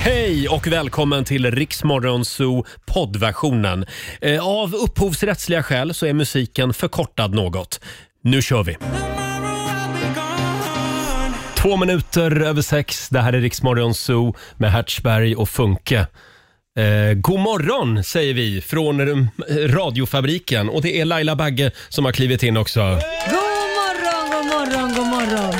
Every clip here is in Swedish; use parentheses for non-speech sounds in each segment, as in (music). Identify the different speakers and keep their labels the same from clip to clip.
Speaker 1: Hej och välkommen till Riksmorgon Zoo poddversionen. Eh, Av upphovsrättsliga skäl så är musiken förkortad något. Nu kör vi! Två minuter över sex. Det här är Riksmorgon Zoo med Hertzberg och Funke. Eh, god morgon säger vi från eh, radiofabriken och det är Laila Bagge som har klivit in också.
Speaker 2: God morgon, god morgon, god morgon.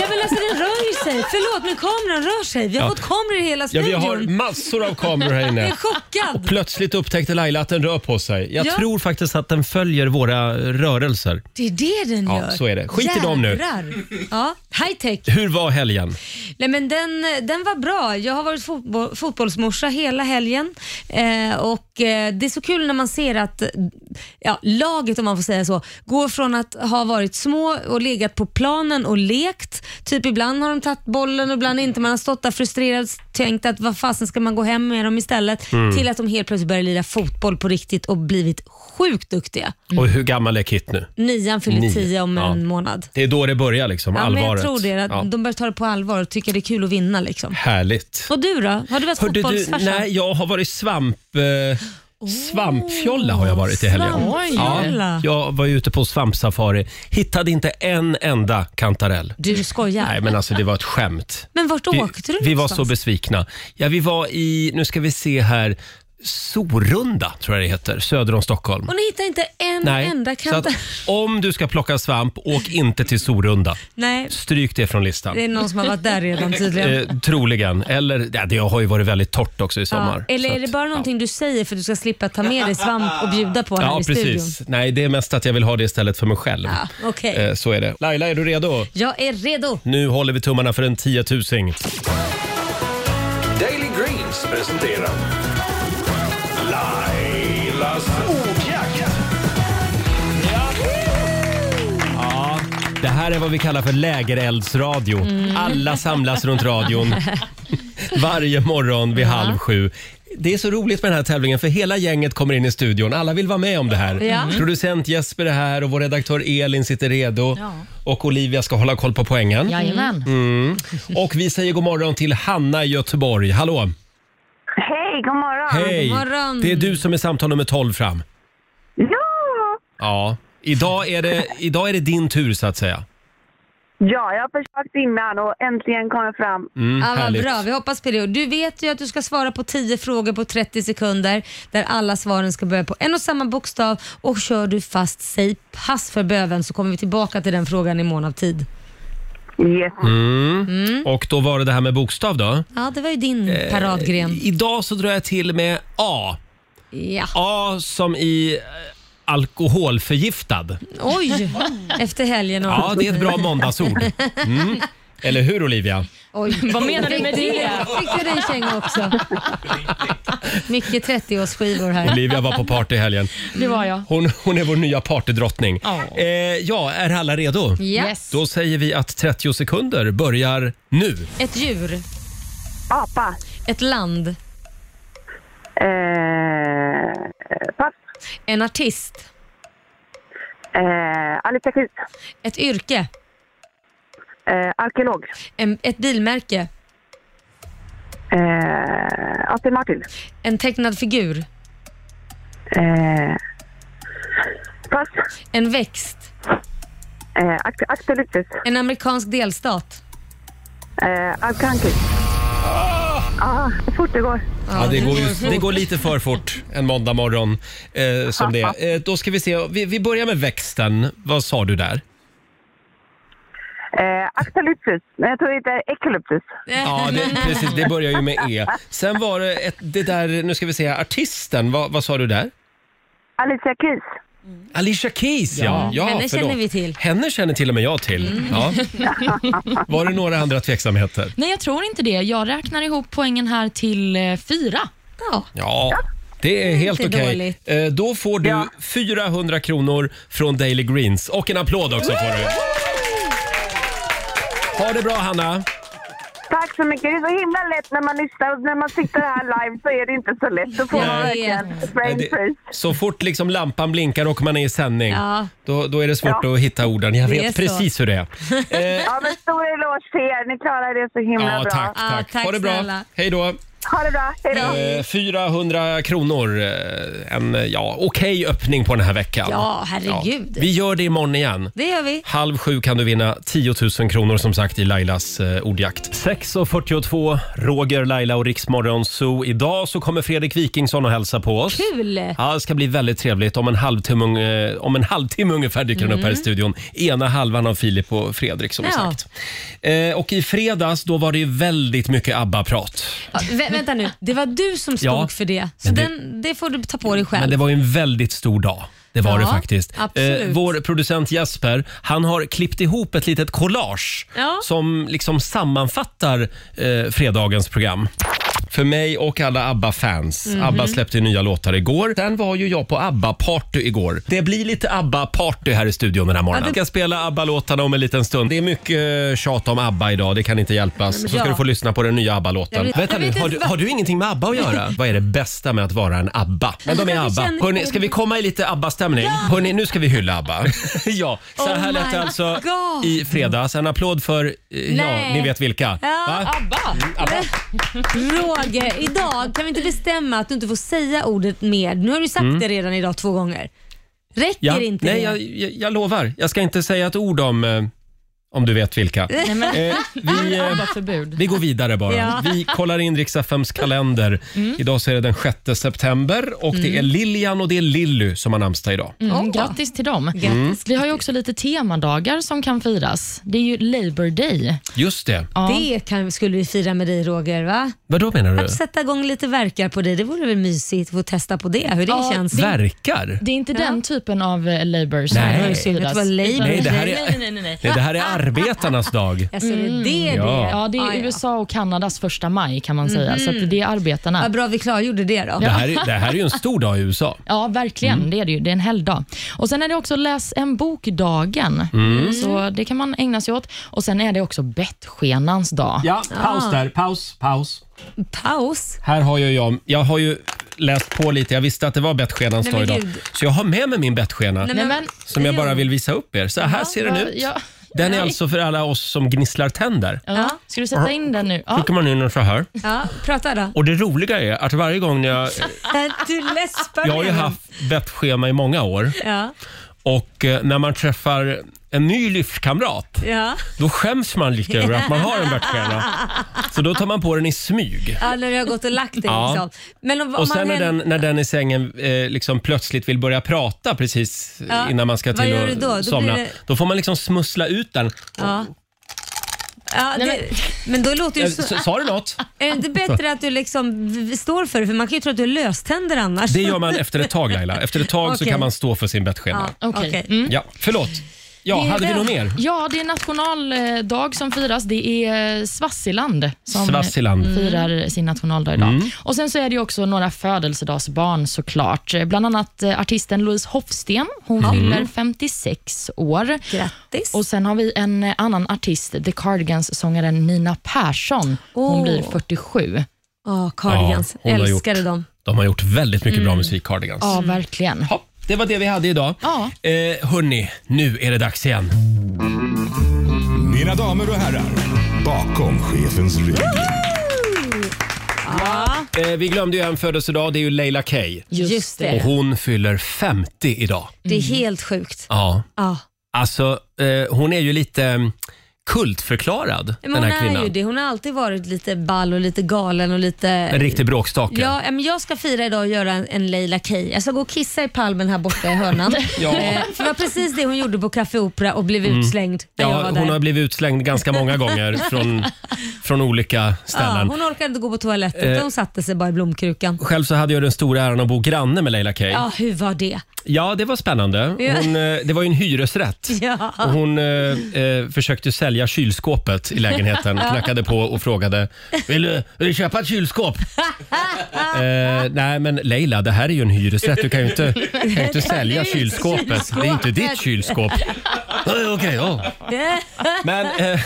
Speaker 2: Ja men alltså den rör sig. Förlåt men kameran rör sig. Vi har
Speaker 1: Ja.
Speaker 2: fått kameror i hela
Speaker 1: Ja,
Speaker 2: studion.
Speaker 1: vi har massor av kameror här
Speaker 2: Jag är
Speaker 1: inne.
Speaker 2: chockad.
Speaker 1: Plötsligt upptäckte Laila att den rör på sig. Jag
Speaker 2: Ja.
Speaker 1: tror faktiskt att den följer våra rörelser.
Speaker 2: Det är det den
Speaker 1: Ja,
Speaker 2: gör.
Speaker 1: så är det. Skit i dem nu.
Speaker 2: Jädrar. Ja, high tech.
Speaker 1: Hur var helgen?
Speaker 2: Nej, men den, den var bra. Jag har varit fotbo- fotbollsmorsa hela helgen eh, och eh, det är så kul när man ser att ja, laget, om man får säga så, går från att ha varit små och legat på planen och lekt. Typ ibland har de tagit bollen och ibland inte. Man har stått där frustrerad och tänkt att vad fasen ska man gå hem med dem istället?
Speaker 1: Mm.
Speaker 2: Till att de helt plötsligt börjar lira fotboll på riktigt och blivit sjukt duktiga.
Speaker 1: Och hur gammal är Kit nu?
Speaker 2: Nian fyller
Speaker 1: Nio.
Speaker 2: tio om
Speaker 1: Ja.
Speaker 2: en månad.
Speaker 1: Det är då det börjar liksom,
Speaker 2: Ja, men
Speaker 1: allvaret.
Speaker 2: jag tror det. Att
Speaker 1: Ja,
Speaker 2: De börjar ta det på allvar och tycker det är kul att vinna. Liksom.
Speaker 1: Härligt.
Speaker 2: Och du då? Har du varit
Speaker 1: Hörde du,
Speaker 2: fotbollsfarsa?
Speaker 1: nej, jag har varit svamp... Eh, Svampfjolla har jag varit i helgen.
Speaker 2: Svampfjolla.
Speaker 1: jag var ju ute på svampsafari. Hittade inte en enda kantarell.
Speaker 2: Du skojar.
Speaker 1: Nej,
Speaker 2: men...
Speaker 1: men alltså det var ett skämt.
Speaker 2: vart
Speaker 1: Vi,
Speaker 2: åkte du
Speaker 1: vi var så
Speaker 2: någonstans?
Speaker 1: besvikna. Ja, vi var i, nu ska vi se här, Sorunda tror jag det heter, söder om Stockholm.
Speaker 2: Och ni hittar inte en enda
Speaker 1: så att
Speaker 2: kant.
Speaker 1: om du ska plocka svamp, åk inte till Sorunda.
Speaker 2: Nej,
Speaker 1: Stryk det från listan.
Speaker 2: det är någon som har varit
Speaker 1: (laughs)
Speaker 2: där redan tydligen.
Speaker 1: Eh, troligen. Eller, ja, det har ju varit väldigt torrt också i
Speaker 2: Ja.
Speaker 1: sommar.
Speaker 2: Eller
Speaker 1: Så
Speaker 2: är det
Speaker 1: att-
Speaker 2: bara någonting du säger för att du ska slippa ta med dig svamp och bjuda på här
Speaker 1: Ja,
Speaker 2: i studion?
Speaker 1: precis. Nej, det är mest att jag vill ha det istället för mig själv.
Speaker 2: Ja, okej.
Speaker 1: Eh, Så är det. Laila, är du redo?
Speaker 2: Jag är redo.
Speaker 1: Nu håller vi tummarna för en tiotusing.
Speaker 3: Daily Greens presenterar Lailas ordjakt.
Speaker 1: Det här är vad vi kallar för lägereldsradio.
Speaker 2: Mm.
Speaker 1: Alla samlas runt
Speaker 2: (laughs)
Speaker 1: radion varje morgon vid halv sju. Det är så roligt med den här tävlingen för hela gänget kommer in i studion. Alla vill vara med om det här.
Speaker 2: Ja. Mm.
Speaker 1: Producent Jesper är här och vår redaktör Elin sitter redo.
Speaker 4: Ja.
Speaker 1: Och Olivia ska hålla koll på poängen.
Speaker 4: Jajamän.
Speaker 2: Mm.
Speaker 1: Och vi säger god morgon till Hanna i Göteborg. Hallå!
Speaker 5: Hej, god morgon.
Speaker 1: Hej!
Speaker 2: god morgon.
Speaker 1: Det är du som är samtal nummer 12 fram.
Speaker 5: Ja.
Speaker 1: Ja. Idag är, det, idag är det din tur så att säga.
Speaker 5: ja, jag har försökt innan och äntligen kom jag fram.
Speaker 1: Mm,
Speaker 2: Ja, vad
Speaker 1: härligt.
Speaker 2: bra, vi hoppas på det. Och Du vet ju att du ska svara på 10 frågor på 30 sekunder där alla svaren ska börja på en och samma bokstav och kör du fast, säg pass för böven så kommer vi tillbaka till den frågan i mån av tid.
Speaker 5: Yes.
Speaker 2: Mm.
Speaker 1: Och då var det det här med bokstav då.
Speaker 2: Ja, det var ju din
Speaker 1: Eh,
Speaker 2: paradgren.
Speaker 1: Idag så drar jag till med A.
Speaker 2: Ja.
Speaker 1: A som i eh, alkoholförgiftad.
Speaker 2: Oj! Efter helgen. och-
Speaker 1: Ja, det är ett bra måndagsord. Mm. Eller hur Olivia?
Speaker 2: Oj,
Speaker 4: Vad menar du med
Speaker 2: fick
Speaker 4: det?
Speaker 2: Fick du dig en känga också? Mycket 30-årsskivor här.
Speaker 1: Olivia var på party i helgen.
Speaker 4: Det var jag.
Speaker 1: Hon, hon är vår nya partydrottning.
Speaker 4: Ja.
Speaker 1: Eh, ja, är alla redo?
Speaker 2: Ja.
Speaker 4: Yes.
Speaker 1: Då säger vi att 30 sekunder börjar nu.
Speaker 2: Ett djur,
Speaker 5: Apa.
Speaker 2: ett land,
Speaker 5: Eh, pass.
Speaker 2: en artist,
Speaker 5: Eh, Alice Kiss.
Speaker 2: ett yrke,
Speaker 5: Eh, arkeolog.
Speaker 2: en, ett bilmärke,
Speaker 5: Eh, Aston Martin.
Speaker 2: en tecknad figur,
Speaker 5: Eh, pass.
Speaker 2: en växt,
Speaker 5: Eh, Act- Actolyctus.
Speaker 2: en amerikansk delstat.
Speaker 5: Eh, Alcanquist. Ah, så fort det går.
Speaker 1: Ja, det, går ju, det går lite för fort en måndag morgon eh, som det
Speaker 4: (laughs)
Speaker 1: är. Eh, då ska vi se. Vi, vi börjar med växten. Vad sa du där?
Speaker 5: Eh, Actolyctus. Nej, jag tror det heter Eucalyptus.
Speaker 1: Ja, det, precis. Det börjar ju med E. Sen var det ett, det där, nu ska vi se, här, artisten. Vad, vad sa du där?
Speaker 5: Alicia Keys.
Speaker 1: Alicia Keys, ja. ja
Speaker 2: henne känner vi till. Mm.
Speaker 1: Henne känner till och med jag till.
Speaker 2: (laughs)
Speaker 1: Ja. Var det några andra tveksamheter?
Speaker 4: Nej, jag tror inte det. Jag räknar ihop poängen här till eh, fyra.
Speaker 2: Ja.
Speaker 1: Ja, det är helt
Speaker 2: Inte
Speaker 1: okej.
Speaker 2: Mm, dåligt.
Speaker 1: Eh, Då får du 400 kronor från Daily Greens. Och en applåd också får du. Ha det bra, Hanna.
Speaker 5: Tack så mycket. Det är så himla lätt när man lyssnar och när man sitter här live så är det inte så lätt. Då får man
Speaker 2: Nej.
Speaker 5: verkligen brain
Speaker 1: Eh, Det-
Speaker 5: freeze.
Speaker 1: Så fort liksom lampan blinkar och man är i sändning,
Speaker 2: Ja.
Speaker 1: då, då är det svårt att hitta orden. Jag
Speaker 2: Det är
Speaker 1: vet
Speaker 2: så.
Speaker 1: precis hur det är. Eh,
Speaker 5: Ja, men stor eloge eloge till er. Ni klarar det så himla
Speaker 1: Ja,
Speaker 5: bra.
Speaker 1: tack,
Speaker 2: Ja,
Speaker 1: tack.
Speaker 2: tack
Speaker 1: ha det bra.
Speaker 2: snälla.
Speaker 1: Hej då.
Speaker 5: Ha det bra. Hej då.
Speaker 1: Eh, 400 kronor. eh, En eh, ja, okej öppning på den här veckan.
Speaker 2: Ja, herregud.
Speaker 1: Vi gör det imorgon igen.
Speaker 2: Det gör vi.
Speaker 1: Halv sju kan du vinna 10 000 kronor som sagt i Lailas eh, ordjakt. 6.42, Roger, Laila och Riksmorgon Zoo. Idag så kommer Fredrik Wikingsson och hälsa på oss.
Speaker 2: Kul!
Speaker 1: Ja, det ska bli väldigt trevligt. Om en halvtimme, unge- om en halvtimme ungefär dyker han upp här i studion. Ena halvan av Filip och Fredrik som
Speaker 2: Ja.
Speaker 1: sagt. Eh, och i fredags då var det ju väldigt mycket ABBA-prat.
Speaker 2: Ja, vä- vänta nu, det var du som stod
Speaker 1: Ja,
Speaker 2: för det. Så
Speaker 1: men det-
Speaker 2: Den, det får du ta på dig
Speaker 1: Men
Speaker 2: själv.
Speaker 1: det var ju en väldigt stor dag. Det var
Speaker 2: Ja,
Speaker 1: det faktiskt. Eh,
Speaker 2: absolut.
Speaker 1: vår producent Jesper, han har klippt ihop ett litet collage
Speaker 2: Ja.
Speaker 1: som liksom sammanfattar eh, fredagens program. För mig och alla ABBA-fans.
Speaker 2: Mhm.
Speaker 1: ABBA släppte ju nya låtar igår. Sen var ju jag på ABBA-party igår. Det blir lite ABBA-party här i studion den här morgonen.
Speaker 2: Ja,
Speaker 1: Vi
Speaker 2: det-
Speaker 1: ska spela ABBA-låtarna om en liten stund. Det är mycket eh, tjat om ABBA idag, det kan inte hjälpas. Så ska
Speaker 2: ja.
Speaker 1: du få lyssna på den nya
Speaker 2: Jag
Speaker 1: ABBA-låten.
Speaker 2: vet-
Speaker 1: Vänta
Speaker 2: jag
Speaker 1: nu,
Speaker 2: vet
Speaker 1: har
Speaker 2: inte
Speaker 1: du,
Speaker 2: vad-
Speaker 1: har du ingenting med
Speaker 2: (laughs)
Speaker 1: ABBA att göra? Vad är det bästa med att vara en ABBA? Men de är
Speaker 2: Jag
Speaker 1: ABBA.
Speaker 2: känner-
Speaker 1: Hörrni, ska vi komma i lite ABBA-stämning? Hörrni, nu ska vi hylla ABBA. (laughs) ja, så
Speaker 2: Oh
Speaker 1: här lät
Speaker 2: my
Speaker 1: det alltså
Speaker 2: God.
Speaker 1: i fredags. En applåd för, eh, ja,
Speaker 2: Nej.
Speaker 1: ni vet vilka.
Speaker 2: Ja,
Speaker 1: Va?
Speaker 4: ABBA!
Speaker 2: (laughs) Roger, idag kan vi inte bestämma att du inte får säga ordet mer. Nu har du sagt det redan idag två gånger. Räcker
Speaker 1: Mm. Ja,
Speaker 2: inte
Speaker 1: nej,
Speaker 2: det?
Speaker 1: jag, jag, jag lovar. Jag ska inte säga ett ord om, eh, om du vet (laughs) vilka.
Speaker 4: Nej, men,
Speaker 1: Eh, vi, eh,
Speaker 4: förbud.
Speaker 1: vi går vidare bara.
Speaker 2: Ja.
Speaker 1: Vi kollar in Rix FMs kalender. Idag så är det den 6 september och det är Lilian och det är Lilly som har namnsdag idag.
Speaker 2: Åh.
Speaker 4: Mm, grattis till dem.
Speaker 1: Mm.
Speaker 2: Grattis.
Speaker 4: Vi har ju också lite temadagar som kan firas. Det är ju Labour Day.
Speaker 1: Just det.
Speaker 4: Ja.
Speaker 2: Det kan, skulle vi fira med dig Roger, va?
Speaker 1: Vadå menar du?
Speaker 2: Sätta igång lite verkar på dig. Det vore väl mysigt att få testa på det, hur det
Speaker 4: Ja,
Speaker 2: känns.
Speaker 1: Verkar?
Speaker 4: Det är inte
Speaker 2: Ja.
Speaker 4: den typen av eh, Labour som
Speaker 1: Nej.
Speaker 4: har
Speaker 2: Vet du
Speaker 4: firats.
Speaker 2: vad Labour-
Speaker 4: Utan-
Speaker 1: Nej, det här är-
Speaker 4: nej, nej, nej, nej.
Speaker 1: Nej, det här är arbetarnas dag.
Speaker 2: Alltså, det är det
Speaker 1: Ja.
Speaker 2: det
Speaker 4: Mm. Ja, det är
Speaker 2: Ah,
Speaker 4: USA och Kanadas första maj kan man säga, så att det är arbetarna.
Speaker 2: Vad bra vi klargjorde det då.
Speaker 1: Det här, är, det här är ju en stor dag i USA.
Speaker 4: Ja, verkligen.
Speaker 1: Mm.
Speaker 4: Det är det ju. Det är en helgdag. Och Sen är det också läs en bok-dagen.
Speaker 1: Mm.
Speaker 4: Så det kan man ägna sig åt. Och Sen är det också bettskenans dag.
Speaker 1: Ja, paus där. Paus, paus.
Speaker 2: Paus.
Speaker 1: Här har ju jag, jag har ju läst på lite. Jag visste att det var bettskenans
Speaker 2: Nej,
Speaker 1: dag
Speaker 2: men
Speaker 1: idag.
Speaker 2: gud.
Speaker 1: Så jag har med mig min bettskena
Speaker 4: Nej, men,
Speaker 1: som jag bara vill visa upp er. Så här ser den
Speaker 4: ja,
Speaker 1: ut.
Speaker 4: ja.
Speaker 1: Den är
Speaker 4: Nej.
Speaker 1: alltså för alla oss som gnisslar tänder.
Speaker 4: Ja. Ska du sätta in den nu? Ja.
Speaker 1: Trycker man in den så här.
Speaker 2: Ja,
Speaker 1: (laughs)
Speaker 2: prata då. Äh,
Speaker 1: Och det roliga är att varje gång när jag...
Speaker 2: Du läspar
Speaker 1: Jag har ju
Speaker 2: redan.
Speaker 1: haft bettschema i många år
Speaker 2: Ja,
Speaker 1: och eh, när man träffar en ny livskamrat
Speaker 2: ja.
Speaker 1: Då skäms man lite över att man har en värtstjärna. Så då tar man på den i smyg.
Speaker 2: ja, när du har gått och lagt dig.
Speaker 1: Ja.
Speaker 2: Liksom. Men om, om
Speaker 1: Och sen
Speaker 2: man
Speaker 1: när
Speaker 2: händer-
Speaker 1: den, när den i sängen eh, liksom plötsligt vill börja prata precis
Speaker 2: Ja.
Speaker 1: innan man ska
Speaker 2: Vad
Speaker 1: till
Speaker 2: gör du
Speaker 1: och
Speaker 2: då? Då blir
Speaker 1: somna.
Speaker 2: det-
Speaker 1: Då får man liksom smussla ut den.
Speaker 2: Ja. Ja, det, men... då låter
Speaker 1: Eh,
Speaker 2: ju så,
Speaker 1: s- Sa du något?
Speaker 2: Är det inte bättre att du liksom v- v- står för det? För man kan ju tro att du har löständer annars.
Speaker 1: Det gör man efter ett tag Laila. Efter ett tag så
Speaker 2: Okej.
Speaker 1: kan man stå för sin bettskena.
Speaker 2: Ja,
Speaker 4: Okej.
Speaker 2: okej.
Speaker 4: Mm.
Speaker 1: Ja, förlåt. Ja,
Speaker 4: Det är
Speaker 1: hade vi
Speaker 4: den.
Speaker 1: något mer?
Speaker 4: Ja, det är nationaldag som firas. Det är eh, Swaziland som
Speaker 1: Swaziland.
Speaker 2: Mm.
Speaker 1: Mm.
Speaker 4: eh, firar sin nationaldag idag. Och Sen så är det ju också några födelsedagsbarn såklart. Eh, Bland annat eh, artisten Louise Hofsten. Hon
Speaker 1: Mm.
Speaker 4: fyller 56 år.
Speaker 2: Grattis.
Speaker 4: Och Sen har vi en eh, annan artist, The Cardigans-sångaren Nina Persson. Hon
Speaker 2: Åh.
Speaker 4: blir 47.
Speaker 2: Ja, Cardigans.
Speaker 1: Ja, hon har
Speaker 2: Älskade
Speaker 1: gjort-
Speaker 2: dem.
Speaker 1: De har gjort väldigt mycket
Speaker 2: Mm.
Speaker 1: bra musik, Cardigans.
Speaker 4: Ja, verkligen.
Speaker 1: Ja, det var det vi hade idag.
Speaker 4: Ja.
Speaker 1: Eh, hörni, nu är det dags igen.
Speaker 3: Mina damer och herrar, bakom chefens rygg.
Speaker 1: Eh, vi glömde ju en födelsedag, det är ju Leila Kay.
Speaker 2: Just, det.
Speaker 1: Och hon fyller 50 idag.
Speaker 2: Det är
Speaker 4: Mm.
Speaker 2: helt sjukt.
Speaker 1: Ja.
Speaker 2: Ja.
Speaker 1: Alltså, eh, hon är ju lite mm, kultförklarad, den
Speaker 2: Men hon
Speaker 1: här
Speaker 2: är ju
Speaker 1: kvinnan.
Speaker 2: det. Hon har alltid varit lite ball och lite galen och lite...
Speaker 1: En riktig bråkstake.
Speaker 2: Ja, men jag ska fira idag och göra en, en Leila Kay. Jag ska gå och kissa i palmen här borta i hörnan.
Speaker 1: (laughs) Ja. Mm.
Speaker 2: Eh, För det var precis det hon gjorde på Café Opera och blev utslängd när jag
Speaker 1: Ja,
Speaker 2: var där.
Speaker 1: hon har blivit utslängd ganska många gånger
Speaker 2: (laughs)
Speaker 1: från, från olika
Speaker 2: ja,
Speaker 1: ställen.
Speaker 2: hon orkade inte gå på toaletten
Speaker 1: Eh.
Speaker 2: utan hon satte sig bara i blomkrukan.
Speaker 1: Själv så hade jag den stora äran att bo granne med Leila Kay. Ja,
Speaker 2: Ja, hur var det?
Speaker 1: (laughs) det var spännande.
Speaker 2: Ja.
Speaker 1: Hon, eh, det var ju en hyresrätt.
Speaker 2: (laughs) Ja.
Speaker 1: Och hon eh, eh, försökte sälja kylskåpet i
Speaker 2: (laughs)
Speaker 1: lägenheten. Knackade på och frågade Vill du, vill du köpa ett
Speaker 2: (laughs)
Speaker 1: kylskåp? eh, nej men Leila, det här är ju en hyresrätt. Du kan ju inte, kan
Speaker 2: (laughs)
Speaker 1: ju inte sälja kylskåpet. Det är inte ditt kylskåp. "Nej, Okej, ja. Men eh,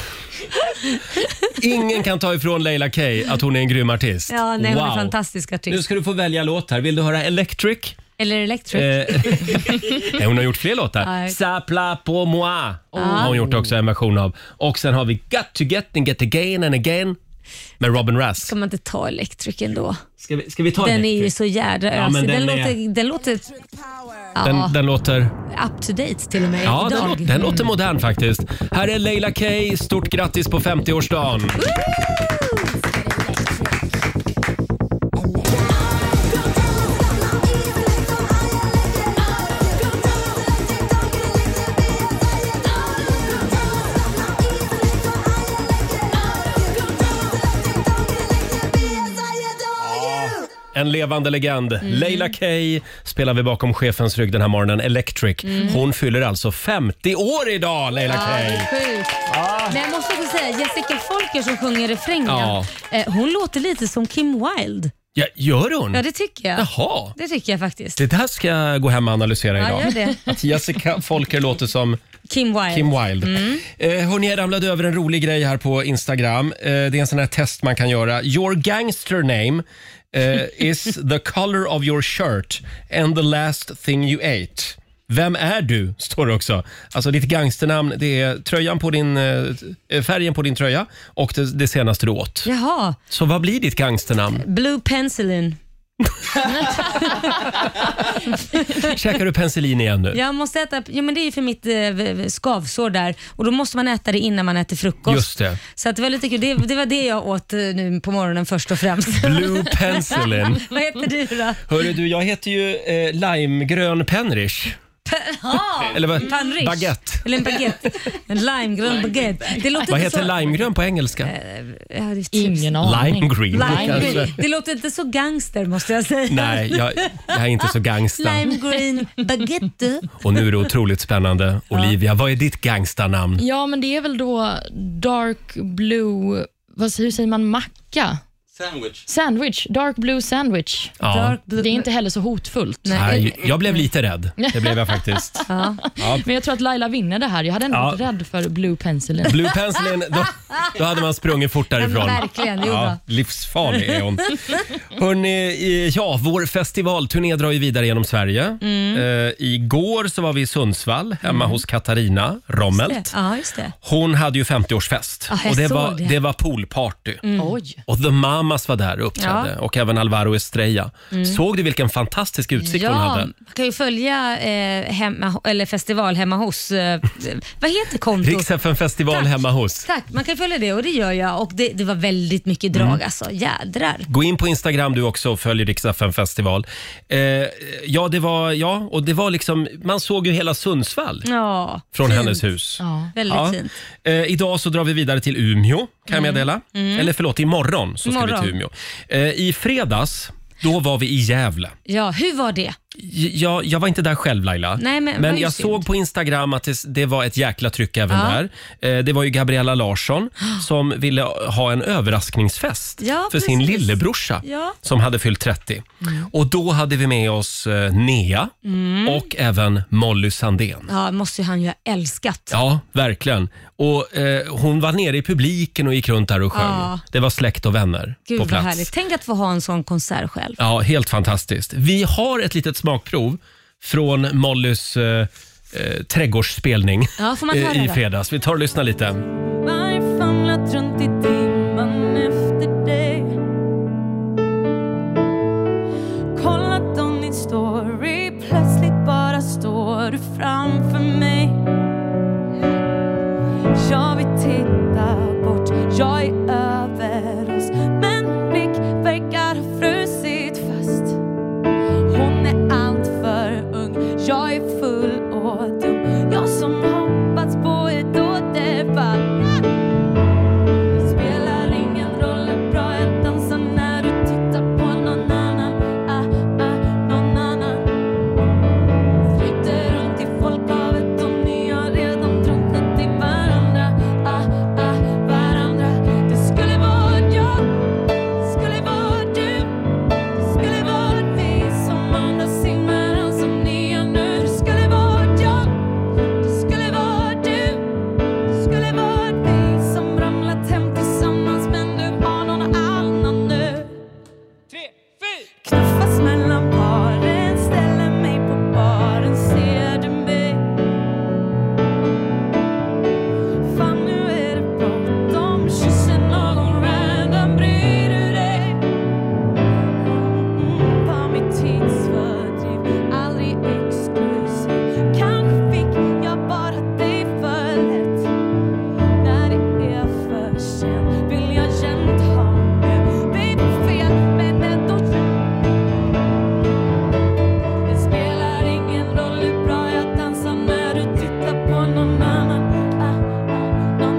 Speaker 1: ingen kan ta ifrån Leila Kay att hon är en grym artist.
Speaker 2: Ja, nej, hon
Speaker 1: Wow.
Speaker 2: är fantastisk
Speaker 1: Nu
Speaker 2: artist.
Speaker 1: ska du få välja låt här. Vill du höra Electric
Speaker 2: Eller Electric.
Speaker 1: Eh, (laughs) nej, hon har gjort fler låtar.
Speaker 2: Nej.
Speaker 1: Sa pla på moi har hon gjort också en version av. Och sen har vi Got to get and get again and again med Robin Russ.
Speaker 2: Ska man inte ta Electric ändå?
Speaker 1: Ska vi, ska vi ta
Speaker 2: Den är ju
Speaker 1: Electric?
Speaker 2: så jädra
Speaker 1: Ja,
Speaker 2: ösig.
Speaker 1: men
Speaker 2: den,
Speaker 1: den är-
Speaker 2: låter, den låter ja,
Speaker 1: Den, den låter...
Speaker 2: up to date till och med
Speaker 1: Ja, den,
Speaker 2: idag.
Speaker 1: lå- den låter modern faktiskt. Här är Leila K. Stort grattis på 50-årsdagen. En levande legend.
Speaker 2: Mm.
Speaker 1: Leila K spelar vi bakom chefens rygg den här morgonen, Electric.
Speaker 2: Mm.
Speaker 1: Hon fyller alltså 50 år idag, Leila
Speaker 2: Ja, det
Speaker 1: K.
Speaker 2: är sjukt. Men jag måste också säga, Jessica Folker som sjunger refrängen,
Speaker 1: Ah. Ja.
Speaker 2: eh, hon låter lite som Kim Wilde.
Speaker 1: Ja, gör hon?
Speaker 2: Ja, det tycker jag.
Speaker 1: Jaha.
Speaker 2: Det tycker jag faktiskt.
Speaker 1: Det där ska jag gå hem och analysera
Speaker 2: Ja,
Speaker 1: idag.
Speaker 2: gör det.
Speaker 1: Att Jessica Folker låter som
Speaker 2: Kim Wilde.
Speaker 1: Kim Wilde. Eh, hörni, jag ramlade över en rolig grej här på Instagram. Eh, det är en sån här test man kan göra. Your gangster name eh, is the color of your shirt and the last thing you ate. Vem är du? Står det också. Alltså ditt gangsternamn, det är tröjan på din, eh, färgen på din tröja och det, det senaste du åt.
Speaker 2: Jaha,
Speaker 1: Så vad blir ditt gangsternamn?
Speaker 2: (laughs) Blue Penicillin.
Speaker 1: Käkar du penicillin igen nu?
Speaker 2: Jag måste äta, ja, men det är ju för mitt eh, v- v- skavsår där och då måste man äta det innan man äter frukost.
Speaker 1: Just det.
Speaker 2: Så att det var lite kul. Det, det var det jag åt eh, nu på morgonen först och
Speaker 1: (laughs)
Speaker 2: främst.
Speaker 1: Blue penicillin.
Speaker 2: (laughs) Vad heter du då?
Speaker 1: Hörru du, jag heter ju eh, limegrön penrish. Eller vad?
Speaker 2: Panrish.
Speaker 1: Baguette.
Speaker 2: Eller en baguette. En limegrön baguette. Det låter
Speaker 1: Vad
Speaker 2: inte
Speaker 1: heter
Speaker 2: så...
Speaker 1: limegrön på engelska?
Speaker 2: Ja, det är tusen-
Speaker 4: Ingen aning.
Speaker 1: Eh, Lime green.
Speaker 2: Lime
Speaker 1: kanske.
Speaker 2: green. Det låter inte så gangster måste jag säga.
Speaker 1: Nej, jag, jag är inte så gangsta.
Speaker 2: Lime green baguette.
Speaker 1: Och nu är det otroligt spännande. Olivia, vad är ditt gangstanamn?
Speaker 4: Ja, men det är väl då dark blue, vad, hur säger man macka? Sandwich. Sandwich, dark blue sandwich.
Speaker 1: Ja.
Speaker 2: Dark
Speaker 4: Det
Speaker 2: blue.
Speaker 4: är inte heller så hotfullt.
Speaker 1: Nej, jag blev lite rädd. Det blev jag faktiskt.
Speaker 4: Men jag tror att Laila vinner det här. Jag hade ändå
Speaker 1: Ja. Mm.
Speaker 4: varit rädd för blue pencilin.
Speaker 1: Blue pencilin, då, då hade man sprungit (laughs) fort därifrån.
Speaker 2: Ja, verkligen, det gjorde
Speaker 1: ja, livsfarlig är
Speaker 2: (laughs)
Speaker 1: hon. Hörrni, eh, ja, vår festivalturné drar ju vidare genom Sverige.
Speaker 2: Mm.
Speaker 1: Eh, igår så var vi i Sundsvall, hemma hos Katarina Rommelt.
Speaker 2: Ja, Mm. just det.
Speaker 1: Hon hade ju 50-årsfest
Speaker 2: Ja, jag
Speaker 1: och det
Speaker 2: såg
Speaker 1: var,
Speaker 2: det. Mm.
Speaker 1: det var poolparty.
Speaker 4: Oj.
Speaker 1: Och The Mamas var där och uppträdde och även Alvaro Estrella. Såg du vilken fantastisk utsikt
Speaker 2: Mm. Ja,
Speaker 1: hon hade?
Speaker 2: man kan ju följa eh, hemma, eller festival hemma hos. Eh, vad heter kontot?
Speaker 1: Rix FM festival
Speaker 2: Tack.
Speaker 1: hemma hos.
Speaker 2: Tack, man kan följa det och det gör jag. Och det, det var väldigt mycket drag
Speaker 1: Mm.
Speaker 2: alltså. Jädrar.
Speaker 1: Gå in på Instagram du också och följ Rix FM festival. Eh, ja, det var, ja, och det var liksom, man såg ju hela Sundsvall
Speaker 2: Ja,
Speaker 1: från
Speaker 2: fint.
Speaker 1: hennes hus.
Speaker 4: Ja.
Speaker 2: Väldigt
Speaker 1: Ja.
Speaker 2: fint. Mm.
Speaker 1: Eh, idag så drar vi vidare till Umeå kan jag meddela. Eller förlåt, imorgon så ska
Speaker 2: Imorgon.
Speaker 1: vi till Umeå. Eh, I fredags, då var vi i Gävle.
Speaker 2: Ja, hur var det?
Speaker 1: J- Jag, jag var inte där själv Laila,
Speaker 2: Nej, men vad
Speaker 1: jag
Speaker 2: synd.
Speaker 1: såg på Instagram att det, det var ett jäkla tryck även där. Eh, Det var ju Gabriella
Speaker 2: (gasps)
Speaker 1: Larsson som ville ha en överraskningsfest
Speaker 2: Ja,
Speaker 1: för sin
Speaker 2: precis.
Speaker 1: lillebrorsa
Speaker 2: Ja. Mm.
Speaker 1: som hade fyllt 30. Och då hade vi med oss eh, Nea och även Molly Sandén.
Speaker 2: Ja, måste ju han ju ha älskat.
Speaker 1: Ja, verkligen. Och eh, hon var nere i publiken och gick runt där och sjöng.
Speaker 2: Ja.
Speaker 1: Det var släkt och vänner
Speaker 2: Gud
Speaker 1: på
Speaker 2: vad
Speaker 1: plats.
Speaker 2: härligt. Tänk att få ha en sån konsert själv.
Speaker 1: Ja, helt fantastiskt. Vi har ett litet smakprov från Mollys eh, eh, trädgårdsspelning
Speaker 2: Ja, får man
Speaker 1: eh,
Speaker 2: höra
Speaker 1: i
Speaker 2: då?
Speaker 1: fredags. Vi tar och lyssnar lite.
Speaker 6: Varg famlat runt i dimman efter dig Kollat om din story Plötsligt bara står du framför mig Jag vill titta bort Jag är över oss Men blick verkar ha frusit fast hon är allt för ung, jag är full och dum Jag som hoppats på ett återfall Det spelar ingen roll hur bra jag dansar när du tittar på någon annan ah, ah, någon annan Flyter runt i folkhavet och ni har redan drunknat i varandra ah, ah, varandra Det Mm, Ah, Ah,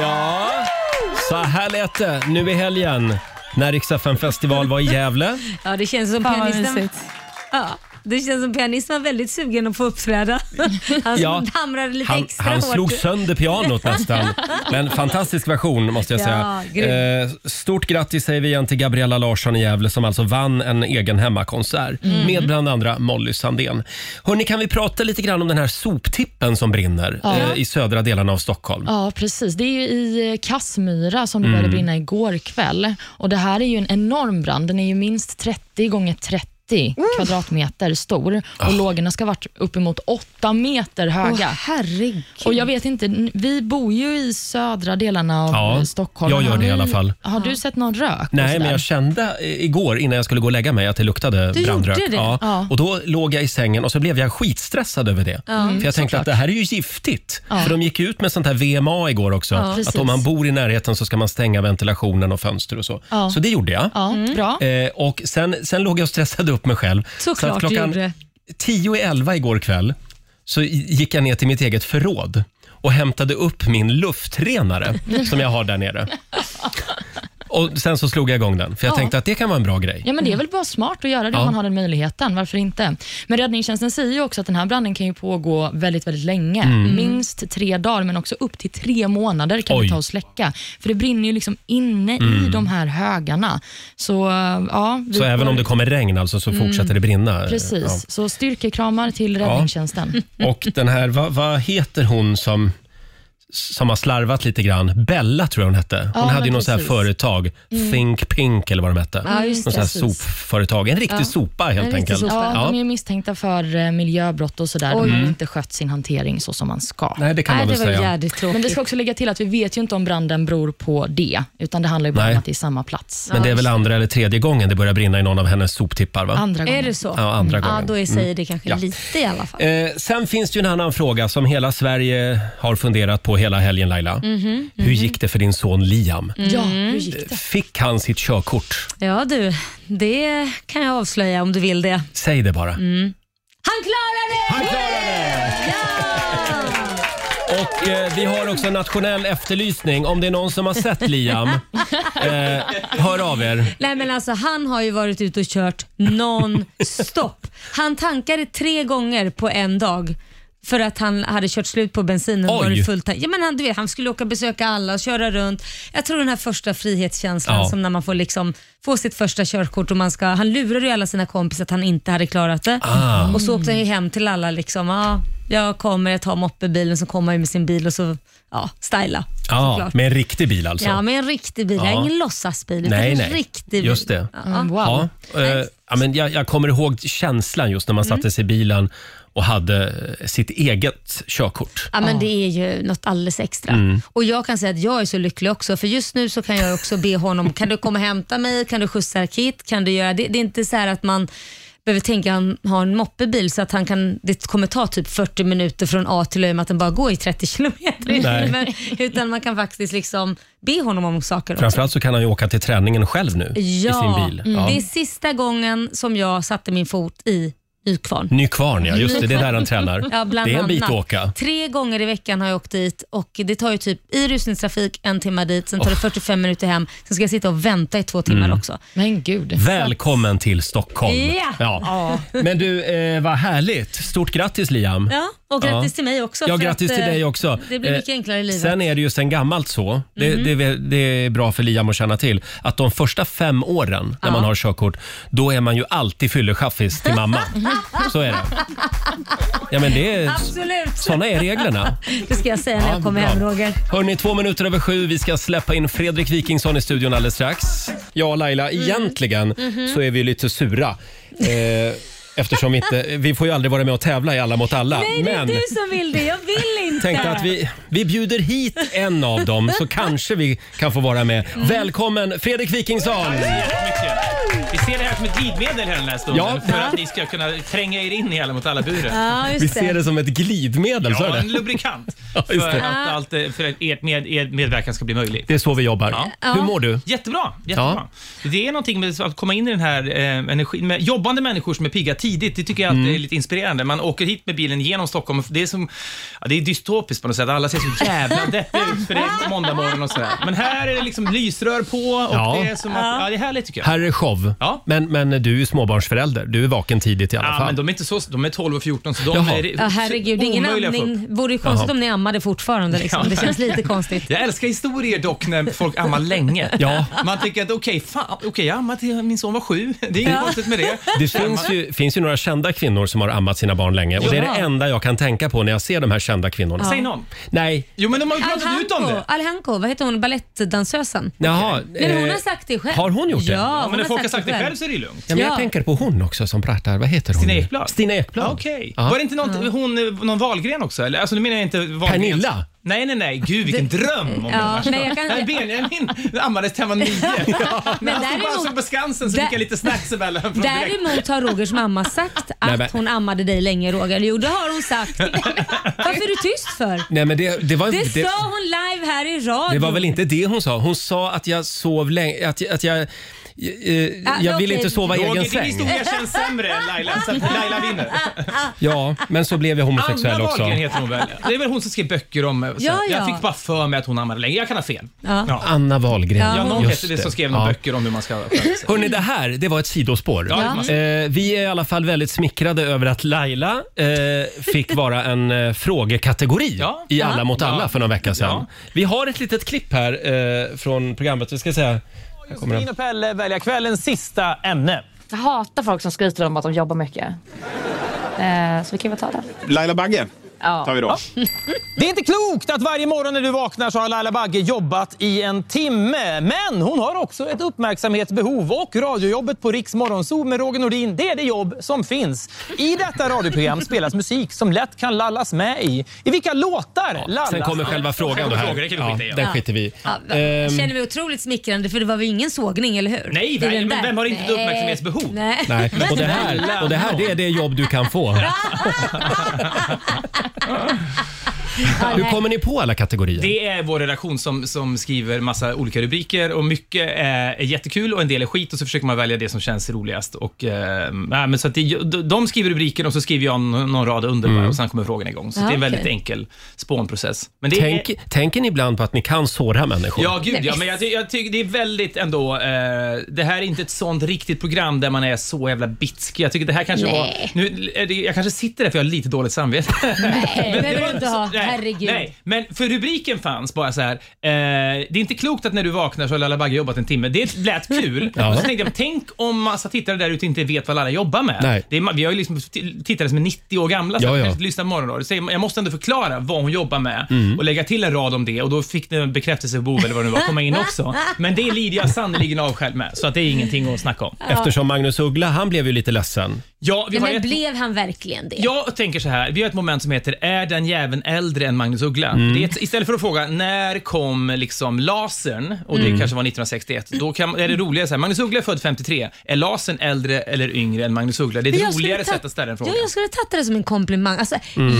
Speaker 1: Ja, så här lät det nu i helgen när Riksdagen festival var i Gävle.
Speaker 2: Ja, det känns som
Speaker 6: Fan vad
Speaker 2: pianisten,
Speaker 6: mysigt.
Speaker 2: ja, det känns som pianisten var väldigt sugen att få uppträda.
Speaker 1: (laughs)
Speaker 2: Han
Speaker 1: Ja,
Speaker 2: hamrade lite
Speaker 1: Han,
Speaker 2: extra
Speaker 1: han
Speaker 2: hårt.
Speaker 1: slog sönder pianot nästan. Men fantastisk version måste jag
Speaker 2: Ja,
Speaker 1: säga. Eh, stort grattis säger vi igen till Gabriella Larsson i Gävle som alltså vann en egen hemmakonsert
Speaker 2: Mm.
Speaker 1: med bland andra Molly Sandén. Hörni, kan vi prata lite grann om den här soptippen som brinner eh, i södra delarna av Stockholm?
Speaker 4: Ja, precis. Det är ju i Kassmyra som det började brinna igår kväll. Och Det här är ju en enorm brand. Den är ju minst 30 gånger 30 kvadratmeter stor och lågorna ska ha varit uppemot 8 meter
Speaker 2: Åh,
Speaker 4: höga.
Speaker 2: herregud.
Speaker 4: och jag vet inte, n- Vi bor ju i södra delarna av
Speaker 1: Ja,
Speaker 4: eh, Stockholm.
Speaker 1: jag gör
Speaker 4: Har
Speaker 1: det i alla
Speaker 4: ni-
Speaker 1: fall.
Speaker 4: Har du sett någon rök? och
Speaker 1: Nej,
Speaker 4: sådär?
Speaker 1: men jag kände i- igår innan jag skulle gå och lägga mig att det luktade
Speaker 2: Du
Speaker 1: brandrök.
Speaker 2: gjorde det?
Speaker 1: Ja.
Speaker 4: Ja.
Speaker 1: Och då låg jag i sängen och så blev jag skitstressad över det. För jag tänkte att det här är ju giftigt. För de gick ut med sånt här VMA igår också. Att
Speaker 4: Precis.
Speaker 1: om man bor i närheten så ska man stänga ventilationen och fönster och så.
Speaker 4: Ja.
Speaker 1: Så det gjorde jag.
Speaker 4: Ja, bra.
Speaker 1: Eh, och sen, sen låg jag och stressade upp mig själv. så
Speaker 2: Såklart
Speaker 1: att
Speaker 2: du
Speaker 1: klockan
Speaker 2: gjorde.
Speaker 1: tio i elva igår kväll så i- gick jag ner till mitt eget förråd och hämtade upp min luftrenare som jag har där nere. Och Sen så slog jag igång den, för jag
Speaker 4: Ja.
Speaker 1: tänkte att det kan vara en bra grej.
Speaker 4: Ja, men det är väl bara smart att göra det
Speaker 1: Ja.
Speaker 4: om man har den möjligheten. Varför inte? Men räddningstjänsten säger ju också att den här branden kan ju pågå väldigt, väldigt länge.
Speaker 1: Mm.
Speaker 4: Minst tre dagar, men också upp till tre månader kan
Speaker 1: Oj. Mm.
Speaker 4: det ta att släcka. För det brinner ju liksom inne i de här högarna. Så eh, ja, vi
Speaker 1: Så även
Speaker 4: får-
Speaker 1: om det kommer regn alltså, så fortsätter det brinna.
Speaker 4: Precis, så styrkekramar till räddningstjänsten.
Speaker 1: Ja. Och den här, vad, vad heter hon som, som har slarvat lite grann? Bella tror jag hon hette. Hon
Speaker 4: Ja,
Speaker 1: hade
Speaker 4: men
Speaker 1: ju något så här
Speaker 4: precis.
Speaker 1: företag, Think Pink eller vad de hette.
Speaker 2: Ja, just
Speaker 1: något
Speaker 2: det.
Speaker 1: så här
Speaker 4: precis.
Speaker 1: sopföretag. En riktig sopa helt
Speaker 2: riktig
Speaker 1: enkelt.
Speaker 2: sopa.
Speaker 4: Ja,
Speaker 1: Ja.
Speaker 4: De är ju misstänkta för eh, miljöbrott och sådär. De har ju inte skött sin hantering så som man ska.
Speaker 1: Nej, det kan
Speaker 2: Nej,
Speaker 1: man
Speaker 2: det
Speaker 1: väl
Speaker 2: var
Speaker 1: säga.
Speaker 2: jävligt tråkigt.
Speaker 4: Men vi ska också lägga till att vi vet ju inte om branden beror på det, utan det handlar ju bara
Speaker 1: Nej.
Speaker 4: om att det är samma plats.
Speaker 1: Men det är väl andra eller tredje gången det börjar brinna i någon av hennes soptippar? Va?
Speaker 4: Andra gången.
Speaker 2: Är det så?
Speaker 1: Ja, andra
Speaker 2: Ja,
Speaker 1: gången.
Speaker 2: då är, säger det kanske
Speaker 1: Ja.
Speaker 2: lite i alla fall.
Speaker 1: Eh, sen finns det ju en annan fråga som hela Sverige har funderat på hela helgen Laila. Hur gick det för din son Liam?
Speaker 4: Ja, hur gick det?
Speaker 1: Fick han sitt körkort?
Speaker 2: Ja du, det kan jag avslöja om du vill det.
Speaker 1: Säg det bara.
Speaker 2: Han klarade det!
Speaker 1: Han klarade det! Och eh, vi har också en nationell efterlysning. Om det är någon som har sett
Speaker 2: (laughs)
Speaker 1: Liam, eh, hör av er.
Speaker 2: Nej men alltså han har ju varit ute och kört non-stop. Han tankade tre gånger på en dag för att han hade kört slut på bensinen och
Speaker 1: Oj.
Speaker 2: varit fullt tank- ja, men han, du vet, han skulle åka och besöka alla och köra runt. Jag tror den här första frihetskänslan
Speaker 1: Ja.
Speaker 2: som när man får liksom få sitt första körkort och man ska, han lurade ju alla sina kompisar att han inte hade klarat det.
Speaker 1: Ah.
Speaker 2: Och så åkte han ju hem till alla liksom, ja, jag kommer, jag tar moppebilen, så kommer han ju med sin bil och så, ja, styla.
Speaker 1: Ja,
Speaker 2: såklart.
Speaker 1: med en riktig bil alltså.
Speaker 2: Ja, men en riktig bil.
Speaker 1: Ja.
Speaker 2: Ingen låtsasbil, utan
Speaker 1: Nej,
Speaker 2: en
Speaker 1: nej.
Speaker 2: riktig bil.
Speaker 1: Just det.
Speaker 2: Ja.
Speaker 4: Mm, wow.
Speaker 1: Ja, eh, ja, men jag, jag kommer ihåg känslan just när man
Speaker 2: Mm.
Speaker 1: satte sig i bilen och hade eh, sitt eget körkort.
Speaker 2: Ja, men det är ju något alldeles extra.
Speaker 1: Mm.
Speaker 2: Och jag kan säga att jag är så lycklig också, för just nu så kan jag också be honom, kan du komma och hämta mig? Kan du skjutsa Kit? Kan du göra det? Det är inte så här att man behöver tänka att han har en moppebil så att han kan, det kommer ta typ 40 minuter från A till Ö i och med att den bara går i 30 kilometer i
Speaker 1: Nej.
Speaker 2: timmen. Utan man kan faktiskt liksom be honom om saker också.
Speaker 1: Framförallt så kan han ju åka till träningen själv nu i sin
Speaker 2: Ja, mm,
Speaker 1: bil. Ja.
Speaker 2: det är sista gången som jag satte min fot i Nykvarn.
Speaker 1: Nykvarn, ja. Just det, det är där han tränar.
Speaker 2: (laughs) Ja, bland
Speaker 1: det är en bit att
Speaker 2: annat.
Speaker 1: åka.
Speaker 2: Tre gånger i veckan har jag åkt dit och det tar ju typ i rusningstrafik en timme dit, sen tar
Speaker 1: Oh.
Speaker 2: det 45 minuter hem, sen ska jag sitta och vänta i två timmar
Speaker 1: Mm.
Speaker 2: också.
Speaker 4: Men gud.
Speaker 1: Välkommen till Stockholm.
Speaker 2: Ja.
Speaker 1: Ja. Men du, eh, vad härligt. Stort grattis Liam.
Speaker 2: Ja, och grattis till mig också.
Speaker 1: Ja,
Speaker 2: för
Speaker 1: grattis
Speaker 2: att,
Speaker 1: till
Speaker 2: eh,
Speaker 1: dig också.
Speaker 2: Det blir
Speaker 1: Eh,
Speaker 2: mycket enklare i livet. Mhm.
Speaker 1: Sen är det ju sen gammalt så, det, det, det är bra för Liam att känna till, att de första fem åren när man har körkort, då är man ju alltid fyllechaffis till
Speaker 2: (laughs)
Speaker 1: mamma. så är det. Ja, men det är,
Speaker 2: Absolut,
Speaker 1: såna är reglerna.
Speaker 2: det ska jag säga när jag kommer hem Roger.
Speaker 1: Hörni, två minuter över sju. Vi ska släppa in Fredrik Wikingsson i studion alldeles strax. Ja, Laila,
Speaker 2: Mhm.
Speaker 1: egentligen så är vi lite sura. Eh, Eftersom vi inte, vi får ju aldrig vara med och tävla i Alla mot alla.
Speaker 2: Nej, det är
Speaker 1: men
Speaker 2: du som vill det. Jag vill
Speaker 6: (laughs)
Speaker 2: inte.
Speaker 1: tänkte att vi, vi bjuder hit en av dem så kanske vi kan få vara med.
Speaker 2: Mm.
Speaker 1: Välkommen Fredrik Wikingsson!
Speaker 7: jättemycket. Vi ser det här som ett glidmedel här den här stunden
Speaker 1: Ja.
Speaker 7: för att ni ska kunna tränga er in i Alla mot alla-buren.
Speaker 2: Ja,
Speaker 1: Vi
Speaker 2: just
Speaker 1: ser
Speaker 2: det.
Speaker 1: det som ett glidmedel, sa
Speaker 7: Ja,
Speaker 1: du
Speaker 7: en
Speaker 1: det?
Speaker 7: lubrikant
Speaker 1: (laughs) Ja,
Speaker 7: för
Speaker 1: just det.
Speaker 7: att, allt, eh, för att ert med, er medverkan ska bli möjlig.
Speaker 1: Det är så vi jobbar.
Speaker 7: Ja.
Speaker 1: Hur mår du?
Speaker 7: Jättebra, jättebra. Det är någonting med att komma in i den här eh, energin, med jobbande människor som är pigga tidigt. Det tycker jag alltid är
Speaker 1: Mm.
Speaker 7: lite inspirerande. Man åker hit med bilen genom Stockholm. Det är, som, ja, det är dystopiskt på något sätt. Alla ser
Speaker 1: (laughs)
Speaker 7: så jävla deppiga ut för det är på måndag morgon och sådär. Men här är det liksom lysrör på och
Speaker 1: Ja.
Speaker 7: det är som att, ja, det är härligt tycker jag.
Speaker 1: Här är show.
Speaker 7: Ja.
Speaker 1: Men, men du är ju småbarnsförälder. Du är vaken tidigt i alla
Speaker 7: Ja,
Speaker 1: fall.
Speaker 7: men de är inte så, de är 12 och 14 så de
Speaker 1: Jaha.
Speaker 7: är
Speaker 2: Ja, herregud, det är ingen
Speaker 7: omöjliga att få upp.
Speaker 2: andning. Vore ju konstigt om ni ammade fortfarande. Liksom. Det känns lite
Speaker 7: (laughs)
Speaker 2: konstigt.
Speaker 7: Jag älskar historier dock när folk ammar länge.
Speaker 1: (laughs) Ja.
Speaker 7: Man tycker att okej, fan, okej, jag ammade till min son var sju. Det är inget konstigt med det.
Speaker 1: Det finns ju, finns ju några kända kvinnor som har ammat sina barn länge och det är det enda jag kan tänka på när jag ser de här kända kvinnorna.
Speaker 7: Säg någon.
Speaker 1: Nej,
Speaker 7: Jo, men de har ju pratat ut om
Speaker 2: Alhanko,
Speaker 7: det.
Speaker 2: Alhanko, vad heter hon, balettdansösen?
Speaker 1: jaha.
Speaker 2: Men hon
Speaker 1: eh,
Speaker 2: har sagt det själv.
Speaker 1: har hon gjort det?
Speaker 2: Ja,
Speaker 1: Ja,
Speaker 7: Ja, men när folk har sagt det själv
Speaker 2: själv.
Speaker 7: så är det ju lugnt.
Speaker 1: Ja, men jag
Speaker 2: Ja.
Speaker 1: tänker på hon också som pratar. Vad heter hon?
Speaker 7: Stina
Speaker 1: nu?
Speaker 7: Ekblad?
Speaker 1: Stina Ekblad.
Speaker 7: Okej.
Speaker 1: Ja.
Speaker 7: Var det inte någon, hon, eh, någon Wahlgren också? Eller? Alltså nu menar jag inte Wahlgren.
Speaker 1: Pernilla?
Speaker 7: Nej, nej, nej. Gud vilken dröm om
Speaker 2: Ja,
Speaker 7: det
Speaker 2: men jag kan-
Speaker 7: Nej, Benjamin ammades till han var nio. När han stod bara
Speaker 2: däremot-
Speaker 7: såg på Skansen så
Speaker 2: Där-
Speaker 7: fick jag lite snacks emellan. från direkt.
Speaker 2: Däremot har Rogers mamma sagt
Speaker 7: (laughs)
Speaker 1: Nej, men-
Speaker 2: att hon ammade dig länge Roger. Jo det har hon sagt. Varför är du tyst för?
Speaker 1: Nej, men det, det, var,
Speaker 2: Det
Speaker 1: det,
Speaker 2: sa hon live här i radion.
Speaker 1: det var väl inte det hon sa? Hon sa att jag sov länge, att, att jag... eh, jag vill
Speaker 2: Ah, okej.
Speaker 1: inte sova i egen
Speaker 7: Roger, din
Speaker 1: säng.
Speaker 7: historia känns sämre än Laila,
Speaker 2: (laughs)
Speaker 7: så att Laila vinner.
Speaker 2: Ah,
Speaker 1: Ja, men så blev jag homosexuell
Speaker 7: Anna
Speaker 1: också.
Speaker 7: Wahlgren heter hon väl? Det är väl hon som skrev böcker om... Så.
Speaker 2: Ja, ja.
Speaker 7: Jag fick bara för mig att hon ammade länge. Jag kan ha fel.
Speaker 2: Ja.
Speaker 1: Anna Wahlgren.
Speaker 2: Ja,
Speaker 7: Ja, någon
Speaker 1: Just
Speaker 7: heter det
Speaker 1: det.
Speaker 7: som skrev några
Speaker 1: Ja.
Speaker 7: böcker om hur man ska sköta sig.
Speaker 1: Hörni, det här det var ett sidospår.
Speaker 7: Ja, det får man
Speaker 1: Eh, vi är i alla fall väldigt smickrade över att Laila eh, fick vara en eh, frågekategori
Speaker 7: Ja.
Speaker 1: i Alla mot alla
Speaker 7: Ja.
Speaker 1: för någon vecka sedan.
Speaker 7: Ja.
Speaker 1: Vi har ett litet klipp här eh, från programmet. Vi ska säga... Här
Speaker 2: (laughs)
Speaker 1: kommer den.
Speaker 7: och Pelle välja kvällens sista ämne.
Speaker 8: Jag hatar folk som skryter om att de jobbar mycket. Eh, så vi kan väl ta den.
Speaker 3: Laila Bagge
Speaker 8: Ja.
Speaker 3: tar vi då.
Speaker 7: Det är inte klokt att varje morgon när du vaknar så har Laila Bagge jobbat i en timme. Men hon har också ett uppmärksamhetsbehov och radiojobbet på Riks Morgonzoo med Roger Nordin, det är det jobb som finns. I detta radioprogram spelas musik som lätt kan lallas med i. I vilka låtar lallas
Speaker 1: Sen kommer själva frågan då här.
Speaker 7: Frågor, det kan vi skita i, ja.
Speaker 1: den skiter vi i.
Speaker 2: Ja, va-
Speaker 1: Ehm,
Speaker 2: ah. känner mig otroligt smickrande för det var ju ingen sågning, eller hur?
Speaker 7: Nej,
Speaker 2: Det är
Speaker 7: nej,
Speaker 2: den
Speaker 7: men
Speaker 2: där.
Speaker 7: vem har inte ett
Speaker 2: Nej.
Speaker 7: uppmärksamhetsbehov?
Speaker 2: Nej.
Speaker 1: Nej, och det här, och det här det är det jobb du kan få. (laughs) Hur kommer ni på alla kategorier?
Speaker 7: Det är vår redaktion som, som skriver massa olika rubriker och mycket är, är jättekul och en del är skit och så försöker man välja det som känns roligast. Och, eh, nej, men så att det, de- de skriver rubriker och så skriver jag någon, någon rad under bara och sen kommer frågan igång. Så
Speaker 2: Mm. Ja,
Speaker 7: det är en
Speaker 2: okej.
Speaker 7: väldigt enkel spånprocess. Men det
Speaker 1: Tänk,
Speaker 7: är,
Speaker 1: tänker ni ibland på att ni kan såra människor?
Speaker 7: Ja, gud ja. Men jag, ty- jag tycker det är väldigt ändå... Eh, det här är inte ett sånt riktigt program där man är så jävla bitskig. Jag tycker det här kanske var... Nu, är det, jag kanske sitter där för jag har lite dåligt samvete.
Speaker 2: Nej,
Speaker 7: (laughs) Men
Speaker 2: det behöver
Speaker 7: var
Speaker 2: du inte
Speaker 7: så-
Speaker 2: ha.
Speaker 7: nej,
Speaker 2: Herregud.
Speaker 7: Nej, men för rubriken fanns bara så här. Eh, det är inte klokt att när du vaknar så har Laila Bagge jobbat en timme. Det lät kul.
Speaker 1: Ja.
Speaker 7: Och så tänkte jag, tänk om massa tittare där ute inte vet vad Laila jobbar med.
Speaker 1: Nej.
Speaker 7: Det är, ma- vi har ju liksom t- tittare som är 90 år gamla så
Speaker 1: Ja,
Speaker 7: att
Speaker 1: ja.
Speaker 7: kanske inte lyssnar på morgonradio. Så Jag jag måste ändå förklara vad hon jobbar med och lägga till en rad om det och då fick det en bekräftelsebehov eller vad det nu var komma in också. Men det lider jag sannerligen av själv med så att det är ingenting att snacka om.
Speaker 1: Eftersom Magnus Uggla, han blev ju lite ledsen.
Speaker 7: Ja, vi
Speaker 2: Nej,
Speaker 7: har
Speaker 2: men
Speaker 7: ett-
Speaker 2: blev han verkligen det?
Speaker 7: jag tänker så här, vi har ett moment som heter “Är den jäveln äldre än Magnus Uggla?” det är ett, Istället för att fråga “När kom liksom lasern?” och det kanske var 1961, då kan, är det roligare så här, “Magnus Uggla är född 53, är lasern äldre eller yngre än Magnus Uggla?” Det är
Speaker 2: Men
Speaker 7: ett
Speaker 2: jag skulle
Speaker 7: roligare
Speaker 2: ta-
Speaker 7: sätt att ställa Mm. en fråga.
Speaker 2: Ja, jag skulle tagit det som en komplimang. Alltså,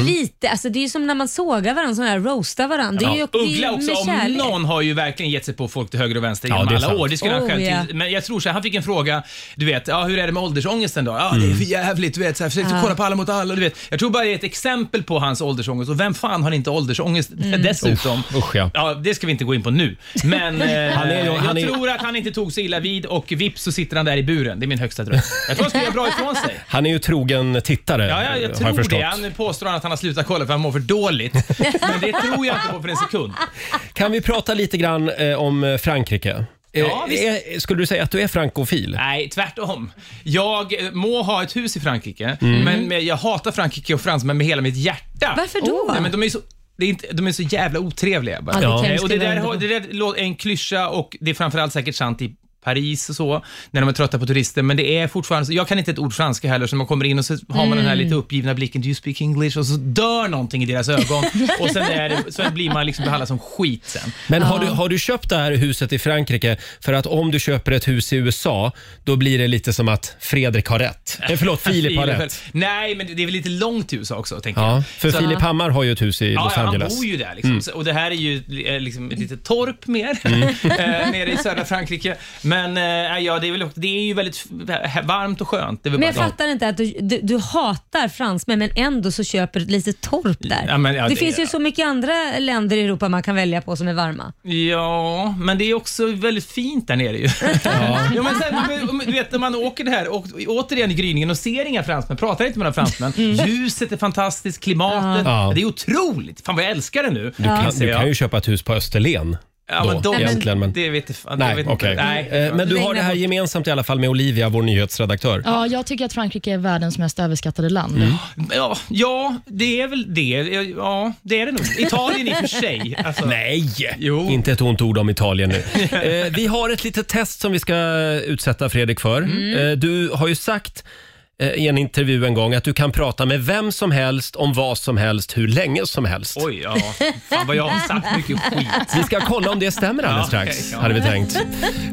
Speaker 2: lite, alltså, det är ju som när man sågar varandra, sån här, roastar varandra. Det är ju
Speaker 7: Ja,
Speaker 2: det är ju
Speaker 7: Uggla också,
Speaker 2: med
Speaker 7: om
Speaker 2: kärlek.
Speaker 7: någon har ju verkligen gett sig på folk till höger och vänster
Speaker 1: Ja,
Speaker 7: genom
Speaker 1: det är
Speaker 7: alla
Speaker 1: sant.
Speaker 7: år. Det skulle han
Speaker 2: Oh,
Speaker 7: själv
Speaker 2: ja.
Speaker 7: till. Men jag tror så här, han fick en fråga, du vet, ja, hur är det med åldersångesten då? Ja, det
Speaker 1: Mm.
Speaker 7: är för jävligt, du vet, så här, försökte kolla på alla mot alla, du vet. Jag tror bara det är ett exempel på hans åldersångest och vem fan har inte åldersångest
Speaker 2: Mm.
Speaker 7: (laughs) dessutom?
Speaker 1: Usch, usch, ja.
Speaker 7: det ska vi inte gå in på nu.
Speaker 2: (laughs)
Speaker 7: Men eh,
Speaker 1: Han är ju- han
Speaker 7: jag
Speaker 1: är-
Speaker 7: tror att han inte tog sig illa vid och vips så sitter han där i buren. Det är min högsta dröm. Jag tror han skulle göra bra ifrån sig.
Speaker 1: Han är ju trogen tittare,
Speaker 7: Ja, jag, jag
Speaker 1: har jag
Speaker 7: tror
Speaker 1: förstått.
Speaker 7: det. Han påstår att han har slutat kolla för han mår
Speaker 2: (laughs)
Speaker 7: för dåligt. Men det tror jag inte på för en sekund.
Speaker 1: Kan vi prata lite grann eh, om eh, Frankrike? Eh,
Speaker 7: Ja, visst.
Speaker 1: är, skulle du säga att du är frankofil?
Speaker 7: Nej, tvärtom. Jag eh, må ha ett hus i Frankrike,
Speaker 1: Mm.
Speaker 7: men men jag hatar Frankrike och fransmän med hela mitt hjärta.
Speaker 2: Varför då?
Speaker 7: Nej, men de är ju så... Det är inte, de är så jävla otrevliga bara.
Speaker 2: Ja, det kan
Speaker 7: Eh,
Speaker 2: vi
Speaker 7: och det
Speaker 2: skriva
Speaker 7: där,
Speaker 2: under
Speaker 7: har-
Speaker 2: på.
Speaker 7: det där lå- är en klyscha och det är framförallt säkert sant i Paris och så, när de är trötta på turister, men det är fortfarande så, jag kan inte ett ord franska heller, så när man kommer in och så har man den
Speaker 2: Mm.
Speaker 7: här lite uppgivna blicken, do you speak English? Och så dör någonting i
Speaker 2: (laughs)
Speaker 7: deras ögon och sen, är det, sen blir man liksom behandlad som skit sen.
Speaker 1: Men har, du, har du köpt det här huset i Frankrike? För att om du köper ett hus i USA, då blir det lite som att Fredrik har rätt. Eh, förlåt,
Speaker 7: (laughs)
Speaker 1: Filip har rätt.
Speaker 7: Nej, men det är väl lite långt till USA också, tänker
Speaker 1: Ja,
Speaker 7: jag.
Speaker 1: för
Speaker 7: Så-
Speaker 1: Filip Hammar har ju ett hus i Los
Speaker 7: ja,
Speaker 1: Angeles. Mm.
Speaker 7: han bor ju där. (laughs) Liksom. Så- Och det här är ju eh, liksom ett litet torp mer, eh, nere i södra Frankrike. Men, Men eh, ja, det, är väl, det är ju väldigt f- varmt och skönt. Det är väl
Speaker 2: Men
Speaker 7: bara-
Speaker 2: jag fattar inte att du, du, du hatar fransmän men ändå så köper du ett litet torp där.
Speaker 7: Ja, men, ja,
Speaker 2: det,
Speaker 7: det-
Speaker 2: finns ju så mycket andra länder i Europa man kan välja på som är
Speaker 4: (laughs)
Speaker 2: varma.
Speaker 7: Ja, men det är också väldigt fint
Speaker 2: (laughs)
Speaker 7: där nere ju. Jo, men sen, men, du vet när man åker det här, och, återigen i gryningen och ser inga fransmän, pratar inte med några fransmän.
Speaker 2: Mm.
Speaker 7: Ljuset är fantastiskt, klimatet.
Speaker 1: Ja.
Speaker 7: Det är otroligt. Fan vad jag älskar det nu.
Speaker 1: Du kan, du kan ju köpa ett hus på Österlen.
Speaker 7: ja, men
Speaker 1: då,
Speaker 7: de,
Speaker 1: egentligen, men-
Speaker 7: Det vet jag fan. jag
Speaker 1: Nej,
Speaker 7: vet
Speaker 1: okej.
Speaker 7: inte. Nej.
Speaker 1: Eh, Men du har det här
Speaker 2: bort.
Speaker 1: gemensamt i alla fall med Olivia, vår nyhetsredaktör.
Speaker 4: Ja, jag tycker att Frankrike är världens mest överskattade land.
Speaker 7: Ja, ja, det är väl det. Ja, det är det nog. Italien i och för sig. Alltså.
Speaker 1: Nej!
Speaker 7: Jo.
Speaker 1: Inte ett ont ord om Italien
Speaker 7: (laughs)
Speaker 1: nu. Eh, vi har ett litet test som vi ska utsätta Fredrik för.
Speaker 7: Mm.
Speaker 1: Eh, du har ju sagt eh, i en intervju en gång att du kan prata med vem som helst om vad som helst hur länge som helst.
Speaker 7: Oj, ja. Fan vad jag har sagt mycket skit.
Speaker 1: Vi ska kolla om det stämmer alldeles
Speaker 7: Ja,
Speaker 1: strax,
Speaker 7: okej, ja.
Speaker 1: hade vi tänkt.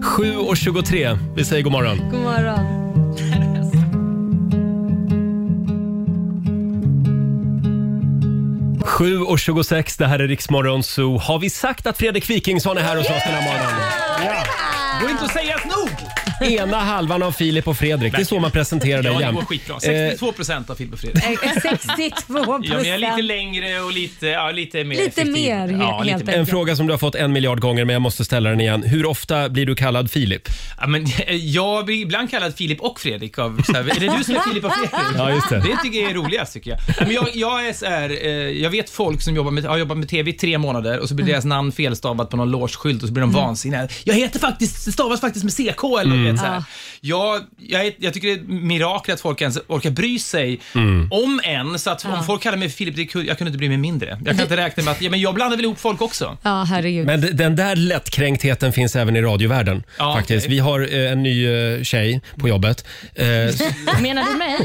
Speaker 1: 7.23, vi säger god morgon.
Speaker 2: God morgon.
Speaker 1: Sju och 26, det här är Riksmorgon Zoo. Har vi sagt att Fredrik Wikingsson är här hos oss den här morgonen?
Speaker 7: Går inte att säga nog.
Speaker 1: Ena halvan av Filip och Fredrik, det är så man presenterar dig
Speaker 7: Ja, det går
Speaker 1: jämt.
Speaker 7: skitbra.
Speaker 1: Eh,
Speaker 7: 62 procent av Filip och Fredrik.
Speaker 2: Eh, 62
Speaker 7: Ja, men jag är lite
Speaker 2: procent.
Speaker 7: längre och lite, ja, lite mer
Speaker 2: Lite
Speaker 7: effektiv.
Speaker 2: mer, he-
Speaker 7: ja,
Speaker 2: helt
Speaker 7: mer.
Speaker 1: En fråga som du har fått en miljard gånger men jag måste ställa den igen. Hur ofta blir du kallad Filip?
Speaker 7: Ja, men, (laughs) jag blir ibland kallad Filip och Fredrik av så här, Är det du som är Filip och Fredrik?
Speaker 1: (laughs) Ja, just det.
Speaker 7: tycker jag är roligast tycker jag. Men jag, jag, är så här, eh, jag vet folk som jobbar med, har jobbat med TV i tre månader och så
Speaker 1: Mm.
Speaker 7: blir deras namn felstavat på någon låsskylt och så blir de vansinniga. Jag heter faktiskt, det stavas faktiskt med CK eller
Speaker 1: Mm.
Speaker 7: du vet, så
Speaker 1: Ah.
Speaker 7: här. Jag, jag, är- jag tycker det är ett mirakel att folk ens orkar bry sig
Speaker 1: Mm.
Speaker 7: om en. Så att
Speaker 1: Ah.
Speaker 7: om folk kallar mig för Filip, det, kunde- jag kunde inte bry mig mindre.
Speaker 1: (laughs)
Speaker 7: Jag kan inte räkna med att, ja, men jag blandar väl ihop folk också.
Speaker 2: Ja, herregud.
Speaker 1: Men d- den där lättkränktheten finns även i radiovärlden.
Speaker 7: Ja,
Speaker 1: faktiskt.
Speaker 7: okej.
Speaker 1: Vi har eh, en ny eh, tjej på jobbet eh,
Speaker 7: (laughs)
Speaker 1: s-
Speaker 4: Menar du mig?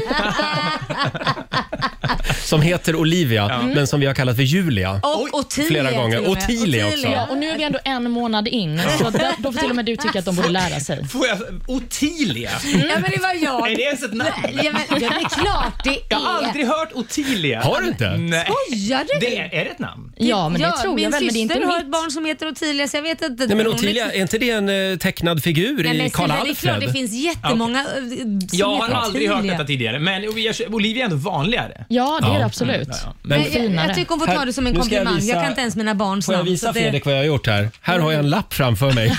Speaker 1: som heter Olivia men som vi har kallat för Julia.
Speaker 2: Och Ottilia
Speaker 1: flera gånger.
Speaker 2: till och med.
Speaker 1: Ottilia också.
Speaker 4: Ja, och nu är vi ändå en månad in, så där, då får till och med du tycka att de borde lära sig.
Speaker 7: Får jag, Ottilia?
Speaker 2: Ja, men det var
Speaker 7: (laughs)
Speaker 2: jag.
Speaker 7: Är det ens ett namn?
Speaker 2: Ja, men, ja, det är klart det
Speaker 7: Jag har
Speaker 2: är.
Speaker 7: aldrig hört Ottilia.
Speaker 1: Har du inte?
Speaker 7: Nej.
Speaker 2: Skojar du?
Speaker 7: Det är, är det ett namn?
Speaker 4: Ja, men det tror jag
Speaker 2: min
Speaker 4: väl, men det är inte
Speaker 2: syster har
Speaker 4: mitt.
Speaker 2: ett barn som heter Ottilia så jag vet inte.
Speaker 1: Nej, men
Speaker 2: Hon är-
Speaker 1: Ottilia, är inte det en eh, tecknad figur
Speaker 2: Nej,
Speaker 1: i
Speaker 2: men
Speaker 1: Karl
Speaker 2: Silla, det är klart det
Speaker 1: Alfred?
Speaker 2: finns jättemånga eh, som
Speaker 7: Jag har
Speaker 2: heter
Speaker 7: aldrig hört
Speaker 2: Ottilia.
Speaker 7: detta tidigare, men jag- Olivia är ändå vanligare.
Speaker 4: Ja, det är
Speaker 1: Ja.
Speaker 4: det absolut.
Speaker 7: Ja, ja.
Speaker 1: Men-
Speaker 2: Nej, jag, jag tycker hon får ta
Speaker 1: Här-
Speaker 2: det som en
Speaker 1: nu ska jag
Speaker 2: komplimang. Jag,
Speaker 1: visa-
Speaker 2: kan inte ens mina barns
Speaker 1: Får jag
Speaker 2: namn.
Speaker 1: visa
Speaker 2: så det-
Speaker 1: Fredrik vad jag har gjort här? Här har jag en lapp framför
Speaker 7: (laughs)
Speaker 1: mig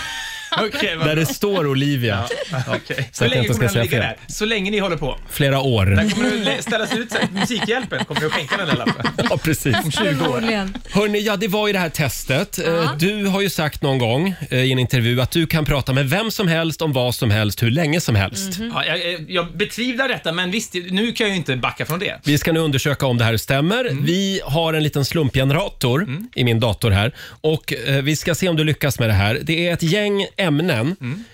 Speaker 7: Okej, vad
Speaker 1: där
Speaker 7: bra.
Speaker 1: det står Olivia.
Speaker 7: Okej.
Speaker 1: Så
Speaker 7: Så
Speaker 1: att jag
Speaker 7: länge
Speaker 1: inte
Speaker 7: kommer
Speaker 1: ska
Speaker 7: den
Speaker 1: säga
Speaker 7: ligga
Speaker 1: fel.
Speaker 7: där. Så länge ni håller på.
Speaker 1: Flera år.
Speaker 7: Kommer du lä- ställas ut så här, Musikhjälpen kommer du att skänka den där lappen.
Speaker 1: Ja, precis.
Speaker 2: Förmodligen.
Speaker 1: Hörni, ja det var ju det här testet. Eh, Du har ju sagt någon gång eh, i en intervju att du kan prata med vem som helst om vad som helst hur länge som helst.
Speaker 2: Mhm.
Speaker 7: Ja, jag, eh, jag betvivlar detta, men visst, nu kan jag ju inte backa från det.
Speaker 1: Vi ska nu undersöka om det här stämmer.
Speaker 7: Mm.
Speaker 1: Vi har en liten slumpgenerator i min dator här och eh, vi ska se om du lyckas med det här. Det är ett gäng ämnen.
Speaker 7: Mm.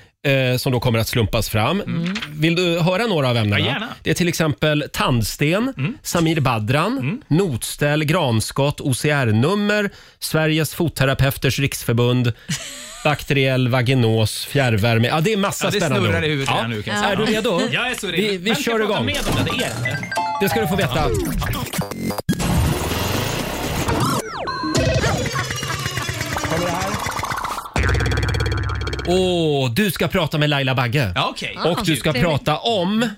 Speaker 1: eh, Som då kommer att slumpas fram. Vill du höra några av ämnena?
Speaker 7: Ja, gärna. Mm.
Speaker 1: Det är till exempel tandsten, Samir Badran, notställ, granskott, OCR-nummer, Sveriges fotterapeuters
Speaker 7: (laughs)
Speaker 1: riksförbund, bakteriell vaginos, fjärrvärme. Ja, det är massa
Speaker 7: Ja, det
Speaker 1: spännande
Speaker 7: snurrar
Speaker 1: ord.
Speaker 7: i huvudet
Speaker 1: Ja.
Speaker 7: redan nu kan jag
Speaker 1: Är
Speaker 7: säga.
Speaker 1: du redo?
Speaker 7: Jag är så redo.
Speaker 1: Vi, vi
Speaker 7: Vem ska
Speaker 1: kör
Speaker 7: prata
Speaker 1: igång.
Speaker 7: Med om det? det är det.
Speaker 1: Det ska du få veta. Åh, du ska prata med Laila Bagge.
Speaker 7: Ja, okej.
Speaker 1: Och du ska prata om...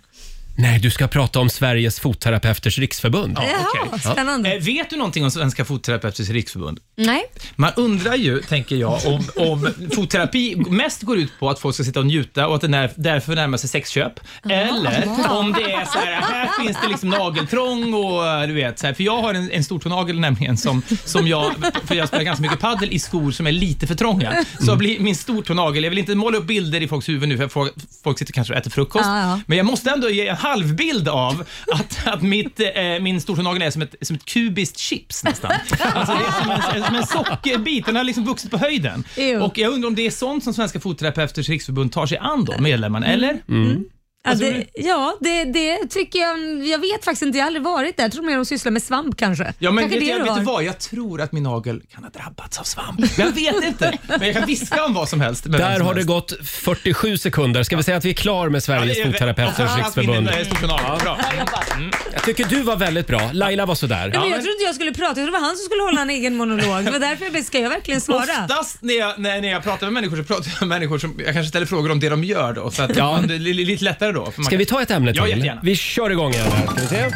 Speaker 1: Nej, du ska prata om Sveriges fotterapeuters riksförbund.
Speaker 7: Ja,
Speaker 2: Jaha,
Speaker 7: okej.
Speaker 2: spännande.
Speaker 7: Eh, Vet du någonting om Svenska Fotterapeuters Riksförbund?
Speaker 2: Nej.
Speaker 7: Man undrar ju, tänker jag, om, om fotterapi mest går ut på att folk ska sitta och njuta och att den är därför närmar sig sexköp. Eller om det är så här, här finns det liksom nageltrång och du vet, så här, för jag har en, en stortånagel nämligen som, som jag, för jag spelar ganska mycket paddel i skor som är lite för trånga.
Speaker 2: Mm.
Speaker 7: Så blir min stortånagel, jag vill inte måla upp bilder i folks huvud nu för folk, folk sitter kanske och äter frukost,
Speaker 2: Ja, ja.
Speaker 7: men jag måste ändå ge en halvbild av att, att mitt, eh, min stortånagel är som ett, som ett kubiskt chips nästan. Alltså det är som en, som en sockerbit, den har liksom vuxit på höjden.
Speaker 2: Ew.
Speaker 7: Och jag undrar om det är sånt som Svenska Fotterapeuters Riksförbund tar sig an då, medlemmarna, eller?
Speaker 2: Ja, det, ja det, det tycker jag. Jag vet faktiskt inte, jag har aldrig varit där. Jag tror mer de sysslar med svamp kanske.
Speaker 7: Ja, men
Speaker 2: kanske
Speaker 7: vet, jag,
Speaker 2: du
Speaker 7: vet du
Speaker 2: har.
Speaker 7: vad? Jag tror att min nagel kan ha drabbats av svamp. Jag vet inte, men jag kan viska om vad som helst. med vem
Speaker 1: Där
Speaker 7: som
Speaker 1: har det
Speaker 7: helst.
Speaker 1: gått 47 sekunder. Ska vi säga att vi är klar med Sveriges
Speaker 7: Ja, det är-
Speaker 1: fotterapeuters
Speaker 7: Alltså,
Speaker 1: riksförbund?
Speaker 7: allt vinner, eh, stort finalen. Bra.
Speaker 1: Jag tycker du var väldigt bra. Laila var sådär.
Speaker 2: Men jag trodde inte jag skulle prata, jag trodde det var han som skulle hålla en egen monolog. Det var därför jag blev, ska jag verkligen svara?
Speaker 7: Oftast när jag, när, när jag pratar med människor så pratar jag med människor som, jag kanske ställer frågor om det de gör då. Så att,
Speaker 1: Ja.
Speaker 7: ja. det är li- lite lättare då. för man
Speaker 1: Ska vi ta ett ämne
Speaker 7: Ja,
Speaker 1: till?
Speaker 7: jättegärna.
Speaker 1: Vi kör igång igen här. Ska vi se.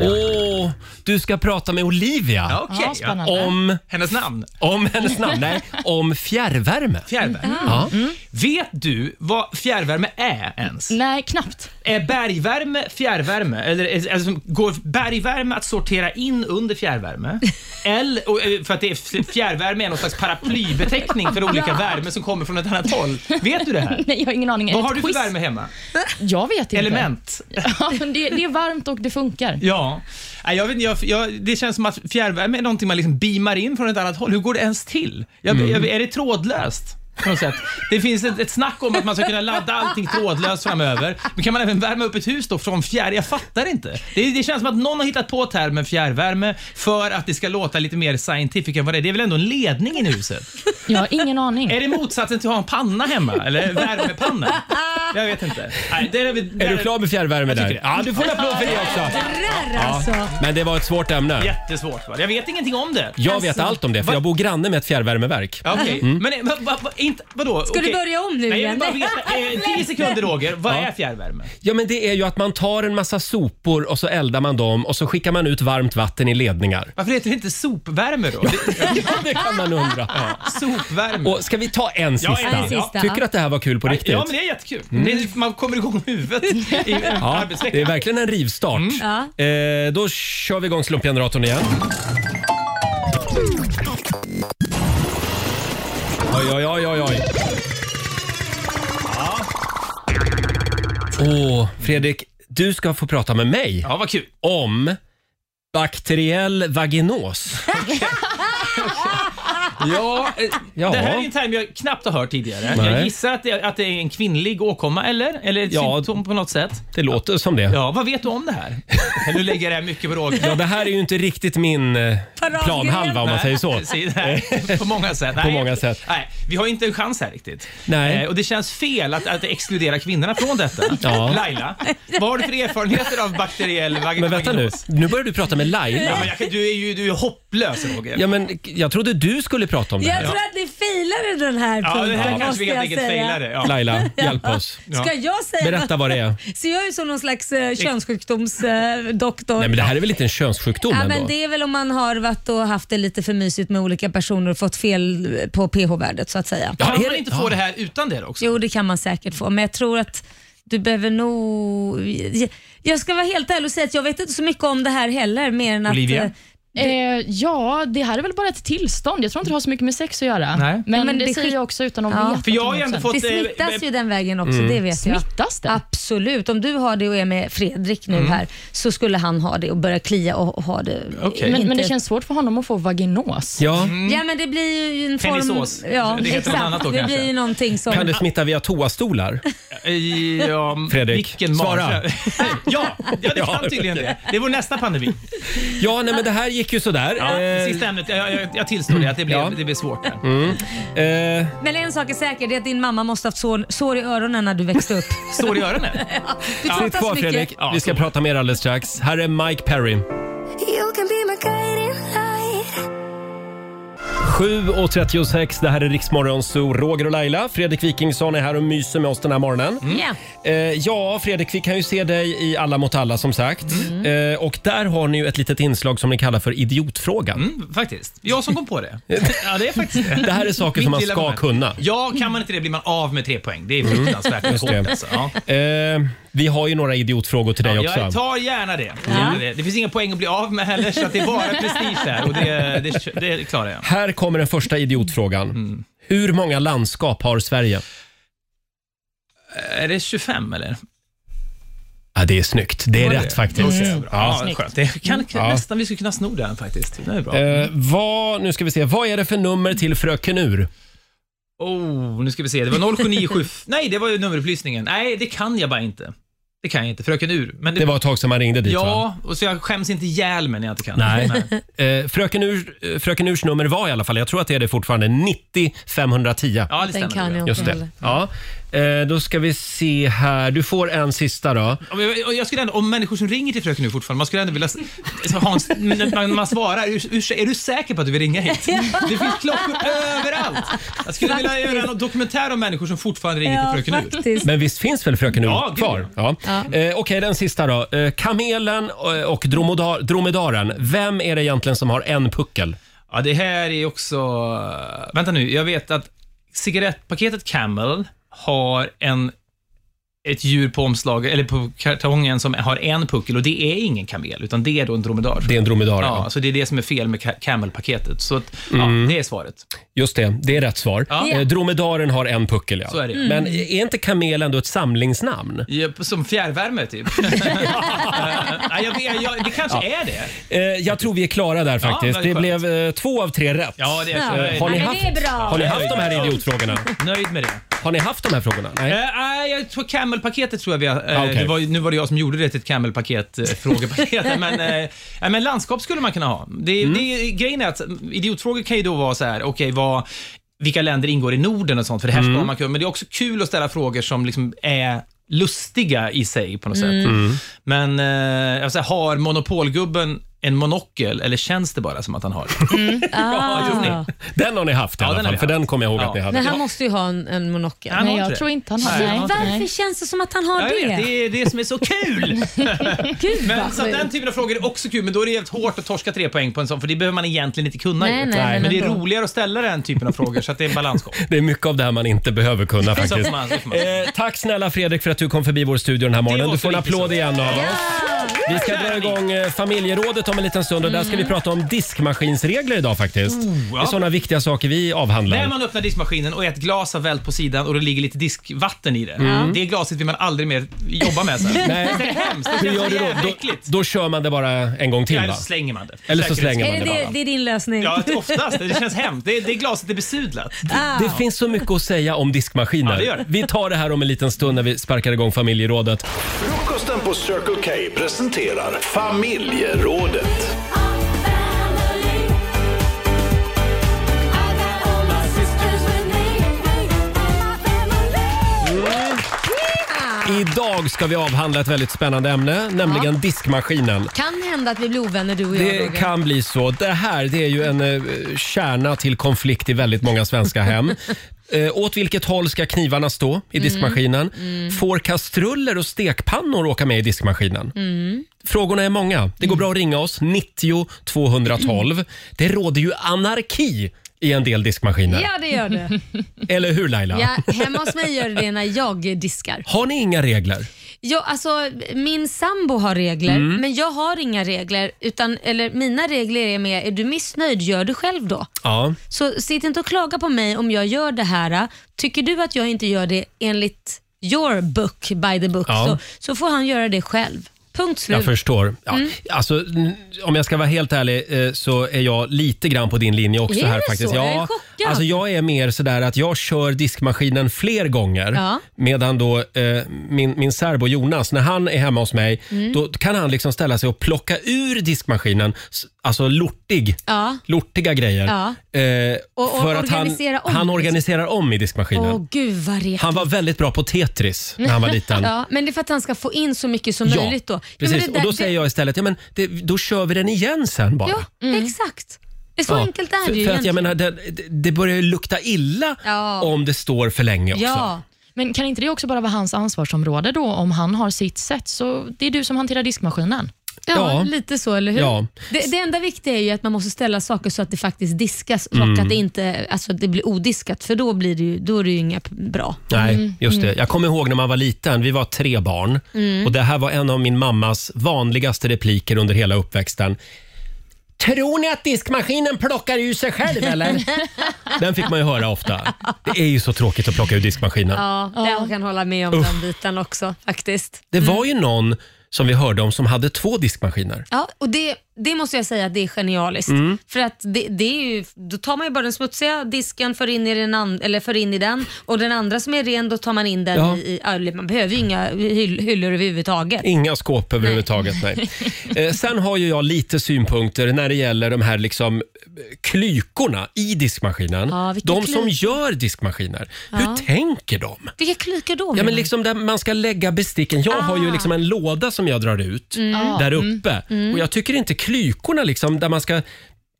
Speaker 1: Åh, du ska prata med Olivia
Speaker 7: Ja, okej.
Speaker 4: Ja, spännande.
Speaker 1: om,
Speaker 7: Hennes namn?
Speaker 1: om hennes
Speaker 7: (laughs)
Speaker 1: namn, nej, om fjärrvärme.
Speaker 7: Fjärrvärme. Mm.
Speaker 1: Ja.
Speaker 7: Vet du vad fjärrvärme är ens?
Speaker 4: Nej, knappt.
Speaker 7: Är bergvärme fjärrvärme? Eller är- alltså, går bergvärme att sortera in
Speaker 4: (laughs)
Speaker 7: under fjärrvärme? Eller, och, eh, för att det är f- fjärrvärme är någon slags paraplybeteckning
Speaker 4: (laughs)
Speaker 7: för olika värme som kommer från ett annat håll. Vet du det här?
Speaker 4: Nej, jag har ingen aning. Är
Speaker 7: Vad
Speaker 4: det
Speaker 7: har
Speaker 4: ett
Speaker 7: du för
Speaker 4: quiz?
Speaker 7: värme hemma?
Speaker 4: Jag vet inte.
Speaker 7: Element?
Speaker 4: Ja, men det, det är varmt och det funkar.
Speaker 7: Ja. Nej, Jag vet, inte, jag, jag, det känns som att fjärrvärme är någonting man liksom beamar in från ett annat håll. Hur går det ens till? Jag,
Speaker 1: Mm.
Speaker 7: jag, är det trådlöst? På något sätt. Det finns ett, ett snack om att man ska kunna ladda allting trådlöst framöver. Men kan man även värma upp ett hus då från fjärr? Jag fattar inte. Det, det känns som att någon har hittat på termen fjärrvärme för att det ska låta lite mer scientific än vad det är. Det är väl ändå en ledning in i huset?
Speaker 4: Jag har ingen aning.
Speaker 7: Är det motsatsen till att ha en panna hemma? Eller värmepanna? Jag vet inte. Nej, där är, vi, där
Speaker 1: Är du klar med fjärrvärme där? Ja, du får en applåd för det också.
Speaker 2: Rär alltså.
Speaker 1: Men det var ett svårt ämne.
Speaker 7: Jättesvårt. Va? Jag vet ingenting om det.
Speaker 1: Jag vet allt om det, för jag bor granne med ett fjärrvärmeverk.
Speaker 7: Ja, Okej, men va, va, va, inte, vadå? Ska
Speaker 2: Mm. du börja om nu
Speaker 7: Nej, jag
Speaker 2: igen?
Speaker 7: vill bara veta.
Speaker 2: (laughs)
Speaker 7: Eh, tio sekunder Roger, vad är fjärrvärme?
Speaker 1: Ja, men det är ju att man tar en massa sopor och så eldar man dem och så skickar man ut varmt vatten i ledningar. (laughs)
Speaker 7: Varför heter det inte sopvärme då? Det-
Speaker 1: Ja, det kan man undra.
Speaker 7: Sopvärme.
Speaker 1: Och ska vi ta en
Speaker 7: Ja,
Speaker 1: sista?
Speaker 7: en
Speaker 2: sista.
Speaker 1: Tycker du att det här var kul på riktigt?
Speaker 7: ja men det är jättekul. Det är, man kommer igång med huvudet
Speaker 2: (laughs)
Speaker 7: i
Speaker 1: Ja,
Speaker 7: eh,
Speaker 1: det är
Speaker 7: arbetsveckan.
Speaker 1: verkligen en rivstart.
Speaker 7: Mm.
Speaker 1: Eh, då kör vi igång slumpgeneratorn igen. Oj, oj, oj, oj, oj. Åh, Fredrik. Du ska få prata med mig
Speaker 7: Ja vad kul.
Speaker 1: om bakteriell vaginos.
Speaker 7: Ja, eh,
Speaker 1: Ja.
Speaker 7: Det här är en term jag knappt har hört tidigare.
Speaker 1: Nej.
Speaker 7: Jag gissar att det, att det är en kvinnlig åkomma eller? Eller ett
Speaker 1: Ja.
Speaker 7: symptom på något sätt.
Speaker 1: Det låter som det. Ja.
Speaker 7: Ja, vad vet du om det här? Nu lägger jag mycket på Roger.
Speaker 1: det här är ju inte riktigt min eh,
Speaker 2: Paradgren.
Speaker 1: planhalva om man säger
Speaker 7: Nej,
Speaker 1: så.
Speaker 7: (laughs)
Speaker 1: (laughs)
Speaker 7: precis. Nej, på många sätt. Nej,
Speaker 1: På många sätt.
Speaker 7: Nej, vi har inte en chans här riktigt.
Speaker 1: Nej.
Speaker 7: Eh, och det känns fel att, att exkludera kvinnorna från detta.
Speaker 1: (laughs) Ja.
Speaker 7: Laila, vad har du för erfarenheter av bakteriell vag-
Speaker 1: Men vänta nu,
Speaker 7: vaginos?
Speaker 1: nu börjar du prata med Laila.
Speaker 7: Ja, men jag, kan- du är ju du är hopplös Roger.
Speaker 1: Ja, men jag trodde du skulle prata om det
Speaker 2: Jag
Speaker 1: här.
Speaker 2: tror att ni failade den här
Speaker 7: Ja,
Speaker 2: punkten
Speaker 7: det här kanske
Speaker 2: måste
Speaker 7: vi helt
Speaker 2: jag
Speaker 7: enkelt
Speaker 2: säga.
Speaker 7: failade. Ja.
Speaker 1: Laila, hjälp oss.
Speaker 2: Ska jag säga
Speaker 1: Berätta vad det är.
Speaker 2: (laughs) Ser jag ut som någon slags eh, könssjukdomsdoktor? Eh, doktor?
Speaker 1: Nej, men det här är väl inte en könssjukdom
Speaker 2: Ja,
Speaker 1: ändå?
Speaker 2: men det är väl om man har varit och haft det lite för mysigt med olika personer och fått fel på pH-värdet så att säga.
Speaker 1: Ja,
Speaker 7: Kan
Speaker 1: är
Speaker 7: man
Speaker 1: det-
Speaker 7: inte
Speaker 1: ja.
Speaker 7: få det här utan det också?
Speaker 2: Jo, det kan man säkert få, men jag tror att du behöver nog... Jag ska vara helt ärlig och säga att jag vet inte så mycket om det här heller, mer än att...
Speaker 7: Olivia?
Speaker 2: eh,
Speaker 4: Eh, ja, det här är väl bara ett tillstånd. Jag tror inte det har så mycket med sex att göra.
Speaker 7: Nej.
Speaker 4: Men,
Speaker 2: Men
Speaker 4: det,
Speaker 2: det
Speaker 4: säger
Speaker 2: skick-
Speaker 4: jag också utan att
Speaker 2: Ja.
Speaker 4: veta.
Speaker 7: För jag har ju
Speaker 4: till
Speaker 7: ändå
Speaker 4: 100%.
Speaker 7: fått-
Speaker 2: Det
Speaker 7: eh,
Speaker 2: smittas
Speaker 7: eh,
Speaker 2: ju den vägen också, det vet jag.
Speaker 4: Smittas det?
Speaker 2: Absolut. Om du har det och är med Fredrik
Speaker 7: Mm.
Speaker 2: nu här så skulle han ha det och börja klia och och ha det.
Speaker 7: Okej.
Speaker 4: Men,
Speaker 2: Inte-
Speaker 4: men det känns svårt för honom att få vaginos.
Speaker 1: Ja,
Speaker 7: Mm.
Speaker 2: Ja men det blir ju en form...
Speaker 7: Penisås.
Speaker 2: Ja,
Speaker 7: Det heter något
Speaker 2: exakt.
Speaker 7: annat då
Speaker 2: det
Speaker 7: kanske.
Speaker 2: blir ju någonting som...
Speaker 1: kan det smitta via toastolar?
Speaker 7: (laughs) I, um,
Speaker 1: Fredrik,
Speaker 7: vilken
Speaker 1: svara.
Speaker 7: mage. (laughs) ja, ja, det
Speaker 1: (laughs) Ja,
Speaker 7: kan tydligen det. Det är vår nästa pandemi.
Speaker 1: Ja, nej men det här gick ju sådär.
Speaker 7: Ja,
Speaker 1: Eh,
Speaker 7: sista ämnet, jag, jag, jag tillstår det, att det blev,
Speaker 1: Ja. Mm.
Speaker 7: det blev svårt där.
Speaker 1: eh,
Speaker 2: Men en sak är säker, det är att din mamma måste haft sår, sår i öronen när du växte upp.
Speaker 7: Står i öronen?
Speaker 2: Du
Speaker 1: sitt
Speaker 2: pratar så
Speaker 1: kvar
Speaker 2: mycket.
Speaker 1: Fredrik,
Speaker 7: Ja,
Speaker 1: vi ska
Speaker 7: så.
Speaker 1: prata mer alldeles strax. Här är Mike Perry. 7.36, det här är Riksmorgon Zoo. Roger och Laila, Fredrik Wikingsson är här och myser med oss den här morgonen.
Speaker 7: Mm.
Speaker 2: Ja.
Speaker 1: Eh, ja, Fredrik, vi kan ju se dig i Alla mot alla som sagt. Eh, och där har ni ju ett litet inslag som ni kallar för idiotfrågan.
Speaker 7: Mm, faktiskt. Jag som kom
Speaker 1: (laughs)
Speaker 7: på det. Ja, det är faktiskt
Speaker 1: Det här är saker som
Speaker 7: Mitt
Speaker 1: man
Speaker 7: lilla
Speaker 1: ska
Speaker 7: moment.
Speaker 1: kunna. Mm.
Speaker 7: Ja, kan man inte det blir man av med tre poäng. Det är fruktansvärt hårt
Speaker 1: det.
Speaker 7: alltså. Ja.
Speaker 1: Eh, vi har ju några idiotfrågor till dig också.
Speaker 7: Jag tar gärna det. Det- Det finns inga poäng att bli av med heller, så att det är bara prestige här och det, det, det klarar jag.
Speaker 1: Här kommer den första idiotfrågan. Hur många landskap har Sverige?
Speaker 7: Är det 25 eller?
Speaker 1: Ja, det är snyggt. Det är rätt faktiskt.
Speaker 7: Ja,
Speaker 1: Mm. Ja.
Speaker 7: skönt. Det kan, Nästan vi skulle kunna sno den faktiskt. Det är bra.
Speaker 1: Eh, vad, nu ska vi se, vad är det för nummer till Fröken Ur?
Speaker 7: Oh, nu ska vi se. Det var 0797... Nej, det var ju nummerupplysningen. Nej, det kan jag bara inte. Det kan jag inte. Fröken Ur. Men det,
Speaker 1: Det var ett tag sedan man ringde dit va?
Speaker 7: Ja, och så jag skäms inte ihjäl mig när jag inte kan.
Speaker 1: Nej. (laughs) Eh, Fröken, Ur, eh, Fröken Urs nummer var i alla fall, jag tror att det är det fortfarande, 90 510.
Speaker 7: Ja, det stämmer.
Speaker 2: Den kan jag
Speaker 1: Just
Speaker 2: inte
Speaker 1: det.
Speaker 2: heller.
Speaker 1: Ja. Eh, då ska vi se här. Du får en sista då.
Speaker 7: Om, jag, och jag skulle ändå, om människor som ringer till Fröken Ur fortfarande, man skulle ändå vilja... s- Så Hans, när man, man svarar, "Urs- urs, är du säker på att du vill ringa hit? Det finns klockor överallt. Jag skulle vilja göra en dokumentär om människor som fortfarande ringer till Fröken Ur.
Speaker 2: faktiskt.
Speaker 1: Men visst finns väl Fröken Ur
Speaker 7: Ja, gud,
Speaker 1: kvar? Ja. Eh, Okej, den sista då. Eh, kamelen eh, och dromodar, dromedaren. Vem är det egentligen som har en puckel?
Speaker 7: Ja, det här är också... Vänta nu, jag vet att cigarettpaketet Camel har en, ett djur på omslaget, eller på kartongen, som har en puckel och det är ingen kamel, utan det är då en dromedar.
Speaker 1: Det är en Mm. dromedar.
Speaker 7: Ja,
Speaker 1: Ja.
Speaker 7: så det är det som är fel med Ca- Camel-paketet. Så att, ja, det är svaret.
Speaker 1: Just det, det är rätt svar.
Speaker 7: Ja.
Speaker 1: Eh, dromedaren har en puckel, ja.
Speaker 7: Så är det.
Speaker 1: Men är inte kamel ändå ett samlingsnamn?
Speaker 7: Ja, som fjärrvärme, typ.
Speaker 1: (laughs)
Speaker 7: ja, jag, vet- jag, det kanske är det.
Speaker 1: Eh, jag tror vi är klara där faktiskt.
Speaker 7: vad
Speaker 1: det
Speaker 7: skönt.
Speaker 1: blev eh, två av tre rätt.
Speaker 7: Ja, det är,
Speaker 1: Eh, har,
Speaker 7: jag
Speaker 1: ni
Speaker 7: är
Speaker 2: Ja, men
Speaker 1: haft,
Speaker 2: det är bra.
Speaker 1: har ni haft de här idiotfrågorna?
Speaker 7: nöjd med det.
Speaker 1: Har ni haft de här frågorna? Nej.
Speaker 7: Eh, Nej, jag tror Camel-paketet tror jag vi har. eh,
Speaker 1: Ah, okej.
Speaker 7: det var, ju- nu var det jag som gjorde det till ett Camel-paket, eh, frågepaket. (laughs) men, eh, nej, men landskap skulle man kunna ha. Det,
Speaker 1: Mm.
Speaker 7: det, grejen är att idiotfrågor kan ju då vara så här, okej, vad vilka länder ingår i Norden och sånt, för det här
Speaker 1: Mm.
Speaker 7: ska man kunna. Men det är också kul att ställa frågor som liksom är lustiga i sig på något sätt.
Speaker 1: Mm.
Speaker 7: Men eh, jag säger, har monopolgubben en monokel eller känns det bara som att han har det? Ja,
Speaker 2: Ah.
Speaker 7: just det.
Speaker 1: Den har ni haft i
Speaker 7: Ja,
Speaker 1: alla
Speaker 7: den
Speaker 1: fall,
Speaker 7: har vi
Speaker 1: för
Speaker 7: haft.
Speaker 1: den kommer jag ihåg
Speaker 7: Ja.
Speaker 1: att ni hade.
Speaker 2: Men han måste ju ha en, en monokel.
Speaker 7: Han
Speaker 4: Nej,
Speaker 7: har
Speaker 4: jag tror inte han har
Speaker 7: Nej, han
Speaker 4: det.
Speaker 7: har
Speaker 2: Varför
Speaker 4: Nej.
Speaker 2: känns det som att han har
Speaker 7: Jag
Speaker 2: det?
Speaker 7: vet, det är det som är
Speaker 1: (laughs)
Speaker 7: så kul!
Speaker 2: Gud
Speaker 7: Men,
Speaker 2: vad
Speaker 7: så att den
Speaker 2: sjukt.
Speaker 7: typen av frågor är också kul, men då är det jävligt hårt att torska tre poäng på en sån, för det behöver man egentligen inte kunna.
Speaker 2: Nej,
Speaker 7: ju.
Speaker 2: nej, men
Speaker 7: men det är
Speaker 2: ändå.
Speaker 7: roligare att ställa den typen av frågor, så att det är
Speaker 1: (laughs)
Speaker 7: en balansgång.
Speaker 1: Det är mycket av det här man inte behöver
Speaker 7: (laughs)
Speaker 1: kunna
Speaker 7: Så
Speaker 1: faktiskt.
Speaker 7: får man- så får man.
Speaker 1: Eh, tack snälla Fredrik för att du kom förbi vår studio den här morgonen.
Speaker 7: var
Speaker 1: Du får en
Speaker 7: så
Speaker 1: applåd
Speaker 7: viktigt.
Speaker 1: igen av oss. Vi ska dra igång eh, familjerådet om en liten stund och där
Speaker 2: Mm.
Speaker 1: ska vi prata om diskmaskinsregler idag faktiskt.
Speaker 7: Oh,
Speaker 1: Det är
Speaker 7: ja.
Speaker 1: sådana viktiga saker vi
Speaker 7: När
Speaker 1: avhandlar.
Speaker 7: man öppnar diskmaskinen och ett glas har vält på sidan och det ligger lite diskvatten i det. Det glaset vill man aldrig mer jobba med sen. Det
Speaker 1: Mm. Nej,
Speaker 7: är hemskt. Det
Speaker 1: hur
Speaker 7: känns
Speaker 1: gör
Speaker 7: så
Speaker 1: du då?
Speaker 7: jävla
Speaker 1: Då,
Speaker 7: äckligt.
Speaker 1: då kör man det bara en gång till
Speaker 7: Eller
Speaker 1: va?
Speaker 7: så slänger man det.
Speaker 1: Eller så slänger man
Speaker 2: Är det, det, det är din lösning?
Speaker 7: Ja, oftast. Det känns hemskt. Det, det glaset är besudlat.
Speaker 1: Det finns så mycket att säga om diskmaskiner.
Speaker 7: Ja, det gör det.
Speaker 1: Vi tar det här om en liten stund när vi sparkar igång familjerådet.
Speaker 3: Frukosten på Circle K presenterar familjerådet.
Speaker 1: Idag ska vi avhandla ett väldigt spännande ämne, nämligen diskmaskinen.
Speaker 2: Kan hända att vi blir ovänner du och jag
Speaker 1: Det
Speaker 2: Roger.
Speaker 1: kan bli så. Det här det är ju en eh, kärna till konflikt i väldigt många svenska hem. Eh, åt vilket håll ska knivarna stå i diskmaskinen? Får kastruller och stekpannor åka med i diskmaskinen? Frågorna är många. Det går bra att ringa oss, 90 212. Det råder ju anarki i en del diskmaskiner.
Speaker 2: Ja, det gör det.
Speaker 1: Eller hur Laila?
Speaker 2: Ja, hemma hos mig gör det det när jag diskar.
Speaker 1: Har ni inga regler?
Speaker 2: Ja, alltså, min sambo har regler, men jag har inga regler. Utan, eller, mina regler är med, är du missnöjd, gör du själv då.
Speaker 1: Ja.
Speaker 2: Så sitt inte och klaga på mig om jag gör det här. Tycker du att jag inte gör det enligt your book, by the book,
Speaker 1: Ja.
Speaker 2: så, så får han göra det själv. Punkt slut.
Speaker 1: Jag förstår. Ja.
Speaker 2: Mm.
Speaker 1: Alltså, n- om jag ska vara helt ärlig eh, så är jag lite grann på din linje också.
Speaker 2: Är det
Speaker 1: här faktiskt.
Speaker 2: så? Jag är chockad.
Speaker 1: alltså, jag är mer sådär att jag kör diskmaskinen fler gånger.
Speaker 2: Ja.
Speaker 1: Medan då eh, min, min särbo Jonas, när han är hemma hos mig,
Speaker 2: Mm.
Speaker 1: då kan han liksom ställa sig och plocka ur diskmaskinen, s- alltså lortig,
Speaker 2: Ja.
Speaker 1: lortiga grejer.
Speaker 2: Ja.
Speaker 1: Eh,
Speaker 2: Och- och
Speaker 1: för att han,
Speaker 2: organisera om.
Speaker 1: han organiserar om i diskmaskinen.
Speaker 2: Åh gud vad det
Speaker 1: Han var väldigt bra på Tetris när
Speaker 2: (laughs)
Speaker 1: han var liten.
Speaker 2: Ja, men det är för att han ska få in så mycket som möjligt då. Ja, men
Speaker 1: precis.
Speaker 2: det
Speaker 1: och
Speaker 2: där-
Speaker 1: då säger jag istället, ja, men det, då kör vi den igen sen bara.
Speaker 2: Ja, exakt. Det är så
Speaker 1: Mm. Ja.
Speaker 2: enkelt är
Speaker 1: för,
Speaker 2: det ju
Speaker 1: för att jag
Speaker 2: egentligen.
Speaker 1: menar, det, det börjar ju lukta illa
Speaker 2: Ja.
Speaker 1: om det står för länge också.
Speaker 2: Ja,
Speaker 4: Men kan inte det också bara vara hans ansvarsområde då? Om han har sitt sätt, så det är du som hanterar diskmaskinen.
Speaker 2: ja,
Speaker 1: Ja.
Speaker 2: lite så, eller hur?
Speaker 1: Ja.
Speaker 2: Det, det enda viktiga är ju att man måste ställa saker så att det faktiskt diskas
Speaker 1: Mm.
Speaker 2: och att det inte alltså, att det blir odiskat, för då, blir det ju, då är det ju inga p- bra.
Speaker 1: Nej, just
Speaker 2: Mm.
Speaker 1: det. Jag kommer ihåg när man var liten, vi var tre barn och det här var en av min mammas vanligaste repliker under hela uppväxten. Tror ni att diskmaskinen plockar ur sig själv
Speaker 2: (laughs)
Speaker 1: eller? Den fick man ju höra ofta. Det är ju så tråkigt att plocka ur diskmaskinen.
Speaker 2: Ja, det jag kan hålla med om den biten också faktiskt.
Speaker 1: Det var
Speaker 2: Mm.
Speaker 1: ju någon som vi hörde om som hade två diskmaskiner.
Speaker 2: Ja, och det, det måste jag säga att det är genialiskt.
Speaker 1: Mm.
Speaker 2: För att det, det är ju, då tar man ju bara den smutsiga disken, för in i den, an, eller för in i den och den andra som är ren, då tar man in den
Speaker 1: Ja.
Speaker 2: i, i eller man behöver ju inga hyll, hyllor överhuvudtaget.
Speaker 1: Inga skåp överhuvudtaget, nej. Eh, sen har ju jag lite synpunkter när det gäller de här liksom eh, klykorna i diskmaskinen.
Speaker 2: Ja, vilka
Speaker 1: de som
Speaker 2: klyk-
Speaker 1: gör diskmaskiner. Hur tänker de?
Speaker 2: Vilka klykar då?
Speaker 1: Ja,
Speaker 2: menar
Speaker 1: men
Speaker 2: du?
Speaker 1: liksom där man ska lägga besticken. Jag har
Speaker 2: Ah.
Speaker 1: ju liksom en låda som jag drar ut
Speaker 2: Mm.
Speaker 1: där uppe. Och jag tycker inte klykorna liksom, där man ska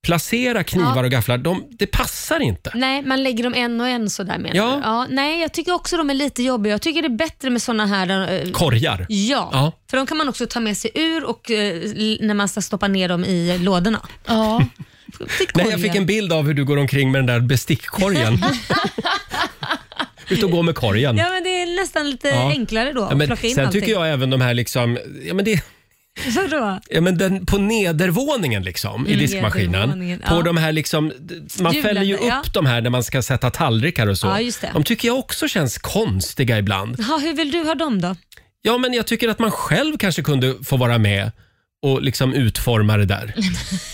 Speaker 1: placera knivar och gafflar, de, det passar inte.
Speaker 2: Nej, man lägger dem en och en sådär menar
Speaker 1: Ja.
Speaker 2: du? ja. Nej, jag tycker också de är lite jobbiga. Jag tycker det är bättre med såna här... eh,
Speaker 1: Korgar.
Speaker 2: ja,
Speaker 1: Ja.
Speaker 2: för de kan man också ta med sig ur och eh, l- när man ska stoppa ner dem i lådorna.
Speaker 4: Ja.
Speaker 2: Till
Speaker 1: Nej, jag fick en bild av hur du går omkring med den där
Speaker 2: (laughs)
Speaker 1: bestickkorgen. Ut och gå med korgen.
Speaker 2: Ja, men det är nästan lite
Speaker 1: Ja.
Speaker 2: enklare då
Speaker 1: Ja,
Speaker 2: att
Speaker 1: men
Speaker 2: plocka in
Speaker 1: sen
Speaker 2: allting.
Speaker 1: tycker jag även de här liksom, ja men det,
Speaker 2: Vadå?
Speaker 1: ja men den, på nedervåningen liksom i diskmaskinen.
Speaker 2: Mm, nedervåningen,
Speaker 1: På
Speaker 2: ja.
Speaker 1: de här liksom, man
Speaker 2: Hjulen,
Speaker 1: fäller ju upp
Speaker 2: ja.
Speaker 1: de här när man ska sätta tallrikar och så.
Speaker 2: Ja, just det.
Speaker 1: De tycker jag också känns konstiga ibland.
Speaker 2: Ja, hur vill du ha dem då?
Speaker 1: Ja men jag tycker att man själv kanske kunde få vara med och liksom utforma det
Speaker 2: (laughs)
Speaker 1: där.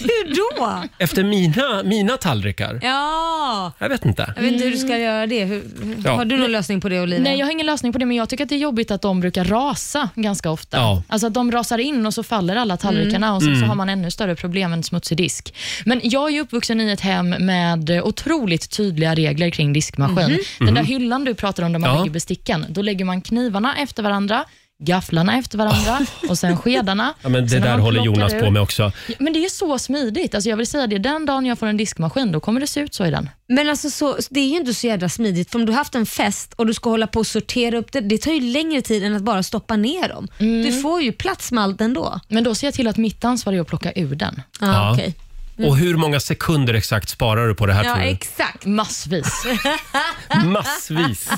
Speaker 2: Hur då?
Speaker 1: Efter mina, mina tallrikar.
Speaker 2: Ja,
Speaker 1: Jag vet inte.
Speaker 2: jag vet inte hur du ska göra det. Hur, hur-
Speaker 1: Ja.
Speaker 2: Har du någon lösning på det Olivia?
Speaker 4: Nej, Eh, jag har ingen lösning på det, men jag tycker att det är jobbigt att de brukar rasa ganska ofta.
Speaker 1: Ja. Mm.
Speaker 4: Alltså att de rasar in och så faller alla tallrikarna och sen så har man ännu större problem än smutsig disk. Men jag är ju uppvuxen i ett hem med eh, otroligt tydliga regler kring diskmaskin. Den där hyllan du pratar om där man
Speaker 1: Mhm. Ja.
Speaker 4: lägger besticken, då lägger man knivarna efter varandra, gafflarna
Speaker 1: (laughs)
Speaker 4: efter varandra och sen skedarna.
Speaker 1: Ja, men det
Speaker 4: Sen när
Speaker 1: där
Speaker 4: man
Speaker 1: håller
Speaker 4: plockar
Speaker 1: Jonas på
Speaker 4: ur-
Speaker 1: med också.
Speaker 4: Men det är så smidigt. Alltså jag vill säga det, den dagen jag får en diskmaskin, då kommer det se ut så i den.
Speaker 2: Men alltså så, det är ju inte så jävla smidigt för om du har haft en fest och du ska hålla på och sortera upp det, det tar ju längre tid än att bara stoppa ner dem. Du får ju plats med allt ändå.
Speaker 4: Men då ser jag till att mitt ansvar är att plocka ur den.
Speaker 2: Ah,
Speaker 1: Ja.
Speaker 2: ja.
Speaker 1: Och hur många sekunder exakt sparar du på det här
Speaker 2: Mm. ja,
Speaker 1: tror du?
Speaker 2: exakt.
Speaker 4: Massvis.
Speaker 1: Massvis.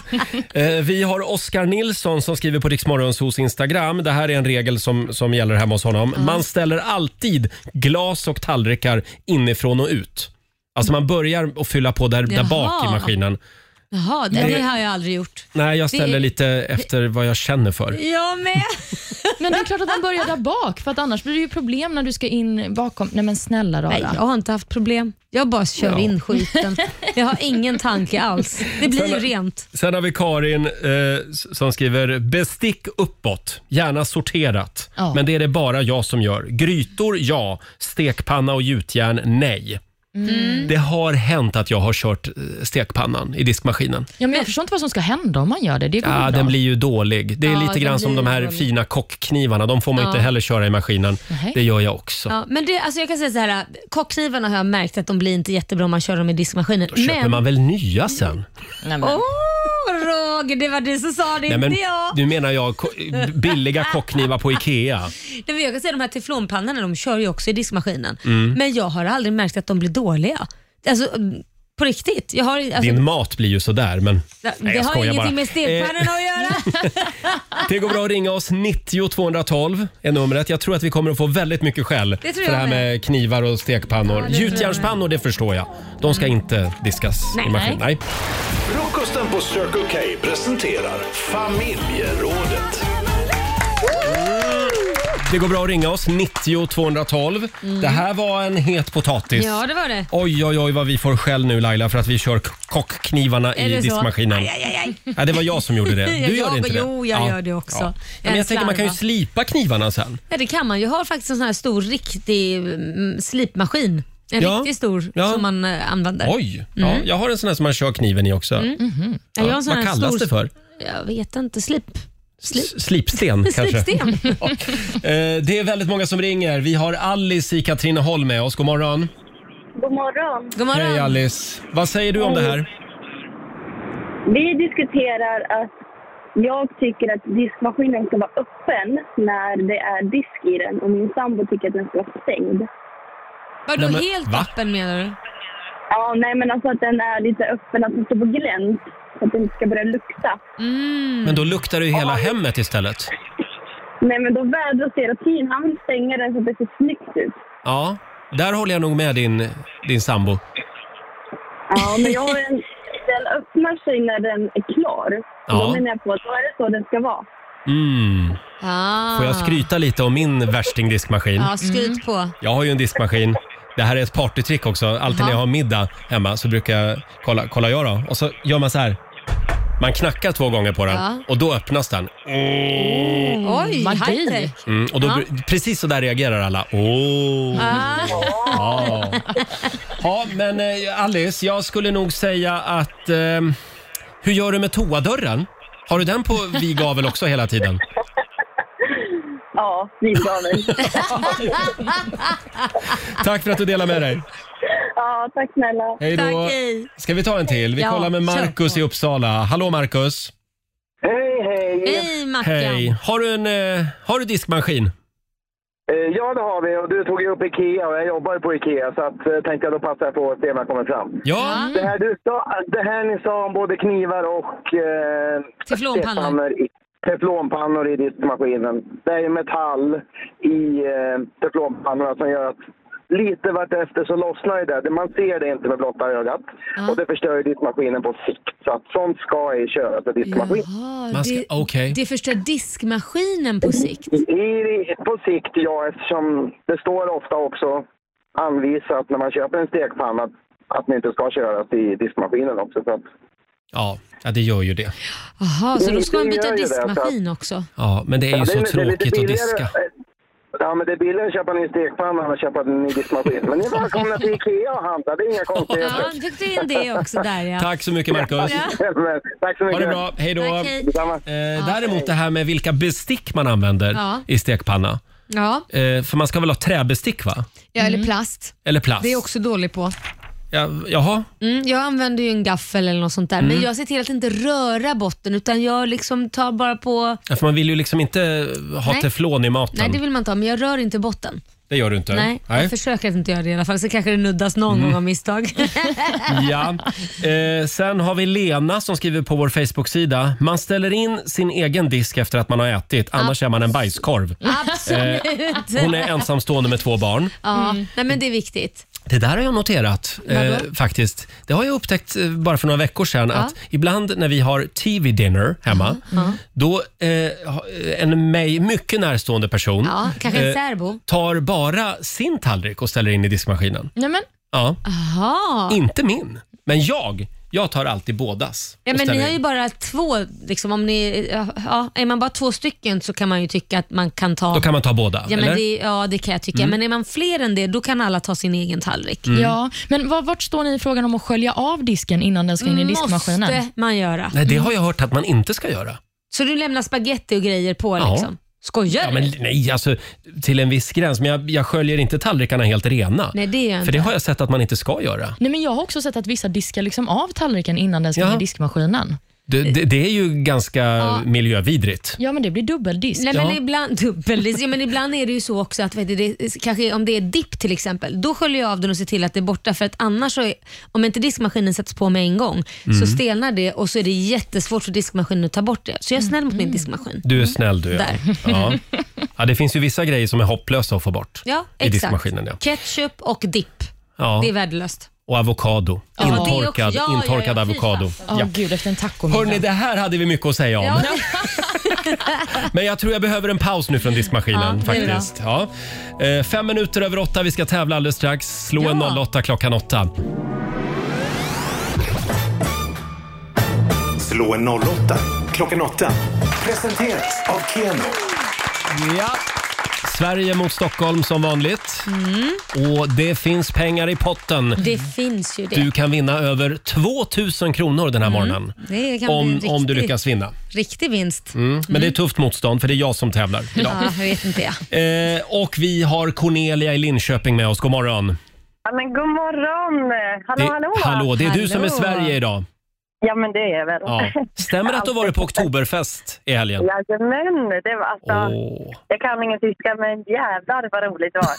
Speaker 1: Eh, vi har Oskar Nilsson som skriver på Riksmorgonsos Instagram. Det här är en regel som, som gäller hemma hos honom. Man ställer alltid glas och tallrikar inifrån och ut. Alltså man börjar att fylla på där, där
Speaker 2: Jaha.
Speaker 1: bak i maskinen.
Speaker 2: Jaha, det, det har jag aldrig gjort.
Speaker 1: Nej, jag ställer
Speaker 2: Det-
Speaker 1: lite efter vad jag känner för.
Speaker 2: Jag med.
Speaker 4: Men det är klart att man börjar där bak, för att annars blir det ju problem när du ska in bakom. Nej men snälla rara.
Speaker 2: Nej, jag har inte haft problem. Jag bara kör
Speaker 1: Ja.
Speaker 2: in skiten. Jag har ingen tanke alls. Det blir ju rent.
Speaker 1: Sen har vi Karin eh, s- som skriver bestick uppåt, gärna sorterat.
Speaker 4: Ja.
Speaker 1: Men det är det bara jag som gör. Grytor ja, stekpanna och gjutjärn nej. Det har hänt att jag har kört eh, stekpannan i diskmaskinen.
Speaker 4: Ja, men jag förstår inte vad som ska hända om man gör det. Det går
Speaker 1: Ja,
Speaker 4: ju bra.
Speaker 1: den blir ju dålig. Det är
Speaker 2: Ja,
Speaker 1: lite
Speaker 2: den
Speaker 1: grann som
Speaker 2: blir
Speaker 1: de här
Speaker 2: dålig.
Speaker 1: fina kockknivarna. De får man ju inte heller köra i maskinen.
Speaker 4: Nej.
Speaker 1: Det gör jag också.
Speaker 2: Ja, men det, alltså jag kan säga så här, kockknivarna har jag märkt att de blir inte jättebra om man kör dem i diskmaskinen.
Speaker 1: Då köper
Speaker 2: men,
Speaker 1: man väl nya sen?
Speaker 4: Nej, men.
Speaker 2: Åh, Roger, det var du som sa det,
Speaker 1: Nej, men,
Speaker 2: inte jag.
Speaker 1: nu menar jag ko- billiga kockknivar på Ikea.
Speaker 2: Nej, men jag kan säga de här teflonpannorna, de kör ju också i diskmaskinen.
Speaker 1: Mm.
Speaker 2: Men jag har aldrig märkt att de blir dåliga. Alltså, mm, på riktigt. Jag har, alltså,
Speaker 1: Din mat blir ju sådär, men...
Speaker 2: det
Speaker 1: Nej, jag
Speaker 2: har
Speaker 1: skojar
Speaker 2: ingenting
Speaker 1: bara.
Speaker 2: med stekpannorna att göra.
Speaker 1: Det går bra att ringa oss. 90 212 är numret. Jag tror att vi kommer att få väldigt mycket skäll
Speaker 2: Det
Speaker 1: för
Speaker 2: tror
Speaker 1: det
Speaker 2: jag
Speaker 1: här med knivar och stekpannor. Gjutjärnspannor, det förstår jag. De ska inte diskas i
Speaker 2: Nej,
Speaker 1: maskin. Nej.
Speaker 3: Frukosten på Circle K presenterar familjerådet.
Speaker 1: Det går bra att ringa oss. 90 212. Det här var en het potatis.
Speaker 2: Mm. Ja, det var det.
Speaker 1: Oj, oj, oj vad vi får skäll nu Laila för att vi kör k- kockknivarna
Speaker 2: Är
Speaker 1: i
Speaker 2: det så?
Speaker 1: diskmaskinen.
Speaker 2: Aj, aj, aj, aj.
Speaker 1: Ja, det var jag som gjorde
Speaker 2: (laughs)
Speaker 1: det.
Speaker 2: Jag-
Speaker 1: Du gör inte det.
Speaker 2: jo, jag gör det också.
Speaker 1: Ja,
Speaker 2: Jag
Speaker 1: Men jag tänker man kan ju
Speaker 2: slarvar.
Speaker 1: slipa knivarna sen.
Speaker 2: Ja, det kan man. Jag har faktiskt en sån här stor riktig mm, slipmaskin. En
Speaker 1: Ja.
Speaker 2: riktigt stor
Speaker 1: Ja.
Speaker 2: som man eh, använder.
Speaker 1: Oj! Ja, jag har en sån här som man kör kniven i också.
Speaker 2: Ja, Mm. jag har en sån
Speaker 1: Vad
Speaker 2: här
Speaker 1: kallas
Speaker 2: stor,
Speaker 1: det för?
Speaker 2: Jag vet inte. Slip.
Speaker 1: S-
Speaker 2: (laughs)
Speaker 1: Slipsten kanske?
Speaker 2: Slipsten.
Speaker 1: Ja. Eh, Det är väldigt många som ringer. Vi har Alice i Katrineholm med oss. God morgon.
Speaker 5: God morgon.
Speaker 2: God morgon.
Speaker 1: Hej Alice. Vad säger du om det här?
Speaker 5: Vi diskuterar att jag tycker att diskmaskinen ska vara öppen när det är disk i den och min sambo tycker att den ska vara stängd.
Speaker 2: Vadå
Speaker 1: Nej, men-
Speaker 2: helt
Speaker 1: va?
Speaker 2: öppen menar du?
Speaker 5: Ja, nej men alltså att den är lite öppen, att den står på glänt. Så att den inte ska börja lukta.
Speaker 2: Mm.
Speaker 1: Men då luktar det ju hela hemmet istället.
Speaker 5: Nej men då vädras hela tiden. Han vill stänga den så att det ser snyggt ut.
Speaker 1: Ja. Där håller jag nog med din, din sambo.
Speaker 5: Ja, men jag har en, den öppnar sig när den är klar.
Speaker 1: Ja.
Speaker 5: Ja. Då menar jag på att då är det så den ska vara.
Speaker 1: Mm.
Speaker 2: Ah.
Speaker 1: Får jag Mm. skryta lite om min värstingdiskmaskin?
Speaker 2: Ja, skryt på.
Speaker 1: Jag har ju en diskmaskin. Det här är ett partytrick också. Alltid när jag har middag hemma så brukar jag kolla, kolla jag då. Och så gör man så här. Man knackar två gånger på den
Speaker 2: Ja.
Speaker 1: och då öppnas den.
Speaker 2: Oj,
Speaker 4: Magi.
Speaker 2: high-tech.
Speaker 1: Mm, och då, bru- Precis så där reagerar alla. Åh!
Speaker 2: Ah,
Speaker 1: Ja. ja, men eh, Alice, jag skulle nog säga att... Eh, hur gör du med toadörren? Har du den på vid gavel också hela tiden?
Speaker 5: Ja, vidgavel.
Speaker 1: Tack för att du delar med dig.
Speaker 5: ja, tack snälla.
Speaker 1: Hej då.
Speaker 2: Tack, hej.
Speaker 1: Ska vi ta en till? Vi
Speaker 2: Ja,
Speaker 1: kollar med
Speaker 2: kör
Speaker 1: Markus
Speaker 2: på.
Speaker 1: i Uppsala. Hallå Markus!
Speaker 9: Hej, hej!
Speaker 2: Hej Mackan.
Speaker 1: Hej! Har du en eh, har du diskmaskin?
Speaker 9: Eh, Ja, det har vi. Och du tog ju upp Ikea och jag jobbar ju på Ikea så att, eh, tänkte jag då passar jag på att se om jag kommer fram.
Speaker 1: Ja.
Speaker 9: Det här, du sa, det här ni sa om både knivar och eh,
Speaker 2: Teflonpannor.
Speaker 9: teflonpannor i- teflonpannor i diskmaskinen. Det är ju metall i eh, teflonpannorna som gör att lite vartefter så lossnar ju det. Det- Man ser det inte med blotta ögat. Och det förstör ju diskmaskinen på sikt. Så att sånt ska ej köras med diskmaskin.
Speaker 2: Jaha,
Speaker 1: Man ska-
Speaker 2: det,
Speaker 1: okej.
Speaker 2: det förstör diskmaskinen på sikt.
Speaker 9: I, på sikt, ja, eftersom det står ofta också anvisat när man köper en stekpanna att, att den inte ska köras i diskmaskinen också. Så att,
Speaker 1: Ja, ja, det gör ju det.
Speaker 2: Jaha, så då ska man
Speaker 9: Det gör
Speaker 2: byta
Speaker 9: ju det,
Speaker 2: diskmaskin också.
Speaker 1: Ja, men det är ju
Speaker 9: Ja,
Speaker 1: så
Speaker 9: det är lite
Speaker 1: tråkigt att
Speaker 9: billigare-
Speaker 1: diska.
Speaker 9: Ja, men det är billigare att köpa en ny stekpanna än att köpa en ny diskmaskin. Men ni är välkomna till Ikea och handla, det är inga
Speaker 2: Ja,
Speaker 9: konstigheter.
Speaker 2: fick du in det också där ja.
Speaker 1: Tack så mycket Markus.
Speaker 9: (laughs) Men, tack så mycket.
Speaker 1: Ha det bra, hej då.
Speaker 2: Tack, hej.
Speaker 9: Detsamma.
Speaker 1: Eh, däremot det här med vilka bestick man använder
Speaker 2: Ja.
Speaker 1: i stekpanna.
Speaker 2: Ja, Mm.
Speaker 1: Eh, för man ska väl ha träbestick va?
Speaker 2: ja eller plast.
Speaker 1: Eller plast?
Speaker 2: Det är jag också dålig på.
Speaker 1: ja, jaha?
Speaker 2: Mm, jag använder ju en gaffel eller något sånt där,
Speaker 1: Mm.
Speaker 2: men jag ser till att inte röra botten utan jag liksom tar bara på...
Speaker 1: Ja, för man vill ju liksom inte ha
Speaker 2: Nej.
Speaker 1: teflon i maten.
Speaker 2: Nej, det
Speaker 1: det,
Speaker 2: vill man inte ha, men jag rör inte botten.
Speaker 1: gör du inte?
Speaker 2: Nej, jag försöker att inte göra det i alla fall, så kanske det nuddas någon
Speaker 1: Mm.
Speaker 2: gång av misstag.
Speaker 1: Ja. Eh, sen har vi Lena som skriver på vår Facebook-sida. Man ställer in sin egen disk efter att man har ätit, annars är man en bajskorv. Eh,
Speaker 2: Absolut.
Speaker 1: Hon är ensamstående med två barn.
Speaker 2: (laughs) Ja, nej, men det är viktigt.
Speaker 1: Det där har jag noterat eh, faktiskt. Det har jag upptäckt eh, bara för några veckor sedan att ibland när vi har TV-dinner hemma,
Speaker 2: Mm-hmm.
Speaker 1: då eh, ha- en mig mycket närstående person
Speaker 2: Ja, kanske en
Speaker 1: eh,
Speaker 2: särbo.
Speaker 1: tar bara sin tallrik och ställer in i diskmaskinen.
Speaker 4: Nej, men,
Speaker 1: Ja,
Speaker 2: Jaha.
Speaker 1: inte min. Men jag, jag tar alltid bådas.
Speaker 2: Ja,
Speaker 1: och
Speaker 2: men ni
Speaker 1: ställer
Speaker 2: har ju
Speaker 1: in.
Speaker 2: bara två, liksom, om ni, ja, är man bara två stycken så kan man ju tycka att man kan ta...
Speaker 1: Då kan man ta båda,
Speaker 2: ja,
Speaker 1: eller? Mm.
Speaker 2: men det, ja, det kan jag tycka. Men är man fler än det, då kan alla ta sin egen tallrik.
Speaker 4: ja. men var, vart står ni i frågan om att skölja av disken innan
Speaker 2: Mm.
Speaker 4: den ska in i diskmaskinen?
Speaker 2: Måste man göra.
Speaker 1: Nej, det har jag hört att man inte ska göra.
Speaker 2: Så du lämnar spaghetti och grejer på
Speaker 1: Ja.
Speaker 2: liksom? Skojar
Speaker 1: Ja,
Speaker 2: du?
Speaker 1: men, nej, alltså till en viss gräns. Men jag, jag sköljer inte tallrikarna helt rena.
Speaker 2: Nej, det gör jag
Speaker 1: För
Speaker 2: inte.
Speaker 1: det har jag sett att man inte ska göra.
Speaker 4: Nej, men jag har också sett att vissa diskar liksom av tallriken innan den ska
Speaker 1: Ja.
Speaker 4: in i diskmaskinen.
Speaker 1: Det, det, det är ju ganska miljövidrigt.
Speaker 4: Ja, men det blir dubbeldisk.
Speaker 2: Nej,
Speaker 1: Ja.
Speaker 2: men ibland, dubbel, ja, men ibland är det ju så också att vet du, det, kanske om det är dipp till exempel, då sköljer jag av den och ser till att det är borta för att annars, så är, om inte diskmaskinen sätts på med en gång,
Speaker 1: Mm.
Speaker 2: så stelnar det och så är det jättesvårt för diskmaskinen att ta bort det. Så jag är snäll mot
Speaker 1: Mm.
Speaker 2: min diskmaskin.
Speaker 1: Du är snäll du. Ja.
Speaker 2: Mm. Där.
Speaker 1: Ja. Ja, det finns ju vissa grejer som är hopplösa att få bort
Speaker 2: Ja,
Speaker 1: i
Speaker 2: exakt.
Speaker 1: diskmaskinen. Ja.
Speaker 2: Ketchup och dipp,
Speaker 1: Ja.
Speaker 2: det är värdelöst.
Speaker 1: Och avokado.
Speaker 2: det är
Speaker 1: intorkad
Speaker 2: också- ja, ja,
Speaker 1: intorkad
Speaker 2: ja, fy
Speaker 1: avokado.
Speaker 4: Ja,
Speaker 1: Ja.
Speaker 4: gud, efter en
Speaker 1: Hörni,
Speaker 4: tacomiddag.
Speaker 1: det här hade vi mycket att säga om.
Speaker 2: Ja,
Speaker 1: (laughs)
Speaker 2: (laughs)
Speaker 1: Men jag tror jag behöver en paus nu från diskmaskinen
Speaker 2: Ja, det är
Speaker 1: faktiskt. Ja. Eh, Fem minuter över åtta, vi ska tävla alldeles strax. Slå en
Speaker 2: Ja.
Speaker 1: 08 klockan åtta.
Speaker 3: Slå en 08 klockan 8. Presenteras av Keno.
Speaker 1: Ja. Sverige mot Stockholm som vanligt.
Speaker 2: Mm.
Speaker 1: Och det finns pengar i potten.
Speaker 2: det finns ju det.
Speaker 1: Mm.
Speaker 2: Mm.
Speaker 1: Du kan vinna över 2000 kronor den här morgonen.
Speaker 2: det kan bli en
Speaker 1: Om,
Speaker 2: riktig,
Speaker 1: om du lyckas vinna.
Speaker 2: Riktig vinst.
Speaker 1: Mm. Men det är tufft motstånd för det är jag som tävlar idag.
Speaker 2: Ja, jag vet inte jag.
Speaker 1: Eh, och vi har Cornelia i Linköping med oss. God morgon.
Speaker 5: Ja, men god morgon! Hallå,
Speaker 1: Det,
Speaker 5: hallå!
Speaker 1: hallå, det är du
Speaker 2: Hallå.
Speaker 1: som är Sverige idag.
Speaker 5: Ja, men det är väl.
Speaker 1: Ja.
Speaker 5: (laughs)
Speaker 1: Stämmer det att du har varit på oktoberfest i helgen?
Speaker 5: Jajamän! Det var alltså...
Speaker 1: Åh.
Speaker 5: Jag kan ingen tyska, men jävlar vad roligt det
Speaker 1: (laughs)
Speaker 5: var.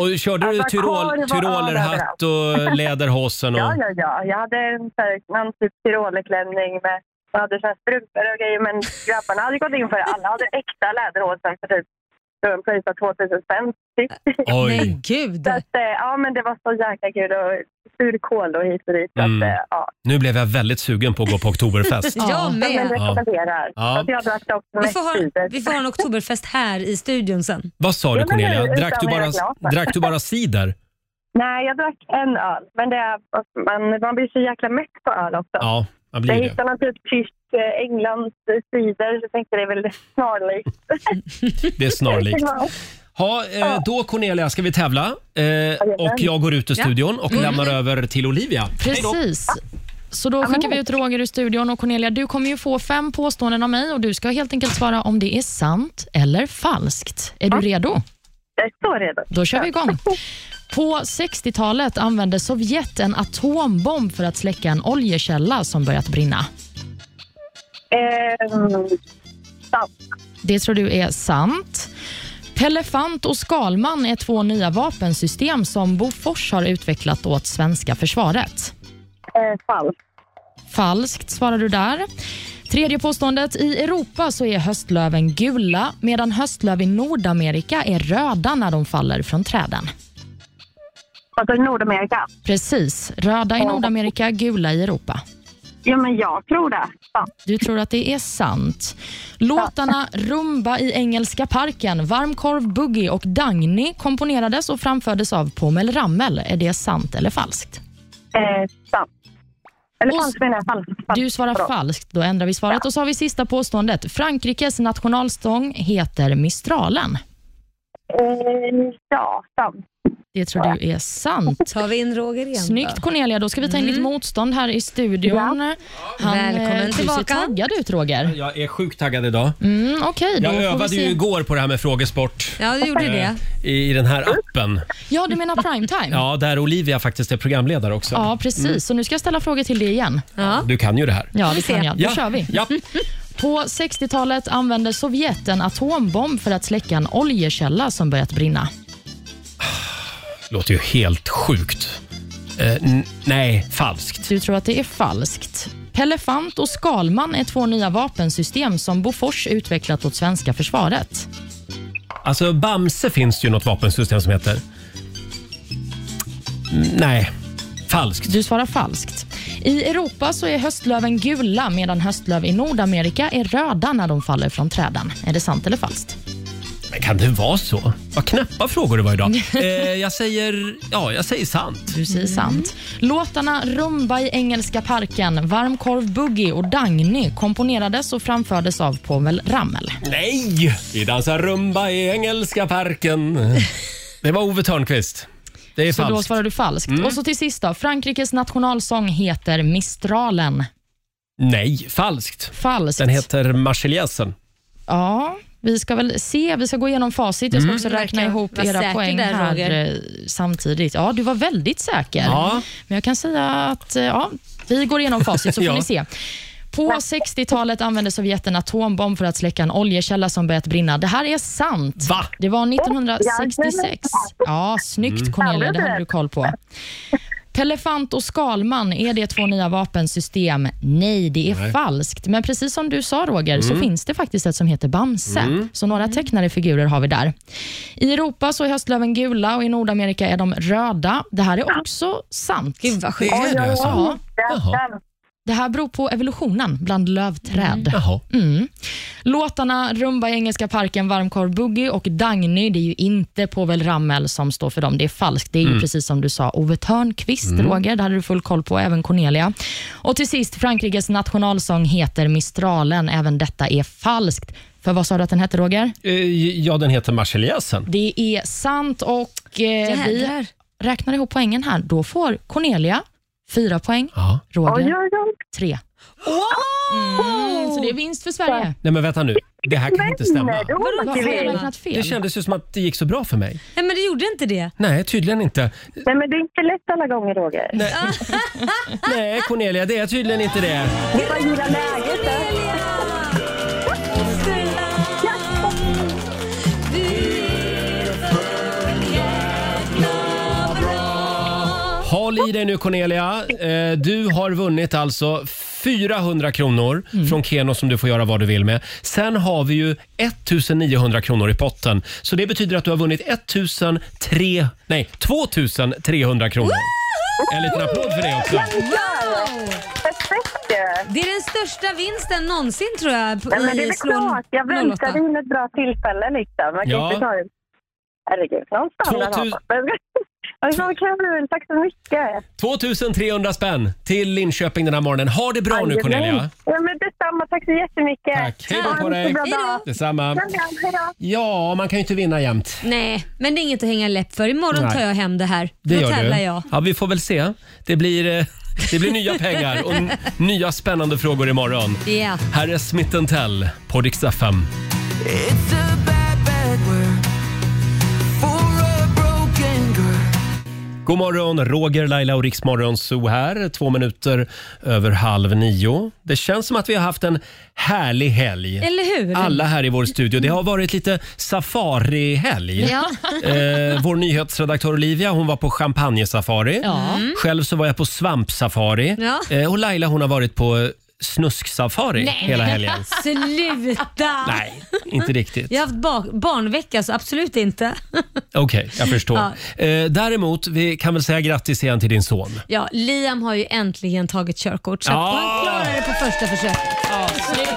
Speaker 1: Och körde du
Speaker 5: Alltså, korv
Speaker 1: tyrol,
Speaker 5: och
Speaker 1: tyrolerhatt
Speaker 5: (laughs)
Speaker 1: och läderhosen? Och...
Speaker 5: Ja, ja, ja. Jag hade en så här, någon typ tyrolerklänning med jag hade så här strumpor och grejer, men grabbarna hade gått in för det. Alla hade äkta läderhosen för typ strumplöj för 2005 typ.
Speaker 1: (laughs)
Speaker 2: Nej,
Speaker 1: Oj.
Speaker 2: gud.
Speaker 5: Så att, eh, ja, men det var så jäkla kul och surkål och hit och dit. Så
Speaker 1: Mm.
Speaker 5: att, eh, ja.
Speaker 1: Nu blev jag väldigt sugen på att gå på oktoberfest.
Speaker 2: Jag
Speaker 5: (laughs) Ja, men
Speaker 2: med.
Speaker 5: rekommenderar.
Speaker 1: Ja.
Speaker 5: Så att jag drack det också
Speaker 2: Vi
Speaker 5: mest
Speaker 2: får, ha,
Speaker 5: tidigt.
Speaker 2: vi får ha en oktoberfest här i studion sen.
Speaker 1: Vad sa du
Speaker 5: Ja, men
Speaker 1: Cornelia?
Speaker 5: nu,
Speaker 1: Drack du
Speaker 5: utan
Speaker 1: bara,
Speaker 5: era glas.
Speaker 1: drack du bara
Speaker 5: (laughs)
Speaker 1: cider?
Speaker 5: Nej, jag drack en öl. Men det är, man, man blir så jäkla mätt på öl också.
Speaker 1: Ja, man
Speaker 5: Jag
Speaker 1: blir det.
Speaker 5: hittade någon typ tyst eh, Englands eh, cider, så jag tänkte det är väl snarlikt.
Speaker 1: Det är snarlikt. Ha, eh, då Cornelia ska vi tävla eh, och jag går ut ur studion
Speaker 4: Mm.
Speaker 1: och lämnar över till Olivia.
Speaker 4: Precis. Så då skickar vi ut Roger ur studion och Cornelia, du kommer ju få fem påståenden av mig och du ska helt enkelt svara om det är sant eller falskt. Är du redo?
Speaker 5: Jag är så redo.
Speaker 4: Då kör vi igång. På 60-talet använde Sovjet en atombomb för att släcka en oljekälla som börjat brinna.
Speaker 5: Ehm, sant.
Speaker 4: Det tror du är sant. Pellefant och Skalman är två nya vapensystem som Bofors har utvecklat åt svenska försvaret.
Speaker 5: Eh, falskt.
Speaker 4: Falskt svarar du där. Tredje påståendet. I Europa så är höstlöven gula medan höstlöv i Nordamerika är röda när de faller från träden.
Speaker 5: Fattar du Nordamerika?
Speaker 4: Precis. Röda i Nordamerika, gula i Europa.
Speaker 5: Ja, men jag tror det. Sant.
Speaker 4: Du tror att det är sant. Låtarna Rumba i Engelska parken, Varmkorv, Boogie och Dagny komponerades och framfördes av Pommel Ramel. Är det sant eller falskt?
Speaker 5: Eh, sant. Eller
Speaker 4: Och-
Speaker 5: falskt menar jag. Falskt. falskt.
Speaker 4: Du svarar
Speaker 5: Förlåt.
Speaker 4: falskt. Då ändrar vi svaret. Och så har vi sista påståendet. Frankrikes nationalstång heter Mistralen.
Speaker 5: Eh, ja, sant.
Speaker 4: Det tror du
Speaker 2: (laughs)
Speaker 4: är sant.
Speaker 2: Tar vi in Roger igen?
Speaker 4: Snyggt Cornelia, då ska vi ta in ditt motstånd här i studion. Han, eh,
Speaker 2: Mm. Välkommen
Speaker 4: Du
Speaker 2: tillbaka.
Speaker 4: ser taggad ut Roger.
Speaker 1: Jag är sjukt taggad idag.
Speaker 4: Mm, Okej, då
Speaker 1: Jag
Speaker 4: får vi
Speaker 1: övade ju
Speaker 4: se.
Speaker 1: igår på det här med frågesport
Speaker 2: Ja, du gjorde
Speaker 1: eh,
Speaker 2: det.
Speaker 1: i, i den här
Speaker 4: Mm.
Speaker 1: appen.
Speaker 4: Ja,
Speaker 1: (laughs)
Speaker 4: du menar primetime?
Speaker 1: Ja, Mm. där Olivia faktiskt är programledare också.
Speaker 4: ja, precis. Så nu ska jag ställa frågor till dig igen.
Speaker 2: Ja.
Speaker 1: Du kan ju det här.
Speaker 4: Ja,
Speaker 2: vi
Speaker 4: det kan
Speaker 2: se.
Speaker 4: jag. Då kör vi. Mm.
Speaker 1: Ja.
Speaker 4: På 60-talet använde Sovjet en atombomb för att släcka en oljekälla som börjat brinna.
Speaker 1: Låter ju helt sjukt. Eh, n- nej, falskt.
Speaker 4: Du tror att det är falskt. Pellefant och Skalman är två nya vapensystem som Bofors utvecklat åt svenska försvaret.
Speaker 1: Alltså Bamse finns det ju något vapensystem som heter. Mm, nej, falskt.
Speaker 4: Du svarar falskt. I Europa så är höstlöven gula medan höstlöv i Nordamerika är röda när de faller från träden. Är det sant eller falskt?
Speaker 1: Men kan det vara så? Vad knäppa frågor det var (laughs) idag. Eh, jag säger, ja, jag säger sant.
Speaker 4: Du säger sant. Låtarna Rumba i Engelska parken, Varmkorv Boogie och Dagny komponerades och framfördes av Povel Ramel.
Speaker 1: Nej! Vi dansar rumba i engelska parken. (laughs) Det var Ove Thörnqvist. Det är
Speaker 4: Så då
Speaker 1: falskt. Mm.
Speaker 4: svarar du falskt. Och så till sist då. Frankrikes nationalsång heter Mistralen.
Speaker 1: Nej, falskt.
Speaker 4: Falskt.
Speaker 1: Den heter Marseljäsen.
Speaker 4: Ja, vi ska väl se. Vi ska gå igenom facit. Jag ska också räkna
Speaker 2: Mm. Verkar
Speaker 4: ihop
Speaker 2: vara
Speaker 4: era
Speaker 2: säker
Speaker 4: poäng
Speaker 2: där,
Speaker 4: här
Speaker 2: Roger.
Speaker 4: eh, samtidigt. Ja, du var väldigt säker.
Speaker 1: Ja.
Speaker 4: Men jag kan säga att eh, ja, vi går igenom
Speaker 2: (laughs)
Speaker 4: facit så får
Speaker 1: Ja.
Speaker 4: ni se. På 60-talet använde Sovjet en atombomb för att släcka en oljekälla som börjat brinna. Det här är sant.
Speaker 1: Va?
Speaker 4: Det var 1966. Ja, snyggt Cornelia, det hade du koll på. Pellefant och Skalman, är det två nya vapensystem? Nej, det är falskt. Men precis som du sa Roger, så finns det faktiskt ett som heter Bamse. Så några tecknade figurer har vi där. I Europa så är höstlöven gula och i Nordamerika är de röda. Det här är också sant.
Speaker 2: Gud vad
Speaker 1: Det
Speaker 2: sjukt.
Speaker 1: är det alltså?
Speaker 4: Ja,
Speaker 1: Jaha.
Speaker 4: det här beror på evolutionen bland lövträd.
Speaker 1: Jaha.
Speaker 4: Låtarna Rumba i Engelska parken, Varmkorv Boogie och Dagny, det är ju inte Povel Ramel som står för dem. Det är falskt. Det är ju precis som du sa, Ove Thörnqvist, Roger. Det hade du full koll på, även Cornelia. Och till sist, Frankrikes nationalsång heter Mistralen. Även detta är falskt. För vad sa du att den hette, Roger?
Speaker 1: Eh, Ja, den heter Marseljäsen.
Speaker 4: Det är sant och eh, vi
Speaker 2: Jädrar.
Speaker 4: räknar ihop poängen här. Då får Cornelia fyra poäng,
Speaker 1: Ja.
Speaker 4: Roger
Speaker 5: Oj, oj, oj.
Speaker 4: tre. Mm, så det är vinst för Sverige.
Speaker 1: Nej, men vänta nu. Det här kan inte stämma.
Speaker 5: Då
Speaker 4: Vad
Speaker 5: åker
Speaker 4: har jag
Speaker 5: vi.
Speaker 4: räknat
Speaker 1: Det
Speaker 4: fel?
Speaker 1: kändes ju som att det gick så bra för mig.
Speaker 2: Nej, men det gjorde inte det.
Speaker 1: Nej, tydligen inte.
Speaker 5: Nej, men det är inte lätt alla gånger, Roger.
Speaker 1: Nej, Nej Cornelia, det är tydligen inte det.
Speaker 5: Det var gilla läget. där.
Speaker 1: Håll i dig nu Cornelia. Eh, Du har vunnit alltså 400 kronor från Keno som du får göra vad du vill med. Sen har vi ju 1900 kronor i potten. Så det betyder att du har vunnit 1003, nej, 2300 kronor. En liten applåd för det också.
Speaker 2: Wow!
Speaker 5: Perfekt ju.
Speaker 2: Det är den största vinsten någonsin tror jag. på-
Speaker 5: Nej, men det är
Speaker 2: i
Speaker 5: väl
Speaker 2: Slå en
Speaker 5: klart. Jag
Speaker 2: 08.
Speaker 5: väntade in ett bra tillfälle liksom. Man kan
Speaker 1: Ja.
Speaker 5: inte ta det. Herregud, någon standard har
Speaker 1: 2000
Speaker 5: man. Men- (laughs) Alltså, vad kul. Tack så mycket.
Speaker 1: 2300 spänn till Linköping den här morgonen. Ha det bra nu Cornelia.
Speaker 5: Ja, men detsamma. Tack så jättemycket.
Speaker 1: Tack. Hej då
Speaker 5: Ha en
Speaker 1: på dig.
Speaker 5: jättebra
Speaker 2: Hej då.
Speaker 5: dag.
Speaker 1: Detsamma.
Speaker 5: Kram, kram. Hej då.
Speaker 1: Ja, man kan ju inte vinna jämt.
Speaker 2: Nej, men det är inget att hänga läpp för. Imorgon
Speaker 1: Nej.
Speaker 2: tar jag hem det här.
Speaker 1: Det
Speaker 2: Då
Speaker 1: gör
Speaker 2: tävlar
Speaker 1: du.
Speaker 2: jag.
Speaker 1: Ja, vi får väl se. Det blir, eh, det blir nya pengar och n- nya spännande frågor imorgon.
Speaker 2: Ja.
Speaker 1: Här är Smith Tell på Dix FM.
Speaker 6: It's a bad, bad word for a broken girl.
Speaker 1: God morgon, Roger, Laila och Riksmorgon Zoo här. Två minuter över halv nio. Det känns som att vi har haft en härlig helg.
Speaker 2: Eller hur?
Speaker 1: Alla här i vår studio. Det har varit lite safarihelg.
Speaker 2: Ja.
Speaker 1: (laughs) Eh, vår nyhetsredaktör Olivia hon var på champagnesafari. Själv så var jag på svampsafari.
Speaker 2: Ja.
Speaker 1: Eh, och Laila hon har varit på eh, snusksafari hela helgen. (laughs)
Speaker 2: Sluta!
Speaker 1: Nej, inte riktigt.
Speaker 2: Jag har haft ba- barnvecka så absolut inte. (laughs)
Speaker 1: Okej, jag förstår. Eh, däremot, vi kan väl säga grattis igen till din son.
Speaker 2: Ja, Liam har ju äntligen tagit körkort så
Speaker 1: Ja.
Speaker 2: att han klarar det på första försöket.